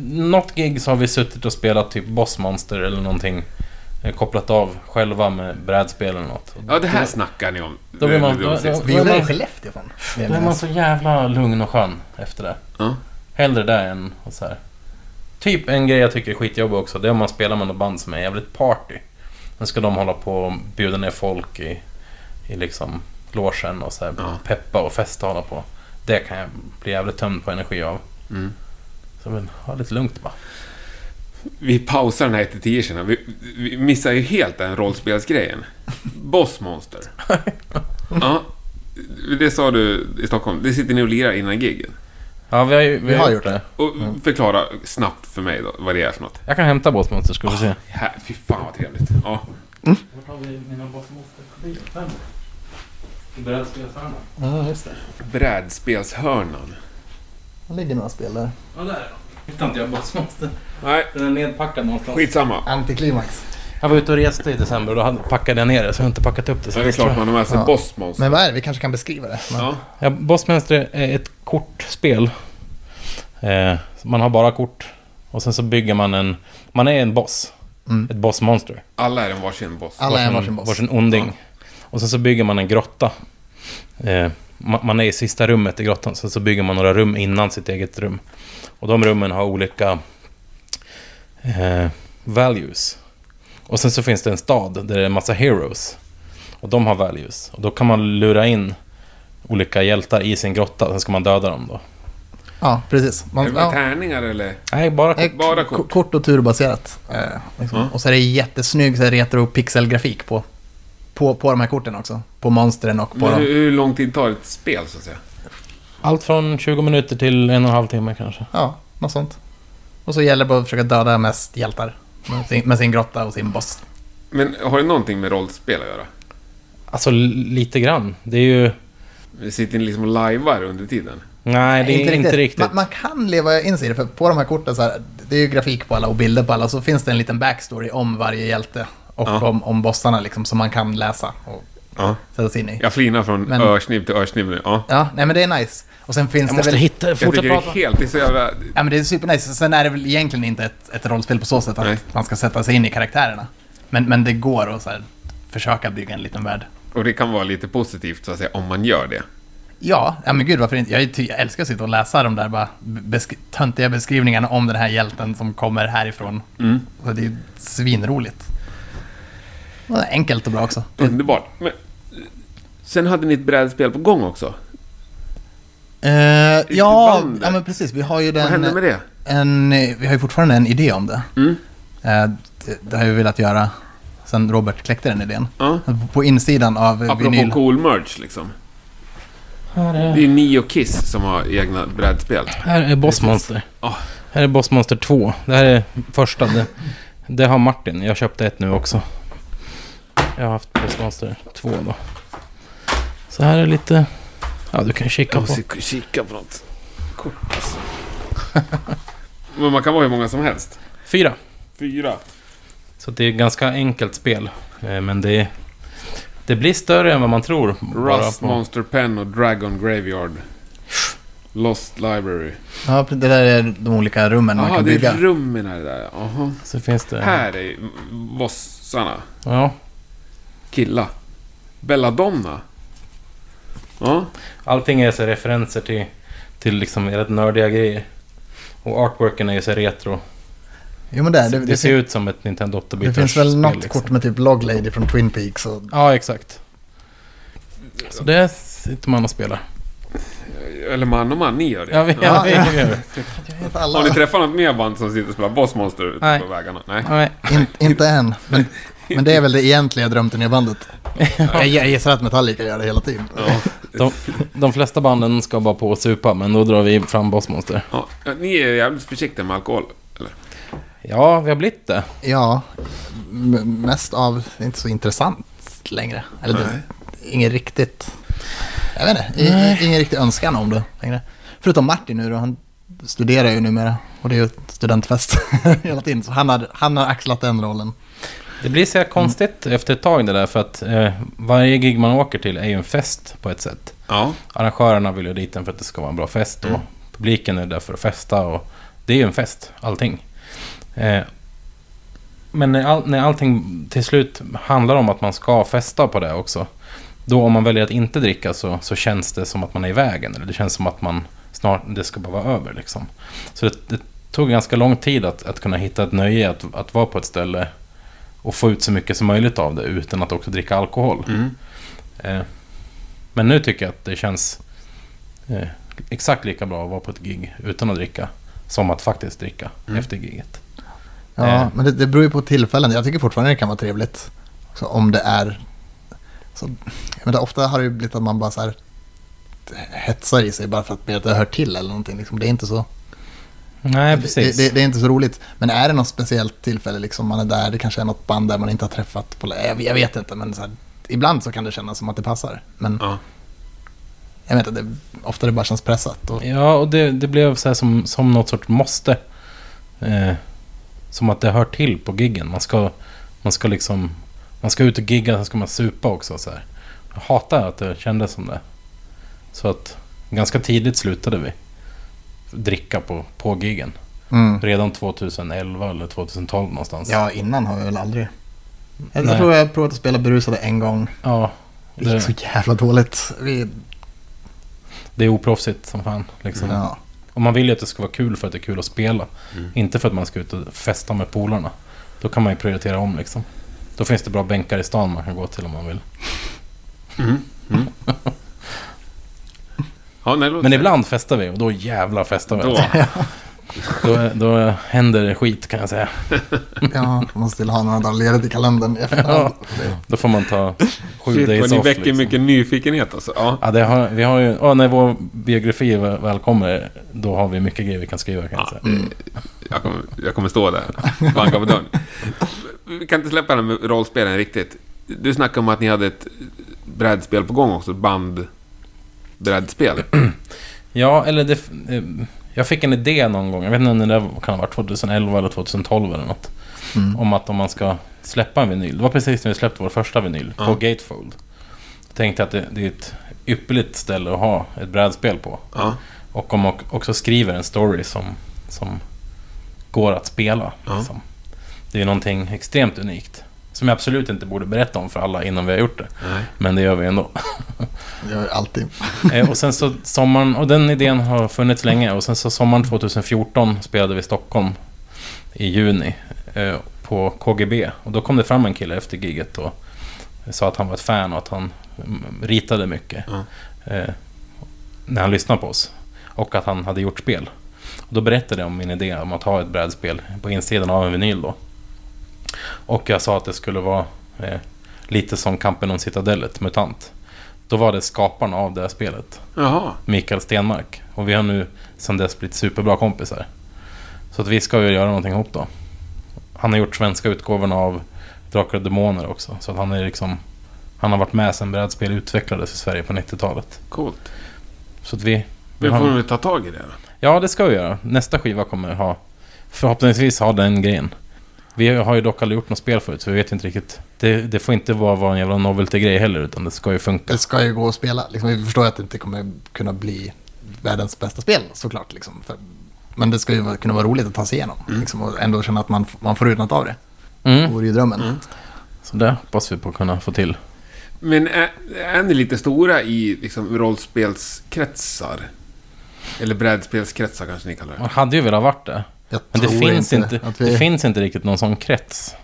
Speaker 4: något gig så har vi suttit och spelat typ Bossmonster eller någonting. eh, Kopplat av själva med brädspel eller något. Och
Speaker 3: Ja, det här snackar ni om.
Speaker 4: Då blir man-
Speaker 3: Det var sist.
Speaker 2: Vi gjorde det i Skellefteå fan. Det
Speaker 4: Då är man
Speaker 2: minns
Speaker 4: så jävla lugn och skön efter det.
Speaker 3: Ja.
Speaker 4: Hellre det än och så här. Typ en grej jag tycker är skitjobbig också, det är om man spelar med något band som är jävligt party. Sen ska de hålla på och bjuda ner folk i, i liksom logen och så här,
Speaker 3: Ja.
Speaker 4: peppa och festa och hålla på. Det kan jag bli jävligt tömd på energi av.
Speaker 3: Mm.
Speaker 4: Så men, ha lite lugnt bara.
Speaker 3: Vi pausar den här 1-10 känner jag. vi, vi missar ju helt den rollspelsgrejen. Bossmonster. ja, det sa du i Stockholm. Det sitter ni och lirar innan gigen.
Speaker 4: Ja, vi har, ju, vi
Speaker 2: Vi har gjort
Speaker 4: det.
Speaker 2: det.
Speaker 3: Och förklara snabbt för mig då vad det är för något.
Speaker 4: Jag kan hämta båtmonster ska vi se.
Speaker 3: Här, fy fan vad trevligt. Ja.
Speaker 4: Var har vi mina båtmonster-kopior? Brädspelshörna.
Speaker 2: Ja, just det.
Speaker 3: Brädspelshörnan.
Speaker 2: Det ligger några spel där.
Speaker 4: Ja, där är de. Hittade inte jag båtmonster.
Speaker 3: Nej,
Speaker 4: Den är nedpackad någonstans.
Speaker 3: skitsamma.
Speaker 2: Antiklimax.
Speaker 4: Jag var ute och reste i december och då hade- packade jag ner det så jag har inte packat upp det.
Speaker 3: Så det är klart man har med sig
Speaker 2: Ja.
Speaker 3: Bossmonster.
Speaker 2: Men vad är det? Vi kanske kan beskriva det. Men,
Speaker 3: Ja.
Speaker 4: Ja, Bossmaster är ett kortspel. Eh, man har bara kort. Och sen så bygger man en... Man är en boss.
Speaker 2: Mm.
Speaker 4: Ett bossmonster.
Speaker 3: Alla är en varsin boss.
Speaker 2: Alla är en varsin boss.
Speaker 4: Varsin onding. Och sen så bygger man en grotta. Eh, ma- man är i sista rummet i grottan. Sen så bygger man några rum innan sitt eget rum. Och de rummen har olika eh, values. Och sen så finns det en stad där det är en massa heroes. Och de har values. Och då kan man lura in olika hjältar i sin grotta. Sen ska man döda dem då.
Speaker 2: Ja, precis.
Speaker 3: Är det
Speaker 2: Man,
Speaker 3: med
Speaker 2: ja,
Speaker 3: tärningar eller?
Speaker 4: Nej, bara
Speaker 2: eh,
Speaker 3: Bara
Speaker 2: k-
Speaker 3: kort.
Speaker 2: kort och turbaserat. Eh, liksom.
Speaker 3: Ja.
Speaker 2: Och så är det jättesnygg så här retro pixelgrafik på, på, på de här korten också. På monstren och på
Speaker 3: Men
Speaker 2: dem.
Speaker 3: hur, hur lång tid tar ett spel så att säga?
Speaker 4: allt från 20 minuter till en och en halv timme kanske.
Speaker 2: Ja, något sånt. Och så gäller det bara att försöka döda mest hjältar. Med sin, med sin grotta och sin boss.
Speaker 3: Men har det någonting med rollspel att göra?
Speaker 4: Alltså l- lite grann. Det är ju...
Speaker 3: Vi sitter ni liksom och lajvar under tiden?
Speaker 4: Nej, det är inte riktigt.
Speaker 2: Man, man kan leva in sig i det, för på de här korten så här, det är ju grafik på alla och bilder på alla, så finns det en liten backstory om varje hjälte och
Speaker 3: Ja.
Speaker 2: om, om bossarna liksom, som man kan läsa och
Speaker 3: Ja.
Speaker 2: sätta sig in i. Ja.
Speaker 3: Jag flinar från
Speaker 2: Men-
Speaker 3: örsnibb till örsnibb nu. Ja.
Speaker 2: nej men det är nice. Och sen finns
Speaker 4: Jag
Speaker 2: det
Speaker 4: måste
Speaker 2: väl...
Speaker 4: hitta...
Speaker 3: Jag
Speaker 4: Fortsätt
Speaker 3: tycker det är
Speaker 4: prata.
Speaker 3: helt... Det är så jävla...
Speaker 2: Ja men det är supernice. Sen är det väl egentligen inte ett, ett rollspel på så sätt att
Speaker 3: Nej.
Speaker 2: man ska sätta sig in i karaktärerna. Men, men det går att så här, försöka bygga en liten värld.
Speaker 3: Och det kan vara lite positivt så att säga, om man gör det.
Speaker 2: Ja, ja men gud varför inte? Jag, är ty- jag älskar att sitta och läsa de där bara besk- töntiga beskrivningarna om den här hjälten som kommer härifrån.
Speaker 3: Mm.
Speaker 2: Så det är svinroligt. Och det är Enkelt och bra också.
Speaker 3: Underbart. Men... Sen hade ni ett brädspel på gång också.
Speaker 2: Eh, ja,
Speaker 3: bandet.
Speaker 2: ja, men precis. Vi har ju
Speaker 3: Vad hände med
Speaker 2: den,
Speaker 3: det?
Speaker 2: en, eh, vi har ju fortfarande en idé om det.
Speaker 3: Mm.
Speaker 2: Eh, det, det har vi velat göra sen Robert kläckte den idén.
Speaker 3: Ja.
Speaker 2: På insidan av eh,
Speaker 3: Apropå
Speaker 2: vinyl.
Speaker 3: cool merch liksom.
Speaker 4: Här
Speaker 3: Det
Speaker 4: är,
Speaker 3: är ju ni och Kiss som har egna brädspel.
Speaker 4: här är Bossmonster.
Speaker 3: Ja.
Speaker 4: Här är Bossmonster 2. Det här är första. Det, det har Martin. Jag köpte ett nu också. Jag har haft Bossmonster 2 då. Så här är lite... Ja, du kan ju kika
Speaker 3: Jag
Speaker 4: på.
Speaker 3: måste kika på något. Kort alltså. Men man kan vara hur många som helst.
Speaker 4: Fyra.
Speaker 3: Fyra.
Speaker 4: Så det är ett ganska enkelt spel. Eh, Men det, det blir större än vad man tror. bara
Speaker 3: Rust,
Speaker 4: på-
Speaker 3: Monster Pen och Dragon Graveyard. Lost Library.
Speaker 2: Ja, det där är de olika rummen man
Speaker 3: Jaha,
Speaker 2: kan
Speaker 3: det
Speaker 2: bygga.
Speaker 3: är rummen här där. Aha.
Speaker 4: Så finns det...
Speaker 3: Här är bossarna.
Speaker 4: Ja.
Speaker 3: Killa. Belladonna. Ja.
Speaker 4: Allting är så här referenser till, till liksom rätt nördiga grejer. Och artworken är ju så här retro.
Speaker 2: Jo men det, är-
Speaker 4: Det,
Speaker 2: det, det,
Speaker 4: ser
Speaker 2: det,
Speaker 4: ut som ett Nintendo 8
Speaker 2: det finns väl något kort med typ Log Lady från Twin Peaks och
Speaker 4: Ja, exakt. Så det sitter man och spelar.
Speaker 3: Eller man och man, ni gör det.
Speaker 4: Ja, vi, ja.
Speaker 2: Ja.
Speaker 4: vi, vi gör det.
Speaker 2: Vet
Speaker 3: Har ni
Speaker 2: alla.
Speaker 3: träffat något mer band som sitter och spelar Bossmonster ute
Speaker 4: Nej.
Speaker 3: på vägarna? Nej.
Speaker 4: Ja, men-
Speaker 2: In, inte än. Men, men det är väl det egentliga drömten i bandet. Jag, jag gissar att Metallica gör det hela tiden.
Speaker 3: Ja.
Speaker 4: De, de flesta banden ska bara på och supa, men då drar vi fram Bossmonster.
Speaker 3: Ja. Ni är jävligt försiktiga med alkohol. Eller?
Speaker 4: Ja, vi har blivit det.
Speaker 2: Ja, m- mest av det är inte så intressant längre. Eller det, ingen riktigt... Jag vet inte, i- i- ingen riktig önskan om det längre. Förutom Martin nu då, han studerar ju numera. Och det är ju ett studentfest hela tiden. Så han har, han har axlat den rollen.
Speaker 4: Det blir så här konstigt
Speaker 2: Mm.
Speaker 4: efter ett tag det där för att eh, varje gig man åker till är ju en fest på ett sätt.
Speaker 3: Ja.
Speaker 4: Arrangörerna vill ju dit den för att det ska vara en bra fest och publiken är där för att festa och det är ju en fest, allting. Eh, men när, all, när allting till slut handlar om att man ska festa på det också, då om man väljer att inte dricka så, så känns det som att man är i vägen. Eller det känns som att man snart, det ska bara vara över liksom. Så det, det tog ganska lång tid att, att kunna hitta ett nöje att, att vara på ett ställe och få ut så mycket som möjligt av det utan att också dricka alkohol.
Speaker 3: Mm.
Speaker 4: Eh, Men nu tycker jag att det känns eh, exakt lika bra att vara på ett gig utan att dricka som att faktiskt dricka
Speaker 2: Mm.
Speaker 4: efter giget.
Speaker 2: Ja,
Speaker 4: Eh.
Speaker 2: men det, det beror ju på tillfällen. Jag tycker fortfarande det kan vara trevligt. Så om det är... Så, jag menar, ofta har det ju blivit att man bara så här hetsar i sig bara för att det hör till eller någonting. Liksom, det, är inte så,
Speaker 4: Nej,
Speaker 2: det,
Speaker 4: precis.
Speaker 2: det, det är inte så roligt. Men är det något speciellt tillfälle, liksom, man är där, det kanske är något band där man inte har träffat på lä- jag, jag vet inte, men så här, ibland så kan det kännas som att det passar. Men
Speaker 3: Ja.
Speaker 2: jag vet inte, det, ofta det bara känns pressat. Och,
Speaker 4: Ja, och det, det blev så här som, som något sorts måste. Eh, som att det hör till på giggen. Man ska, man ska liksom... Man ska ut och gigga, sen ska man supa också. Så här. Jag hatar att det kändes som det. Så att ganska tidigt slutade vi dricka på, på giggen.
Speaker 2: mm.
Speaker 4: Redan 2011 eller 2012 någonstans.
Speaker 2: Ja, innan har jag väl aldrig... Jag,
Speaker 4: Nej.
Speaker 2: jag tror jag har provat att spela berusade en gång.
Speaker 4: Ja,
Speaker 2: Det gick
Speaker 4: det,
Speaker 2: så jävla dåligt. Vi,
Speaker 4: det är oproffsigt som fan. Liksom.
Speaker 2: ja.
Speaker 4: Och man vill ju att det ska vara kul för att det är kul att spela.
Speaker 3: Mm.
Speaker 4: Inte för att man ska ut och festa med polarna. Då kan man ju prioritera om liksom. Då finns det bra bänkar i stan man kan gå till om man vill.
Speaker 3: Ja, nej, låt
Speaker 4: Men
Speaker 3: säga.
Speaker 4: ibland festar vi och då jävlar festar vi.
Speaker 3: Då.
Speaker 4: Alltså. Då, då händer det skit kan jag säga.
Speaker 2: Ja, man vill ha några dagar ledigt i kalendern i efterhand.
Speaker 4: Ja, då får man ta sju
Speaker 3: Shit,
Speaker 4: days
Speaker 3: vad ni
Speaker 4: off.
Speaker 3: väcker
Speaker 4: liksom.
Speaker 3: mycket nyfikenhet alltså. Ja.
Speaker 4: Ja, det har, vi har ju, ja, när vår biografi väl väl kommer, då har vi mycket grejer vi kan skriva kan jag säga.
Speaker 3: Jag, kommer, jag kommer stå där. Banka på dörren. Vi kan inte släppa det här med rollspelen riktigt. Du snackade om att ni hade ett brädspel på gång också. ett Band... Brädspel.
Speaker 4: Ja, eller det... eh, Jag fick en idé någon gång, jag vet inte om det där kan ha varit 2011 eller 2012 eller något.
Speaker 3: Mm.
Speaker 4: Om att om man ska släppa en vinyl. Det var precis när vi släppte vår första vinyl på Gatefold. Jag tänkte att det, det är ett ypperligt ställe att ha ett brädspel på.
Speaker 3: Ja.
Speaker 4: Och om man också skriver en story som, som går att spela.
Speaker 3: Ja.
Speaker 4: Liksom. Det är ju någonting extremt unikt. Som jag absolut inte borde berätta om för alla innan vi har gjort det.
Speaker 3: Nej.
Speaker 4: Men det gör vi ändå.
Speaker 2: Det gör jag alltid.
Speaker 4: Eh, och sen så sommaren, och den idén har funnits länge. Och sen så sommaren 2014 spelade vi i Stockholm i juni eh, på KGB. Och då kom det fram en kille efter giget och sa att han var ett fan och att han mm, ritade mycket.
Speaker 3: Ja.
Speaker 4: Eh, när han lyssnade på oss. Och att han hade gjort spel. Och då berättade jag om min idé om att ha ett brädspel på insidan av en vinyl då. Och jag sa att det skulle vara eh, lite som Kampen om Citadellet, MUTANT. Då var det skaparna av det här spelet,
Speaker 3: Jaha.
Speaker 4: Mikael Stenmark. Och vi har nu sedan dess blivit superbra kompisar. Så att vi ska ju göra någonting ihop då. Han har gjort svenska utgåvorna av Drakar och Demoner också. Så att han är liksom... Han har varit med sedan brädspel utvecklades i Sverige på 90-talet.
Speaker 3: Coolt.
Speaker 4: Så att vi... vi
Speaker 3: Nu
Speaker 4: har-
Speaker 3: får vi ta tag i det. då.
Speaker 4: Ja, det ska vi göra. Nästa skiva kommer ha... Förhoppningsvis ha den grejen. Vi har ju dock aldrig gjort något spel förut, så vi vet inte riktigt. Det, det får inte bara vara en jävla novelty-grej heller, utan det ska ju funka.
Speaker 2: Det ska ju gå att spela. Liksom, vi förstår ju att det inte kommer kunna bli världens bästa spel såklart. Liksom. För, men det ska ju vara- kunna vara roligt att ta sig igenom. Liksom, och ändå känna att man, f- man får ut något av det. Det
Speaker 4: Mm.
Speaker 2: vore ju drömmen.
Speaker 4: Så det hoppas vi på att kunna få till.
Speaker 3: Men är, är ni lite stora i liksom, rollspelskretsar? Eller brädspelskretsar kanske ni kallar det.
Speaker 4: Man hade ju velat varit det.
Speaker 2: Jag
Speaker 4: Men det
Speaker 2: tror
Speaker 4: finns inte,
Speaker 2: att vi...
Speaker 4: det finns inte riktigt någon sån krets.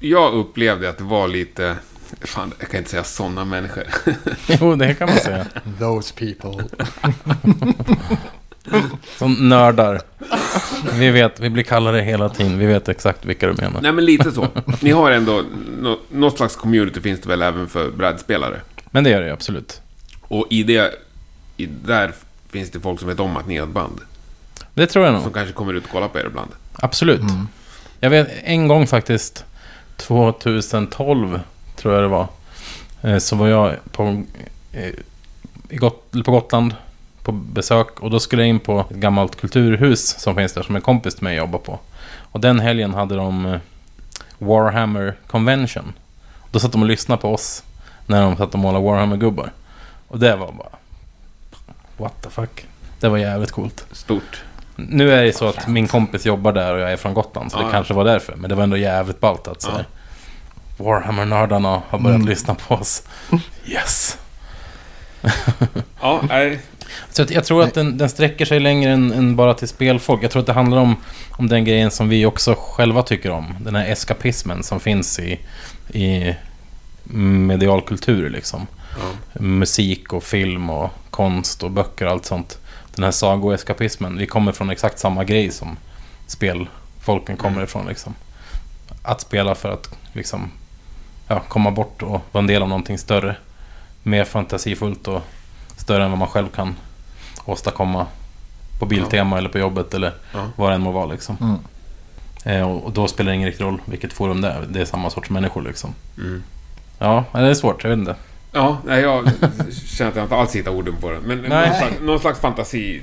Speaker 3: Jag upplevde att det var lite... Fan, jag kan inte säga sådana människor.
Speaker 4: Jo, det kan man säga.
Speaker 2: Those people.
Speaker 4: Som nördar. Vi vet, vi blir kallade hela tiden. Vi vet exakt vilka du menar.
Speaker 3: Nej, men lite så. Ni har ändå... nå- Något slags community finns det väl även för brädspelare?
Speaker 4: Men det gör det ju absolut.
Speaker 3: Och i det... I där finns det folk som vet om att ni är ett band.
Speaker 4: Det tror jag nog.
Speaker 3: Som kanske kommer ut och kollar på er ibland.
Speaker 4: Absolut.
Speaker 2: Mm.
Speaker 4: Jag vet en gång faktiskt, 2012 tror jag det var, eh, så var jag på, eh, i Got- eller på Gotland på besök och då skulle jag in på ett gammalt kulturhus som finns där som en kompis till mig jobbar på. Och den helgen hade de eh, Warhammer Convention. Då satt de och lyssnade på oss när de satt och målade Warhammer-gubbar. Och det var bara... What the fuck? Det var jävligt coolt.
Speaker 3: Stort.
Speaker 4: Nu är det så att min kompis jobbar där och jag är från Gotland, så
Speaker 3: Ja,
Speaker 4: det
Speaker 3: ja.
Speaker 4: kanske var därför. Men det var ändå jävligt ballt att så här, Warhammer-nördarna har börjat lyssna på oss. Yes!
Speaker 3: Ja, nej.
Speaker 4: Så att jag tror att den, den sträcker sig längre än, än bara till spelfolk. Jag tror att det handlar om, om den grejen som vi också själva tycker om. Den här eskapismen som finns i, i medialkultur liksom.
Speaker 3: Ja.
Speaker 4: Musik och film och konst och böcker och allt sånt. Den här sagoeskapismen. Vi kommer från exakt samma grej som spelfolken kommer ifrån liksom. Att spela för att liksom, ja, komma bort och vara en del av någonting större. Mer fantasifullt och större än vad man själv kan åstadkomma på Biltema eller på jobbet eller
Speaker 3: Ja.
Speaker 4: vad det än må vara. Liksom.
Speaker 2: Mm.
Speaker 4: Eh, och, och då spelar det ingen riktig roll vilket forum det är. Det är samma sorts människor liksom.
Speaker 3: Mm.
Speaker 4: Ja, men det är svårt. Jag vet inte.
Speaker 3: Ja, nej, jag känner att jag inte alls hittar orden på den. Men
Speaker 4: Nej.
Speaker 3: någon slags, någon slags fantasi.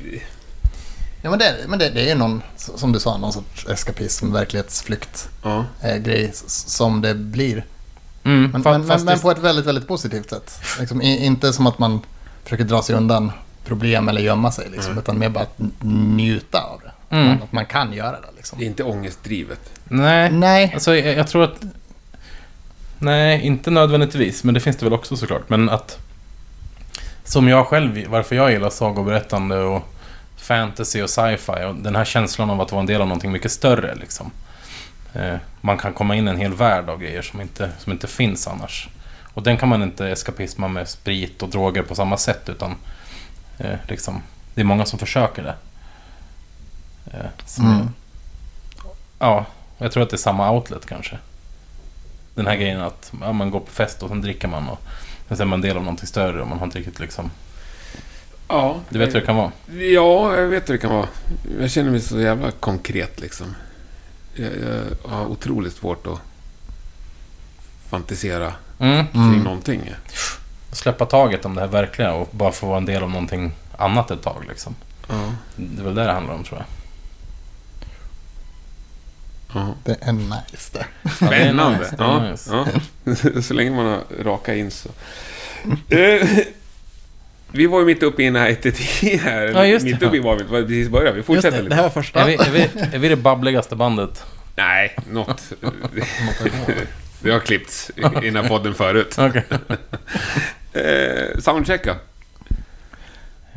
Speaker 2: Ja, men det, men det, det är ju någon, som du sa, någon sorts eskapism, verklighetsflykt.
Speaker 3: Ja.
Speaker 2: eh, grej s- som det blir.
Speaker 4: Mm,
Speaker 2: Men,
Speaker 4: fa-
Speaker 2: men, men,
Speaker 4: fast
Speaker 2: men
Speaker 4: det-
Speaker 2: på ett väldigt, väldigt positivt sätt. Liksom, i, inte som att man försöker dra sig undan problem eller gömma sig, liksom, utan mer bara att n- njuta av det.
Speaker 4: Mm.
Speaker 2: Att man kan göra det.
Speaker 3: Det
Speaker 2: Liksom.
Speaker 3: är inte ångestdrivet.
Speaker 4: Nej,
Speaker 2: Nej,
Speaker 4: alltså jag, jag tror att... Nej, inte nödvändigtvis. Men det finns det väl också såklart. Men att... Som jag själv, varför jag gillar sagoberättande och fantasy och sci-fi. Och den här känslan av att vara en del av någonting mycket större liksom. Eh, man kan komma in i en hel värld av grejer som inte, som inte finns annars. Och den kan man inte eskapisma med sprit och droger på samma sätt. Utan eh, liksom, det är många som försöker det. Eh, som
Speaker 2: Mm.
Speaker 4: är- ja, jag tror att det är samma outlet kanske. Den här grejen att ja, man går på fest och sen dricker man och sen är man en del av någonting större och man har inte riktigt liksom...
Speaker 3: Ja.
Speaker 4: Du vet hur det kan vara?
Speaker 3: Ja, jag vet hur det kan vara. Jag känner mig så jävla konkret liksom. Jag, jag har otroligt svårt att fantisera
Speaker 4: Mm.
Speaker 3: kring
Speaker 2: Mm.
Speaker 3: någonting.
Speaker 4: Släppa taget om det här verkliga och bara få vara en del av någonting annat ett tag liksom.
Speaker 3: Ja.
Speaker 4: Det är väl det det handlar om tror jag.
Speaker 3: Ja.
Speaker 2: det är nice det.
Speaker 4: Ja, det är
Speaker 3: Spännande.
Speaker 4: nice, det är
Speaker 3: ja,
Speaker 4: nice.
Speaker 3: ja. så länge man har raka in så. Eh, vi var ju mitt uppe i en här 1-10 här.
Speaker 4: Ja, just det.
Speaker 3: mitt uppe i var vi inte, var precis började. Vi fortsätter
Speaker 2: det,
Speaker 3: lite.
Speaker 2: det här var första.
Speaker 4: Är vi, är, vi, är vi det babbligaste bandet?
Speaker 3: Nej, något. det har klippts i i den här podden förut.
Speaker 4: Okej.
Speaker 3: Eh, soundchecka.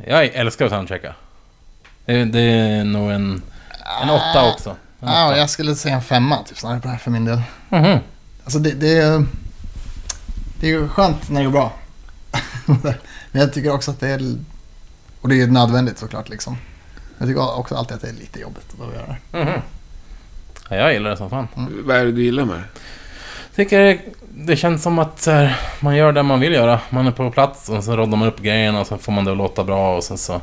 Speaker 4: Jag älskar att soundchecka. Det är, det är nog en, en åtta också. En
Speaker 2: Ja,
Speaker 4: åtta.
Speaker 2: jag skulle säga en femma typ, snarare på det här för min del.
Speaker 4: Mhm.
Speaker 2: Alltså det, det, är, det är ju skönt när det går bra. Men jag tycker också att det är... Och det är ju nödvändigt såklart. Liksom. Jag tycker också alltid att det är lite jobbigt att behöva göra det.
Speaker 4: Mhm. Ja, jag gillar det som fan.
Speaker 3: Vad är det du gillar med det?
Speaker 4: tycker det- det känns som att så här, man gör det man vill göra. Man är på plats och så roddar man upp grejerna och sen får man det att låta bra och sen så...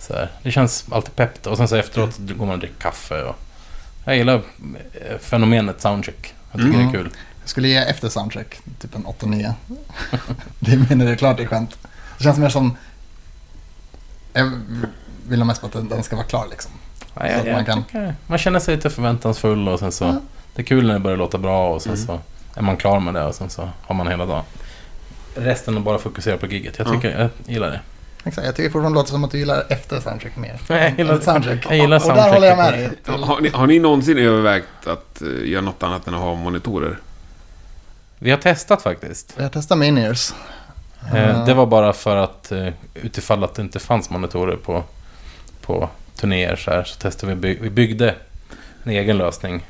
Speaker 4: så här, det känns alltid peppt och sen så efteråt går man och dricker kaffe och... Jag gillar eh, fenomenet soundcheck. Jag tycker
Speaker 2: Mm.
Speaker 4: det är kul.
Speaker 2: Jag skulle ge efter soundcheck typ en 8-9. det är mer när det är klart det är skönt. Det känns mer som... Jag vill ha mest på att den den ska vara klar liksom.
Speaker 4: Ja,
Speaker 2: Så
Speaker 4: jag,
Speaker 2: att
Speaker 4: jag,
Speaker 2: man kan-
Speaker 4: tycker, man känner sig lite förväntansfull och sen så... Det är kul när det börjar låta bra och sen så är man klar med det och sen så har man hela dagen. Resten är bara fokusera på giget. Jag,
Speaker 3: Ja.
Speaker 4: tycker, jag gillar det.
Speaker 2: Exakt, jag tycker fortfarande det låter som att du gillar efter soundcheck mer.
Speaker 4: Jag gillar
Speaker 2: Än soundcheck.
Speaker 4: Jag gillar
Speaker 2: Och där håller jag med
Speaker 4: soundchecket.
Speaker 2: dig.
Speaker 3: Har ni, har ni någonsin övervägt att eh, göra något annat än att ha monitorer?
Speaker 4: Vi har testat faktiskt.
Speaker 2: Jag testar med in-ears.
Speaker 4: Eh, Det var bara för att eh, utifall att det inte fanns monitorer på, på turnéer så här så testade vi, by- vi byggde en egen lösning.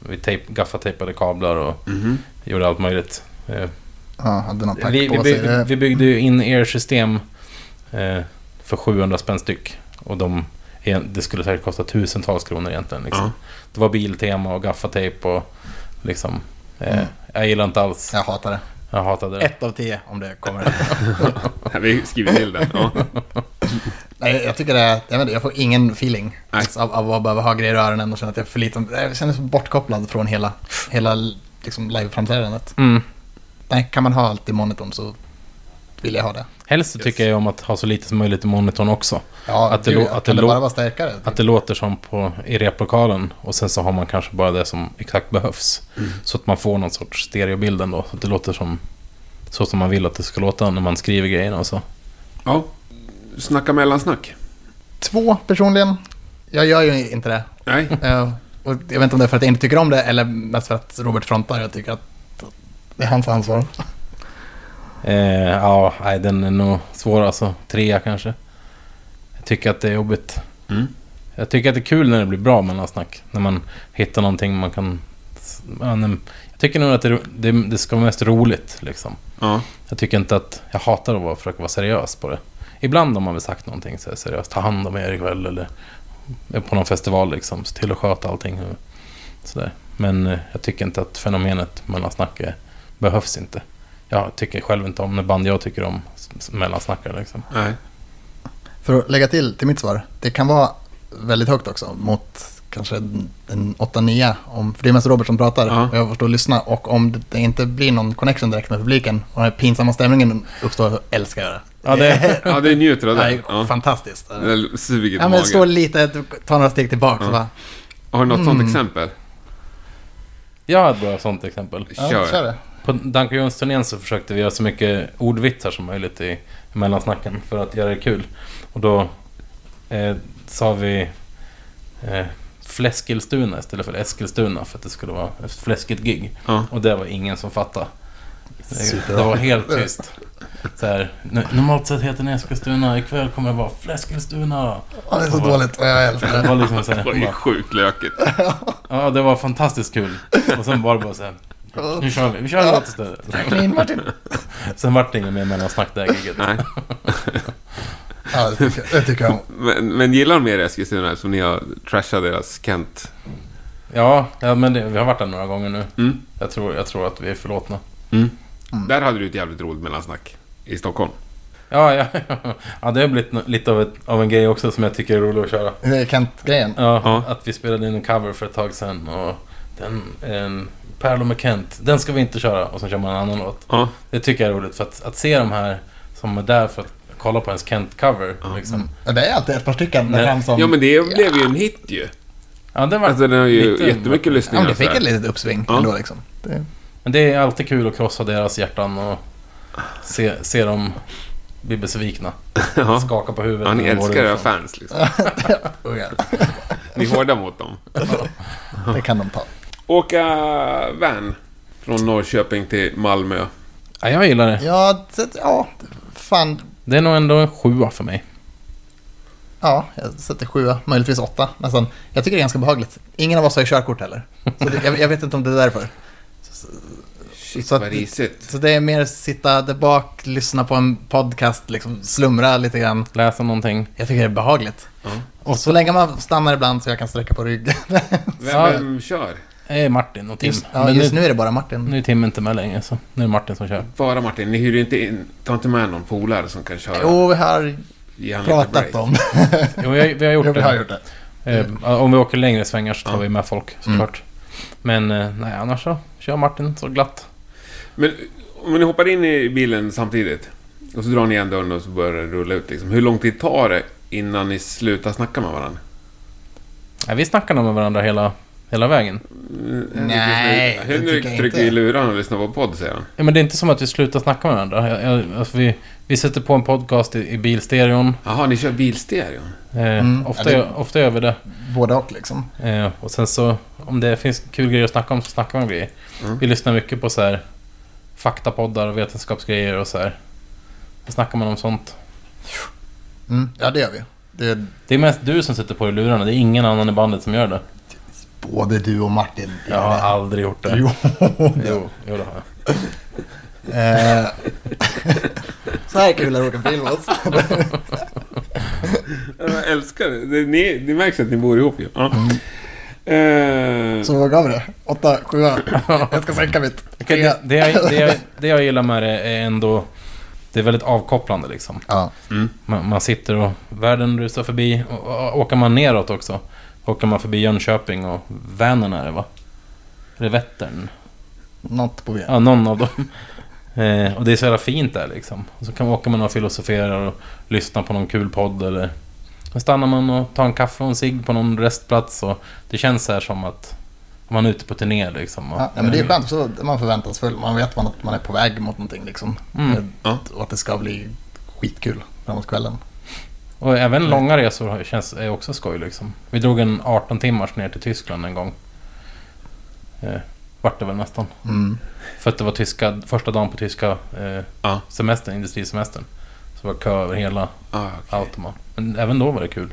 Speaker 4: Vi tejp, gaffatejpade kablar och
Speaker 3: Mhm.
Speaker 4: gjorde allt möjligt. Eh,
Speaker 2: Ja, hade någon pack
Speaker 4: Vi, vi,
Speaker 2: på sig. Eh,
Speaker 4: byggde, vi byggde ju in ear-system eh, för 700 spänn styck. Och de, en- det skulle säkert kosta tusentals kronor egentligen. Liksom.
Speaker 3: Ja.
Speaker 4: Det var biltema och gaffatejp och liksom... Eh,
Speaker 2: Mm.
Speaker 4: Jag gillar inte alls.
Speaker 2: Jag hatar det.
Speaker 4: Jag hatade det.
Speaker 2: Ett av tio om det kommer.
Speaker 3: Vi skriver till den. Ja.
Speaker 2: Nej, jag tycker det är, jag, vet, inte, jag får ingen feeling
Speaker 3: Nej.
Speaker 2: alls av, av att behöva ha grejer i öronen och känna att jag är för liten. Jag känner mig bortkopplad från hela, hela liksom, liveframträdandet.
Speaker 4: Mm.
Speaker 2: Nej, kan man ha allt i monitorn så vill jag ha det.
Speaker 4: Helst så tycker jag ju om att ha så lite som möjligt i monitorn också.
Speaker 2: Ja,
Speaker 4: Att det
Speaker 2: gud,
Speaker 4: lå- att det
Speaker 2: kan
Speaker 4: lå-
Speaker 2: bara vara starkare.
Speaker 4: Att det låter som på, i replokalen och sen så har man kanske bara det som exakt behövs. Så att man får någon sorts stereobild ändå. Så att det låter som, så som man vill att det ska låta när man skriver grejerna och så.
Speaker 3: Ja. Snacka mellansnack.
Speaker 2: Två personligen. Jag gör ju inte det.
Speaker 3: Nej.
Speaker 2: Eh, och jag vet inte om det är för att jag inte tycker om det eller mest för att Robert frontar. Jag tycker att det är hans ansvar.
Speaker 4: Eh, ja, nej, den är nog svår alltså. Trea kanske. Jag tycker att det är jobbigt.
Speaker 3: Mm.
Speaker 4: Jag tycker att det är kul när det blir bra mellansnack. När man hittar någonting man kan... ja, nej, Jag tycker nog att det, det, det ska vara mest roligt liksom.
Speaker 3: Ja.
Speaker 4: Jag tycker inte att... Jag hatar att vara, försöka vara seriös på det. Ibland har man väl sagt någonting så här seriöst. Ta hand om er ikväll eller... är På någon festival liksom. Se till att sköta allting. och Sådär. Men eh, jag tycker inte att fenomenet mellansnack är- behövs inte. Jag tycker själv inte om det band jag tycker om s- s- mellansnackar liksom.
Speaker 3: Nej.
Speaker 2: För att lägga till till mitt svar, det kan vara väldigt högt också mot kanske en 8-9. om- För det är mest Robert som pratar
Speaker 3: Ja.
Speaker 2: och jag får stå och lyssna. Och om det inte blir någon connection direkt med publiken och den här pinsamma stämningen uppstår så älskar jag det.
Speaker 4: Ja, det-
Speaker 3: Ja, det njuter av
Speaker 2: det
Speaker 3: det.
Speaker 2: är
Speaker 3: Ja.
Speaker 2: fantastiskt.
Speaker 3: Det suger i
Speaker 2: Ja, men
Speaker 3: magen.
Speaker 2: stå lite, ta några steg tillbaka.
Speaker 3: Ja.
Speaker 2: Ja.
Speaker 3: Har du något sånt
Speaker 2: Mm.
Speaker 3: exempel?
Speaker 4: Jag har ett bra sånt exempel.
Speaker 2: Ja,
Speaker 3: Kör.
Speaker 2: kör det.
Speaker 4: På Danko Jones-turnén så försökte vi göra så mycket ordvitsar som möjligt i mellansnacken för att göra det kul. Och då eh, sa vi eh, Fläskilstuna istället för Eskilstuna för att det skulle vara ett fläskigt gig.
Speaker 3: Ja.
Speaker 4: Och det var ingen som fattade. Det,
Speaker 2: Superbra.
Speaker 4: det var helt tyst. Så här, "Nu- normalt sett heter den Eskilstuna, ikväll kommer det vara Fläskilstuna.
Speaker 2: Ja, det är så dåligt. Ja, jag älskar
Speaker 4: Det
Speaker 2: det.
Speaker 4: var liksom så här,
Speaker 3: Det var ju
Speaker 4: bara,
Speaker 3: sjukt lökigt.
Speaker 4: ja det var fantastiskt kul. Och sen var det bara så här, nu kör vi, vi kör en låt istället.
Speaker 2: Tackla in Martin.
Speaker 4: Sen vart det inget mer mellansnack det här giget.
Speaker 3: Nej.
Speaker 2: Ja, det tycker, det tycker jag om.
Speaker 3: Men, men gillar de mer Eskilstuna som ni har trashat deras Kent?
Speaker 4: Ja, ja men det, vi har varit där några gånger nu.
Speaker 3: Mm.
Speaker 4: Jag tror, jag tror att vi är förlåtna.
Speaker 2: Mm.
Speaker 3: Där hade du ett jävligt roligt mellansnack. I Stockholm.
Speaker 4: Ja, ja, ja. ja det har blivit nå- lite av, ett, av en grej också som jag tycker är rolig att köra.
Speaker 2: Det är Kent-grejen.
Speaker 4: Ja,
Speaker 3: Ja.
Speaker 4: Att vi spelade in en cover för ett tag sedan och den, en Perlo med Kent, den ska vi inte köra och sen kör man en annan låt.
Speaker 3: Ja.
Speaker 4: Det tycker jag är roligt för att, att se de här som är där för att kolla på ens Kent-cover. Liksom.
Speaker 2: Ja, Det är alltid ett par stycken. där
Speaker 4: Nej.
Speaker 2: fram som...
Speaker 3: Ja men det blev ju en hit ju.
Speaker 4: Ja, den var
Speaker 3: Alltså den har ju
Speaker 4: lite-
Speaker 3: jättemycket
Speaker 2: Ja,
Speaker 3: lyssningar.
Speaker 2: men det fick
Speaker 3: sådär.
Speaker 2: ett litet uppsving
Speaker 3: Ja.
Speaker 2: ändå liksom. Det,
Speaker 4: Men det är alltid kul att krossa deras hjärtan och se, se dem bli besvikna.
Speaker 3: Ja.
Speaker 4: Skaka på huvudet.
Speaker 3: Ja, ni
Speaker 4: när de går
Speaker 3: älskar era
Speaker 4: därifrån.
Speaker 3: fans liksom.
Speaker 2: oh ja,
Speaker 3: Ni är hårda mot dem.
Speaker 2: det kan de ta.
Speaker 3: Åka van från Norrköping till Malmö.
Speaker 4: Ja, jag gillar det.
Speaker 2: Ja, det, ja fan.
Speaker 4: Det är nog ändå en sjua för mig.
Speaker 2: Ja, jag sätter sjua, möjligtvis åtta nästan. Jag tycker det är ganska behagligt. Ingen av oss har ju körkort heller. Så det, jag, jag vet inte om det är därför.
Speaker 3: Shit
Speaker 2: Så att-
Speaker 3: vad risigt.
Speaker 2: Så det är mer sitta där bak, lyssna på en podcast, liksom slumra lite grann.
Speaker 4: Läsa någonting.
Speaker 2: Jag tycker det är behagligt.
Speaker 3: Ja.
Speaker 2: Och så länge man stannar ibland så jag kan sträcka på ryggen.
Speaker 3: Vem, vem kör?
Speaker 4: Eh, Martin och Tim.
Speaker 2: Just, ja,
Speaker 4: Men
Speaker 2: just
Speaker 4: nu,
Speaker 2: nu är det bara Martin.
Speaker 4: nu är Tim inte med längre, så nu är det Martin som kör.
Speaker 3: Bara Martin, ni hyr ju inte in, ta inte med någon polare som kan köra.
Speaker 2: Jo, vi har
Speaker 3: Ge han lite break.
Speaker 2: pratat om det.
Speaker 4: Jo, vi, vi har gjort
Speaker 2: Jo,
Speaker 4: det.
Speaker 2: vi har gjort det. Mm.
Speaker 4: Eh, om vi åker längre svängar så tar
Speaker 3: Ja.
Speaker 4: vi med folk, såklart. Men eh, nej, annars så kör Martin så glatt.
Speaker 3: Men om ni hoppar in i bilen samtidigt och så drar ni igen dörren och så börjar den rulla ut liksom. Hur lång tid tar det innan ni slutar snacka med varandra?
Speaker 4: Nej, vi snackar nog med varandra hela, hela vägen.
Speaker 3: Mm,
Speaker 2: Nej,
Speaker 3: Henrik-
Speaker 2: det
Speaker 3: Henrik
Speaker 2: tycker jag
Speaker 3: trycker
Speaker 2: inte.
Speaker 3: i lurarna och lyssnar på podd säger han.
Speaker 4: Ja, men det är inte som att vi slutar snacka med varandra. Jag, jag, alltså, vi, vi sätter på en podcast i, i bilstereon.
Speaker 3: Jaha, ni kör bilstereon?
Speaker 4: Eh,
Speaker 2: Mm,
Speaker 4: ofta,
Speaker 2: ja, det-
Speaker 4: gör- ofta gör vi det.
Speaker 2: Både och liksom.
Speaker 4: Eh, och sen så, om det finns kul grejer att snacka om så snackar man om grejer.
Speaker 3: Mm.
Speaker 4: Vi lyssnar mycket på så här faktapoddar och vetenskapsgrejer och så här. Då snackar man om sånt.
Speaker 2: Mm, ja, det gör vi. Det är
Speaker 4: Det är mest du som sitter på i lurarna, det är ingen annan i bandet som gör det.
Speaker 2: både du och Martin.
Speaker 4: Jag har aldrig gjort det.
Speaker 2: Jo.
Speaker 4: jo, jo det har jag.
Speaker 2: Eh, Så här kul är det att åka bil med oss.
Speaker 3: Jag älskar det. det ni, det märks att ni bor ihop ju. Ja. Eh,
Speaker 2: Mm. Så vad gav vi det? Åtta, sjua. Jag ska sänka mitt.
Speaker 4: Okej, det, det, jag, det, jag, det jag gillar med det är ändå... Det är väldigt avkopplande liksom.
Speaker 2: Ja,
Speaker 4: Man, man sitter och världen rusar förbi. Och, och, åker man neråt också. Åker man förbi Jönköping och Vänern är det va? Eller Vättern?
Speaker 2: något på V.
Speaker 4: Ja, någon av dem. Eh, och det är så jävla fint där liksom. Och så kan, åker man och filosoferar och lyssnar på någon kul podd eller... Då stannar man och tar en kaffe och en cigg på någon restplats och det känns så här som att man är ute på turné liksom. Och,
Speaker 2: Ja, nej, men det är skönt, så är man förväntansfull. Man vet man att man är på väg mot någonting liksom.
Speaker 4: Mm.
Speaker 3: Ja.
Speaker 2: Och att det ska bli skitkul framåt kvällen.
Speaker 4: Och även långa resor har- känns, är också skoj liksom. Vi drog en 18 timmars ner till Tyskland en gång. Eh, vart det väl nästan.
Speaker 2: Mm.
Speaker 4: För att det var tyska, första dagen på tyska eh,
Speaker 3: Ja.
Speaker 4: semestern, industrisemestern. Så var det kö över hela
Speaker 3: Ah, okej.
Speaker 4: Automa. Men även då var det kul.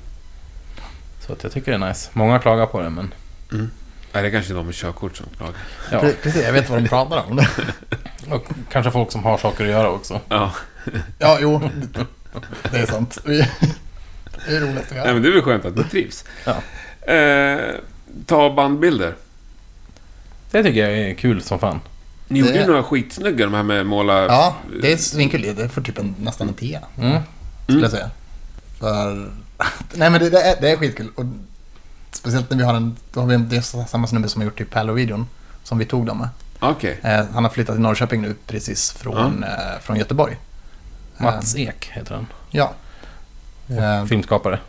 Speaker 4: Så att jag tycker det är nice. Många klagar på det men...
Speaker 3: Nej, det är kanske de med körkort som klagar.
Speaker 4: Ja,
Speaker 2: Pre- Precis, jag vet vad de pratar om.
Speaker 4: och kanske folk som har saker att göra också.
Speaker 3: Ja.
Speaker 2: ja, jo, det- det är sant. Vi- Det är roligt att
Speaker 3: Nej,
Speaker 2: göra.
Speaker 3: men det är väl skönt att du trivs.
Speaker 4: Ja.
Speaker 3: Eh, ta bandbilder.
Speaker 4: Det tycker jag är kul som fan.
Speaker 3: Ni gjorde
Speaker 2: Det-
Speaker 3: ju några skitsnygga, de här med måla...
Speaker 2: Ja, det är svinkul. Det får typ en, nästan en tia.
Speaker 4: Mm.
Speaker 2: skulle jag säga. För... Nej men det, det, är, det är skitkul. Och speciellt när vi har en... Då har vi en det är samma snubbe som har gjort typ Palo-videon. Som vi tog dem med.
Speaker 3: Okej.
Speaker 2: Eh, han har flyttat till Norrköping nu precis från, eh, från Göteborg.
Speaker 4: Mats Ek heter han.
Speaker 3: Mm.
Speaker 2: Eh, ja. Eh,
Speaker 4: Filmskapare.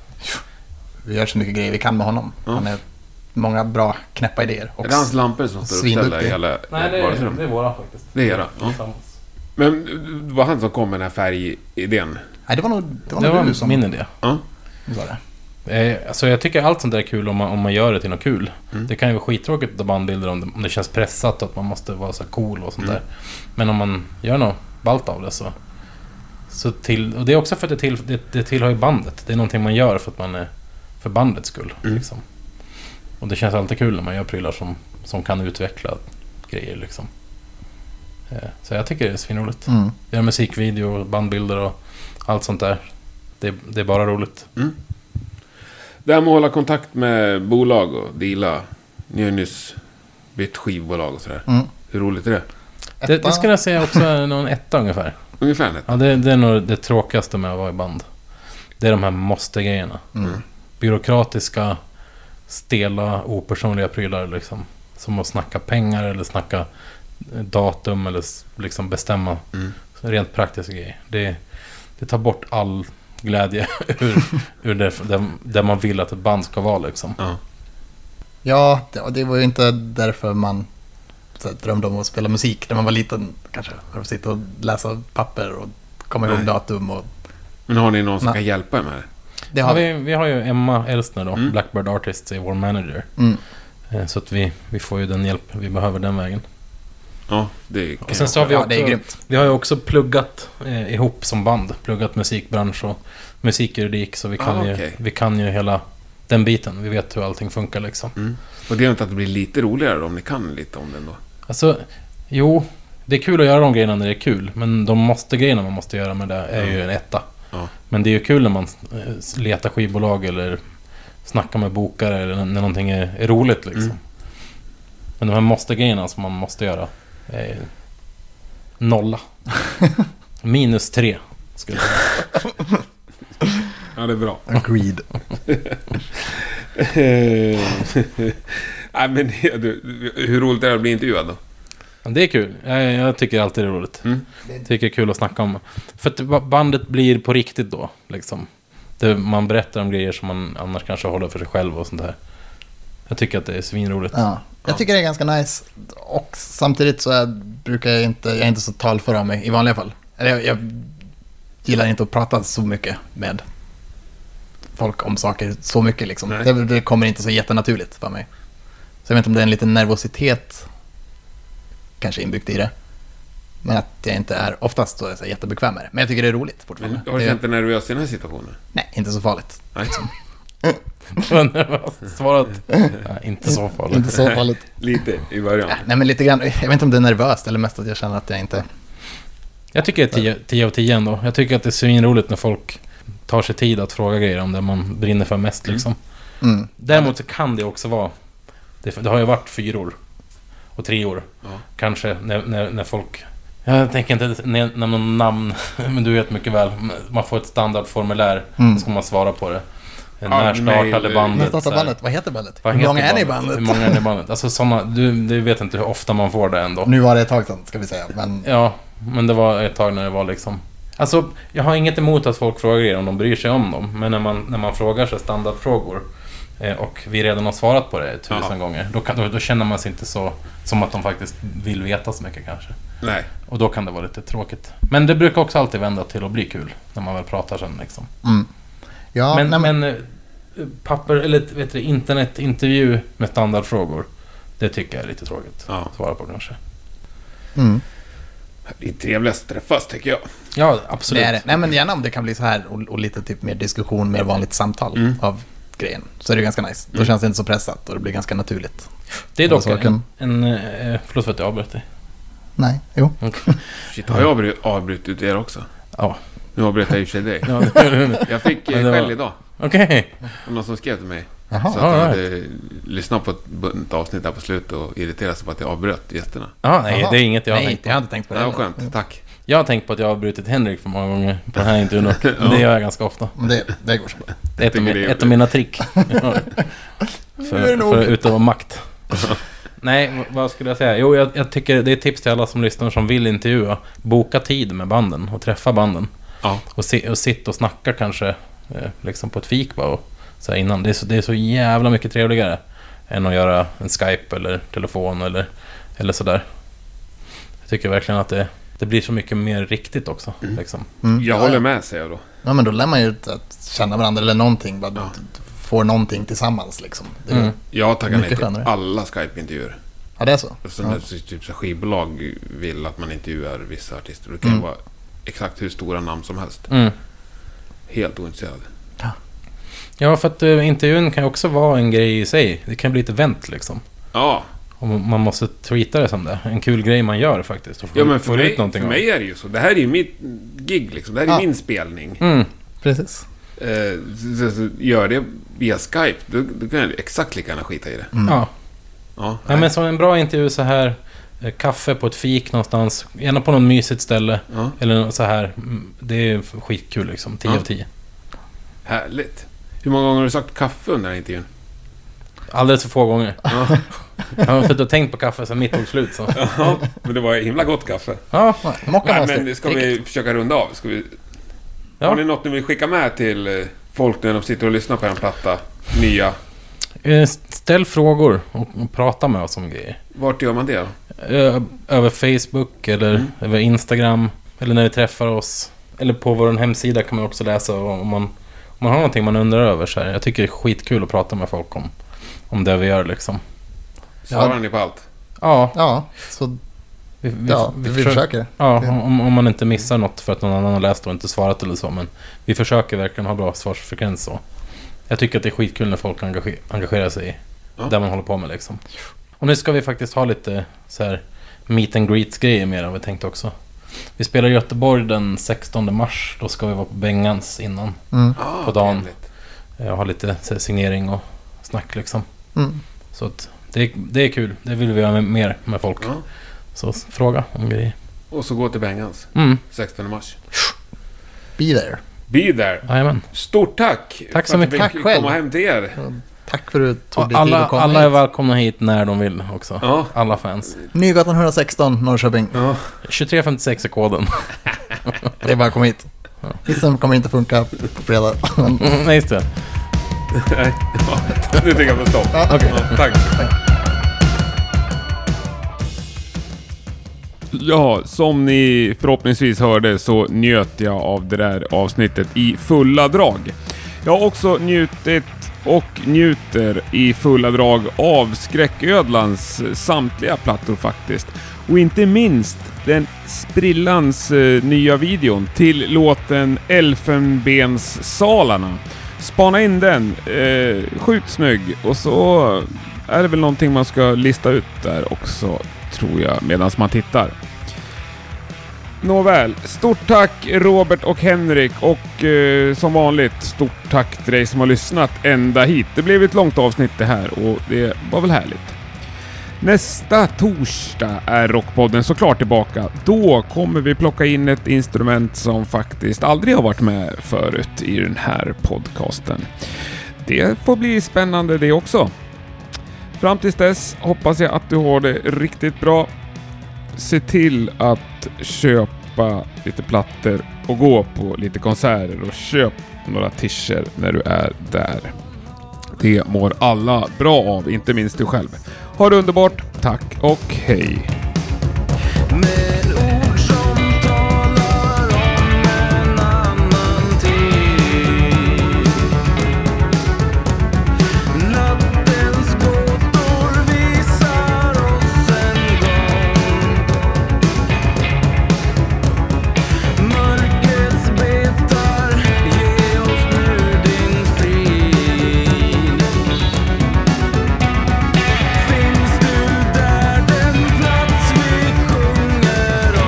Speaker 2: vi gör så mycket grejer vi kan med honom.
Speaker 3: Ja.
Speaker 2: Han är många bra knäppa idéer. Och
Speaker 3: Är det hans lampor som står uppställda i
Speaker 2: Svinduktig.
Speaker 3: hela vardagsrummet?
Speaker 4: våra faktiskt.
Speaker 3: Det är era, ja. Men det var han som kom med den här färgidén?
Speaker 2: nej, det var nog, det var
Speaker 4: Det
Speaker 2: nog
Speaker 4: var
Speaker 2: du som
Speaker 4: min idé.
Speaker 3: Ja.
Speaker 2: sa det.
Speaker 4: Eh, Alltså jag tycker allt sånt där är kul om man, om man gör det till något kul. Det kan ju vara skittråkigt att ta bandbilder om det, om det känns pressat och att man måste vara så här cool och sånt där. Men om man gör något ballt av det så... så till, och det är också för att det, till, det, det tillhör ju bandet. Det är någonting man gör för att man är för bandets skull. Liksom. Och det känns alltid kul när man gör prylar som, som kan utveckla grejer. Liksom. Eh, Så jag tycker det är svinroligt.
Speaker 2: Mm.
Speaker 4: Göra musikvideo, bandbilder och allt sånt där. Det, det är bara roligt.
Speaker 3: Det här med att hålla kontakt med bolag och deala. Ni har ju nyss bytt skivbolag och sådär.
Speaker 2: Mm.
Speaker 3: Hur roligt är det?
Speaker 4: Det,
Speaker 2: Etta.
Speaker 4: det skulle jag säga också är någon etta ungefär.
Speaker 3: Ungefär det.
Speaker 4: Ja, det, det är nog det tråkigaste med att vara i band. Det är de här måste-grejerna.
Speaker 2: Mm.
Speaker 4: Byråkratiska, stela, opersonliga prylar liksom. Som att snacka pengar eller snacka eh, datum eller s- liksom bestämma
Speaker 3: Mm.
Speaker 4: Så rent praktiska grejer. Det, det tar bort all glädje ur, ur det, där, där man vill att ett band ska vara liksom.
Speaker 3: Ja.
Speaker 2: Ja, det, och det var ju inte därför man så här, drömde om att spela musik när man var liten. Kanske för att sitta och läsa papper och komma ihåg
Speaker 3: Nej.
Speaker 2: datum. Och,
Speaker 3: Men har ni någon som
Speaker 2: Nej.
Speaker 3: kan hjälpa er med det?
Speaker 2: det
Speaker 4: Ja,
Speaker 2: har vi.
Speaker 4: vi, vi har ju Emma Elstner då,
Speaker 3: Mm.
Speaker 4: Blackbird Artists, är vår manager.
Speaker 2: Mm.
Speaker 4: Eh, Så att vi, vi får ju den hjälp vi behöver den vägen.
Speaker 3: Ja, det kan
Speaker 4: Och sen
Speaker 3: jag.
Speaker 4: så har vi,
Speaker 2: Ja,
Speaker 4: också,
Speaker 2: det är grymt.
Speaker 4: vi har ju också pluggat eh, ihop som band. Pluggat musikbransch och musikjuridik. Så vi kan,
Speaker 3: Ah,
Speaker 4: ju,
Speaker 3: okej.
Speaker 4: vi kan ju hela den biten. Vi vet hur allting funkar liksom.
Speaker 3: Och det gör inte att det blir lite roligare om ni kan lite om den då?
Speaker 4: Alltså, jo. Det är kul att göra de grejerna när det är kul. Men de måste grejerna man måste göra med det är ju en etta.
Speaker 3: Ja.
Speaker 4: Men det är ju kul när man eh, letar skivbolag eller snackar med bokare eller när någonting är, är roligt liksom.
Speaker 3: Mm.
Speaker 4: Men de här måste-grejerna som man måste göra är nolla. Minus tre. Skulle jag säga.
Speaker 3: Ja, det är bra.
Speaker 2: Agreed.
Speaker 3: Nej, men du, hur roligt är det att bli intervjuad då?
Speaker 4: Men Det är kul. Jag, jag tycker alltid det är roligt.
Speaker 3: Mm.
Speaker 4: Tycker det är kul att snacka om. För att ba- bandet blir på riktigt då. Liksom. Det, man berättar om grejer som man annars kanske håller för sig själv och sånt där. Jag tycker att det är svinroligt.
Speaker 2: Ja. Jag tycker det är ganska nice. Och samtidigt så är, brukar jag inte, jag är inte så talför av mig i vanliga fall. Eller jag, jag gillar inte att prata så mycket med folk om saker så mycket liksom.
Speaker 3: Nej.
Speaker 2: Det, det kommer inte så jättenaturligt för mig. Så jag vet inte om det är en liten nervositet kanske inbyggt i det. Men att jag inte är, oftast så är jag så här jättebekväm med det. Men jag tycker det är roligt
Speaker 3: Men,
Speaker 2: fortfarande.
Speaker 3: har du
Speaker 2: det,
Speaker 3: känt dig nervös i den här situationen?
Speaker 2: nej, inte så farligt.
Speaker 3: Nej.
Speaker 4: Men jag har Svarat? Ja, inte så farligt.
Speaker 2: Inte så farligt.
Speaker 3: Lite i början.
Speaker 2: Nej men lite grann, jag vet inte om det är nervöst eller mest att jag känner att jag inte...
Speaker 4: Jag tycker det är 10 10 av 10 ändå. Jag tycker att det är svinroligt när folk tar sig tid att fråga grejer om det man brinner för mest. Liksom.
Speaker 2: Mm.
Speaker 4: Däremot så kan det också vara... Det, det har ju varit fyror och treor.
Speaker 3: Ja.
Speaker 4: Kanske när, när, när folk... Jag tänker inte nä- nämna någon namn, men du vet mycket väl. Man får ett standardformulär,
Speaker 2: Mm.
Speaker 4: så ska man svara på det. När startade
Speaker 3: nej,
Speaker 4: bandet? så
Speaker 2: När startar
Speaker 4: här?
Speaker 2: eh, bandet? Vad heter bandet?
Speaker 4: Vad
Speaker 2: Hur
Speaker 4: heter
Speaker 2: många är ni i
Speaker 4: Hur
Speaker 2: bandet?
Speaker 4: många är ni i bandet? Alltså såna, du, du vet inte hur ofta man får det ändå.
Speaker 2: Nu var det ett tag sedan, ska vi säga. Men
Speaker 4: Ja, men det var ett tag när det var liksom... Alltså, jag har inget emot att folk frågar er om de bryr sig om dem. Men när man, när man frågar sig standardfrågor eh, och vi redan har svarat på det tusen
Speaker 3: Ja.
Speaker 4: gånger. Då, kan, då, då känner man sig inte så... Som att de faktiskt vill veta så mycket kanske.
Speaker 3: Nej.
Speaker 4: Och då kan det vara lite tråkigt. Men det brukar också alltid vända till att bli kul. När man väl pratar sen liksom.
Speaker 2: Mm. Ja,
Speaker 4: men,
Speaker 2: nej, men,
Speaker 4: men eh, papper, eller vet du, internetintervju med standardfrågor. Det tycker jag är lite tråkigt
Speaker 3: Ja.
Speaker 4: att svara på kanske.
Speaker 2: mm,
Speaker 3: Det är trevligast att träffas, tycker jag.
Speaker 4: Ja, absolut.
Speaker 2: det är det. Nej, men gärna om det kan bli så här och, och lite typ mer diskussion, mer vanligt samtal
Speaker 3: Mm.
Speaker 2: av grejen. Så är det ganska nice. Då
Speaker 4: Mm.
Speaker 2: känns det inte så pressat och det blir ganska naturligt.
Speaker 4: Det är dock
Speaker 2: Eller så
Speaker 4: en,
Speaker 2: kan-
Speaker 4: en... eh, Förlåt för att jag avbröt dig.
Speaker 2: Nej, jo.
Speaker 3: Shit, har jag avbru- avbrutit er också?
Speaker 4: Ja.
Speaker 3: Nu avbröt jag i och för sig dig.
Speaker 4: Ja, det gör du nu.
Speaker 3: Jag fick eh,
Speaker 4: Men det var-
Speaker 3: skäll idag.
Speaker 4: Okej.
Speaker 3: Det var Någon som skrev till mig.
Speaker 2: Jaha.
Speaker 3: så att han
Speaker 4: alright.
Speaker 3: hade lyssnat på ett bunt avsnitt där på slutet och irriterat sig på att jag avbröt gästerna.
Speaker 4: Ja, nej,
Speaker 2: Jaha.
Speaker 4: det är inget jag har
Speaker 2: Nej,
Speaker 4: tänkt
Speaker 2: jag
Speaker 4: på.
Speaker 2: hade tänkt på
Speaker 3: Det
Speaker 2: det.
Speaker 3: var
Speaker 4: Mm.
Speaker 3: skönt. Tack.
Speaker 4: Jag har tänkt på att jag har brutit Henrik för många gånger på den här intervjun. och Det gör jag ganska ofta.
Speaker 2: Men Det, det går så bra.
Speaker 4: Det är ett, av, mi-
Speaker 3: tycker det är
Speaker 4: ett av mina trick. Ja.
Speaker 2: Nu är det
Speaker 4: för,
Speaker 2: nog.
Speaker 4: för att utöva makt. Nej, v- vad skulle jag säga? Jo, jag, jag tycker det är ett tips till alla som lyssnar som vill intervjua. Boka tid med banden och träffa banden.
Speaker 3: Ja.
Speaker 4: Och, si, och sitt och snacka kanske eh, liksom på ett fik bara. Och, så här innan. Det, är så, det är så jävla mycket trevligare än att göra en Skype eller telefon eller, eller sådär. Jag tycker verkligen att det, det blir så mycket mer riktigt också. Liksom.
Speaker 2: Mm.
Speaker 3: Jag håller med, säger jag då.
Speaker 2: Ja, men då lär man ju att känna varandra eller någonting. Bara,
Speaker 3: Ja.
Speaker 2: Får någonting tillsammans liksom. Det,
Speaker 4: Mm.
Speaker 3: Jag tackar nej
Speaker 2: Mycket
Speaker 3: till
Speaker 2: skönare.
Speaker 3: alla Skype-intervjuer.
Speaker 2: Ja, det är så.
Speaker 3: Eftersom
Speaker 2: Ja.
Speaker 3: det är typ så här skivbolag vill att man intervjuar vissa artister. Det kan ju
Speaker 2: Mm.
Speaker 3: vara exakt hur stora namn som helst.
Speaker 4: Mm.
Speaker 3: Helt ointresserad.
Speaker 4: Ja, för att eh, intervjun kan ju också vara en grej i sig. Det kan bli ett event liksom.
Speaker 3: Ja,
Speaker 4: Och man måste tweeta det som det. En kul grej man gör faktiskt. Och
Speaker 3: ja men för,
Speaker 4: får
Speaker 3: mig,
Speaker 4: ut någonting
Speaker 3: för
Speaker 4: av det.
Speaker 3: mig är det ju så. Det här är ju mitt gig liksom. Det här är
Speaker 2: Ja.
Speaker 3: min spelning.
Speaker 4: Mm.
Speaker 2: Precis.
Speaker 3: Eh, så- så- så Gör det via Skype, då, då kan jag exakt lika gärna skita i det.
Speaker 4: Ja.
Speaker 3: Ja,
Speaker 4: Mm. ja, men som en bra intervju så här. eh, Kaffe på ett fik någonstans. Gärna på något mysigt ställe.
Speaker 3: ja,
Speaker 4: Eller något så här. Mm, Det är skitkul liksom. 10
Speaker 3: Ja.
Speaker 4: av 10.
Speaker 3: härligt. Hur många gånger har du sagt kaffe under den här intervjun?
Speaker 4: Alldeles för få gånger.
Speaker 3: Ja.
Speaker 4: Jag har suttit och tänkt på kaffe sen mitt tog slut. Så.
Speaker 3: Ja, men det var himla gott kaffe.
Speaker 4: Ja,
Speaker 2: Ja, Mocka
Speaker 3: Nej,
Speaker 2: måste-
Speaker 3: men ska
Speaker 2: Drick.
Speaker 3: vi försöka runda av? Ska vi...
Speaker 4: Ja.
Speaker 3: Har ni något ni vill skicka med till eh, folk när de sitter och lyssnar på en platta? Nya?
Speaker 4: eh, ställ frågor och, och prata med oss om grejer.
Speaker 3: Vart gör man det? då?
Speaker 4: Ö- Över Facebook eller
Speaker 3: Mm.
Speaker 4: över Instagram. Eller när ni träffar oss. Eller på vår hemsida kan man också läsa om om man, om man har någonting man undrar över. Så här. Jag tycker det är skitkul att prata med folk om, om det vi gör liksom.
Speaker 3: Svarar ni på allt?
Speaker 4: Ja,
Speaker 2: Ja, så
Speaker 4: vi, vi,
Speaker 2: ja, vi,
Speaker 4: försöker-
Speaker 2: försöker.
Speaker 4: Ja, om, om man inte missar något för att någon annan har läst och inte svarat eller så. Men vi försöker verkligen ha bra svarsfrekvens. Och jag tycker att det är skitkul när folk engage, engagerar sig i
Speaker 3: Ja.
Speaker 4: det man håller på med. Liksom. Och nu ska vi faktiskt ha lite så här meet and greets-grejer mer än vi tänkte också. Vi spelar i Göteborg den 16 mars. Då ska vi vara på Bengans innan.
Speaker 2: Mm.
Speaker 3: Ah,
Speaker 4: På dagen.
Speaker 3: trevligt.
Speaker 4: eh, Och ha lite så här, signering och snack liksom.
Speaker 2: Mm.
Speaker 4: Så att det, är- det är kul. Det vill vi göra med- mer med folk.
Speaker 3: Ja.
Speaker 4: Så s- fråga om grejer.
Speaker 3: Och så gå till Bengans,
Speaker 4: Mm,
Speaker 3: 16 mars.
Speaker 2: Be there.
Speaker 3: Be there!
Speaker 4: jajamän.
Speaker 3: Stort tack!
Speaker 4: Tack så
Speaker 3: för att
Speaker 4: mycket.
Speaker 3: vi
Speaker 2: Tack
Speaker 3: fick
Speaker 2: själv.
Speaker 3: komma hem till er.
Speaker 2: Tack för att du tog dig tid
Speaker 4: alla,
Speaker 2: att komma
Speaker 4: alla är
Speaker 2: hit.
Speaker 4: välkomna hit när de vill också.
Speaker 3: Ja.
Speaker 4: Alla fans.
Speaker 2: Nygatan 116, Norrköping.
Speaker 3: ja.
Speaker 4: 2356 är koden.
Speaker 2: Det är bara att komma hit. Hissen kommer inte funka på fredag.
Speaker 4: Nej, just det.
Speaker 3: Nej. Ja, Nu tycker jag på stopp.
Speaker 2: Ja, okej.
Speaker 3: Ja, tack.
Speaker 5: Ja, som ni förhoppningsvis hörde så njöt jag av det där avsnittet i fulla drag. Jag har också njutit och njuter i fulla drag av Skräcködlans samtliga plattor faktiskt. Och inte minst den sprillans eh, nya videon till låten Elfenbenssalarna. Spana in den, eh, sjukt snygg och så är det väl någonting man ska lista ut där också tror jag, medan man tittar. Nåväl, stort tack Robert och Henrik och eh, som vanligt stort tack till dig som har lyssnat ända hit. Det blev ett långt avsnitt det här och det var väl härligt. Nästa torsdag är Rockpodden såklart tillbaka. Då kommer vi plocka in ett instrument som faktiskt aldrig har varit med förut i den här podcasten.
Speaker 3: det får bli spännande det också. Fram tills dess hoppas jag att du har det riktigt bra. Se till att köpa lite plattor och gå på lite konserter och köp några tischer när du är där. Det mår alla bra av, inte minst du själv. Ha det underbart, tack och hej!
Speaker 6: Med ord som talar om en annan tid Nattens gåtor visar oss en gång Mörkrets betar, ge oss nu din frid Finns du där den plats vi sjunger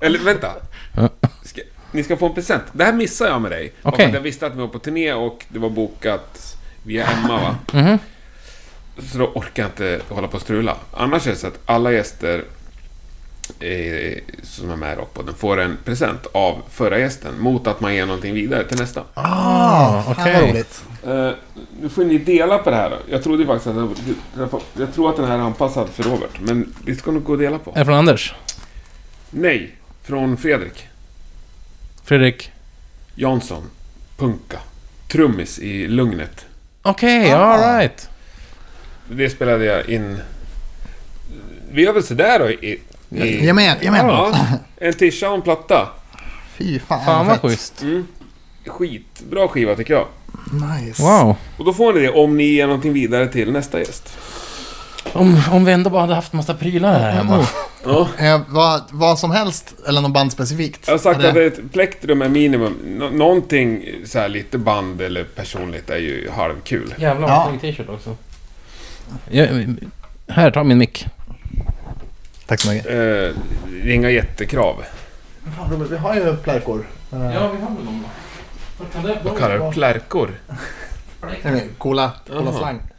Speaker 3: Eller vänta. Ska, ni ska få en present. Det här missade jag med dig. Bara för
Speaker 4: Okej.
Speaker 3: att Jag visste att vi var på turné och det var bokat via Emma va? Så då orkar jag inte hålla på och strula. Annars är det så att alla gäster eh, som är med i Rockpodden får en present av förra gästen mot att man ger någonting vidare till nästa.
Speaker 2: Ah, fan vad
Speaker 4: okej.
Speaker 2: roligt.
Speaker 3: Eh, nu får ni dela på det här då. Jag trodde faktiskt att den, jag tror att den här är anpassad för Robert, men vi ska nog gå och dela på.
Speaker 4: Är det från Anders?
Speaker 3: Nej, från Fredrik
Speaker 4: Fredrik?
Speaker 3: Jansson, punka, trummis i Lugnet.
Speaker 4: Okej,
Speaker 2: Ah.
Speaker 4: alright.
Speaker 3: Det spelade jag in... Vi gör väl sådär då i... i...
Speaker 2: Jajamän, jajamän.
Speaker 3: Ja, en tischa och en platta.
Speaker 2: Fy fan,
Speaker 4: Fan vad
Speaker 2: fett.
Speaker 4: schysst.
Speaker 3: Skitbra skiva tycker jag.
Speaker 2: Nice.
Speaker 4: Wow.
Speaker 3: Och då får ni det om ni ger någonting vidare till nästa gäst.
Speaker 4: Om, om vi ändå bara hade haft massa prylar här hemma.
Speaker 3: Ja.
Speaker 2: Eh, vad, vad som helst, eller något band specifikt?
Speaker 3: Jag har sagt
Speaker 2: Är
Speaker 3: att ett plektrum är minimum. Nå- någonting så här lite band eller personligt är ju halvkul.
Speaker 4: Jävlar
Speaker 2: Ja.
Speaker 4: snygg t-shirt också. Ja, här, ta min mick.
Speaker 2: Tack så mycket.
Speaker 3: Eh, det är inga jättekrav.
Speaker 2: Fan, Robert, vi har ju plärkor.
Speaker 4: Ja, vi har väl någon.
Speaker 3: Vad kallar du det? Plärkor?
Speaker 2: Coola, coola
Speaker 3: Jaha.
Speaker 2: slang.